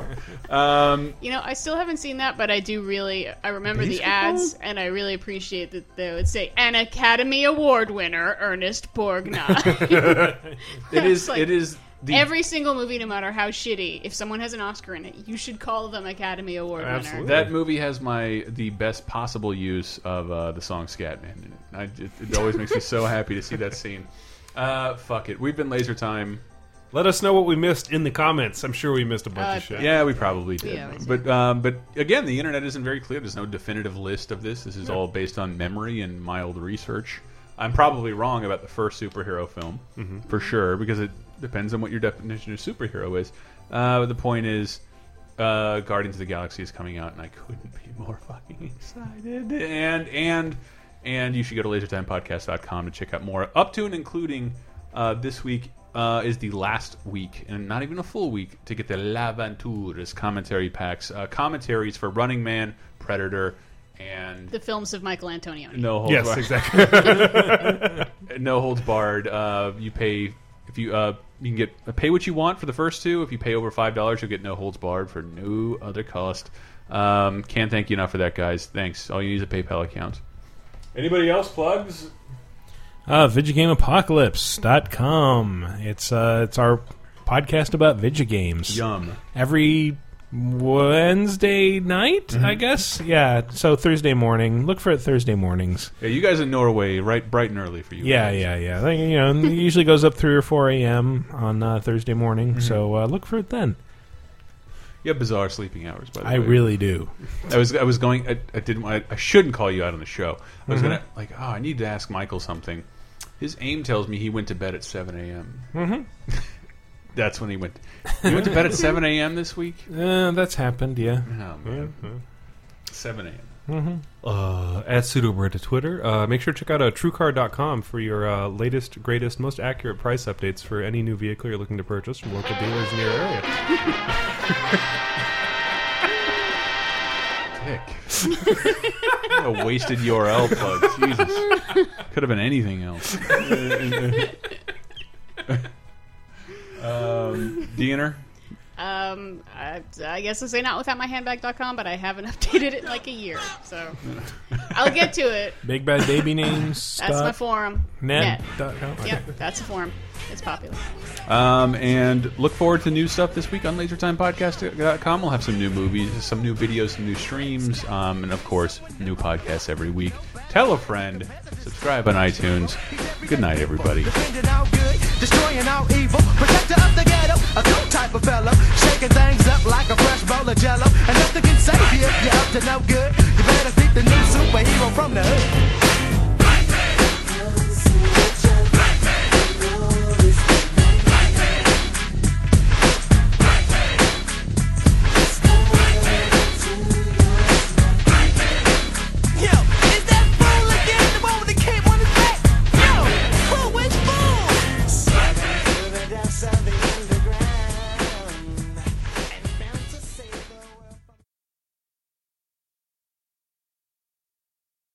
Speaker 4: um,
Speaker 3: You know, I still haven't seen that, but I do really. I remember
Speaker 4: Basketball?
Speaker 3: the ads, and I really appreciate that they would say an Academy Award winner, Ernest Borgnine.
Speaker 4: it is
Speaker 3: It's like-
Speaker 4: it is the
Speaker 3: Every single movie, no matter how shitty, if someone has an Oscar in it, you should call them Academy Award winner.
Speaker 4: That movie has my the best possible use of uh, the song Scatman in it. I, it, it always makes me so happy to see that scene. Uh, fuck it, we've been laser time.
Speaker 5: Let us know what we missed in the comments. I'm sure we missed a bunch
Speaker 4: Uh,
Speaker 5: of shit.
Speaker 4: Yeah, we probably did.
Speaker 5: Yeah, we
Speaker 4: but um, but again, the internet isn't very clear. There's no definitive list of this. This is all based on memory and mild research. I'm probably wrong about the first superhero film
Speaker 5: Mhm.
Speaker 4: for sure because it depends on what your definition of superhero is. Uh, but the point is, uh, Guardians of the Galaxy is coming out, and I couldn't be more fucking excited. And and and you should go to lasertimepodcast.com to check out more, up to and including uh, this week. Uh, is the last week and not even a full week to get the L'Aventures commentary packs, uh, commentaries for Running Man, Predator, and
Speaker 3: The films of Michael Antonioni.
Speaker 4: no holds
Speaker 5: Yes,
Speaker 4: barred.
Speaker 5: exactly.
Speaker 4: no holds barred. Uh, you pay if you uh, you can get pay what you want for the first two. If you pay over five dollars, you'll get no holds barred for no other cost. Um, can't thank you enough for that, guys. Thanks. All you need is a PayPal account. Anybody else plugs?
Speaker 5: Uh, VideoGameApocalypse.com. It's uh, it's our podcast about video games.
Speaker 4: Yum.
Speaker 5: Every Wednesday night, I guess. Yeah. So Thursday morning. Look for it Thursday mornings.
Speaker 4: Yeah, you guys in Norway, right? Bright and early for you.
Speaker 5: Yeah, yeah, yeah. Like, you know, it usually goes up three or four a.m. on uh, Thursday morning. So uh, look for it then.
Speaker 4: You have bizarre sleeping hours, by the
Speaker 5: I
Speaker 4: way.
Speaker 5: really do.
Speaker 4: I was I was going. I, I didn't. I, I shouldn't call you out on the show. I was
Speaker 5: Mhm.
Speaker 4: gonna like. Oh, I need to ask Michael something. His aim tells me he went to bed at seven a.m.
Speaker 5: Mhm.
Speaker 4: That's when he went. You went to bed at seven a.m. this week.
Speaker 5: Uh, that's happened. Yeah.
Speaker 4: Oh man, seven a.m.
Speaker 5: Mhm.
Speaker 6: Uh, at pseudobird to Twitter. Uh, make sure to check out uh, truecar.com for your uh, latest, greatest, most accurate price updates for any new vehicle you're looking to purchase from local dealers in your area.
Speaker 4: Dick. What a wasted URL plug. Jesus. Could have been anything else. um, Diener.
Speaker 3: Um, I, I guess I say not without my handbag.com, but I haven't updated it in like a year, so I'll get to it.
Speaker 5: Big bad baby names.
Speaker 3: That's my forum.
Speaker 5: Net.
Speaker 3: Net.
Speaker 5: dot com.
Speaker 3: Yep, that's a forum. It's popular.
Speaker 4: Um, and look forward to new stuff this week on LaserTimePodcast.com. We'll have some new movies, some new videos, some new streams, um, and of course, new podcasts every week. Tell a friend, subscribe on iTunes. Good night, everybody.
Speaker 16: defending our good, destroying our evil, protector of the ghetto, a cool type of fellow, shaking things up like a fresh bowl of jello, and nothing can save you if you're up to no good. You better seek the new superhero from the hood.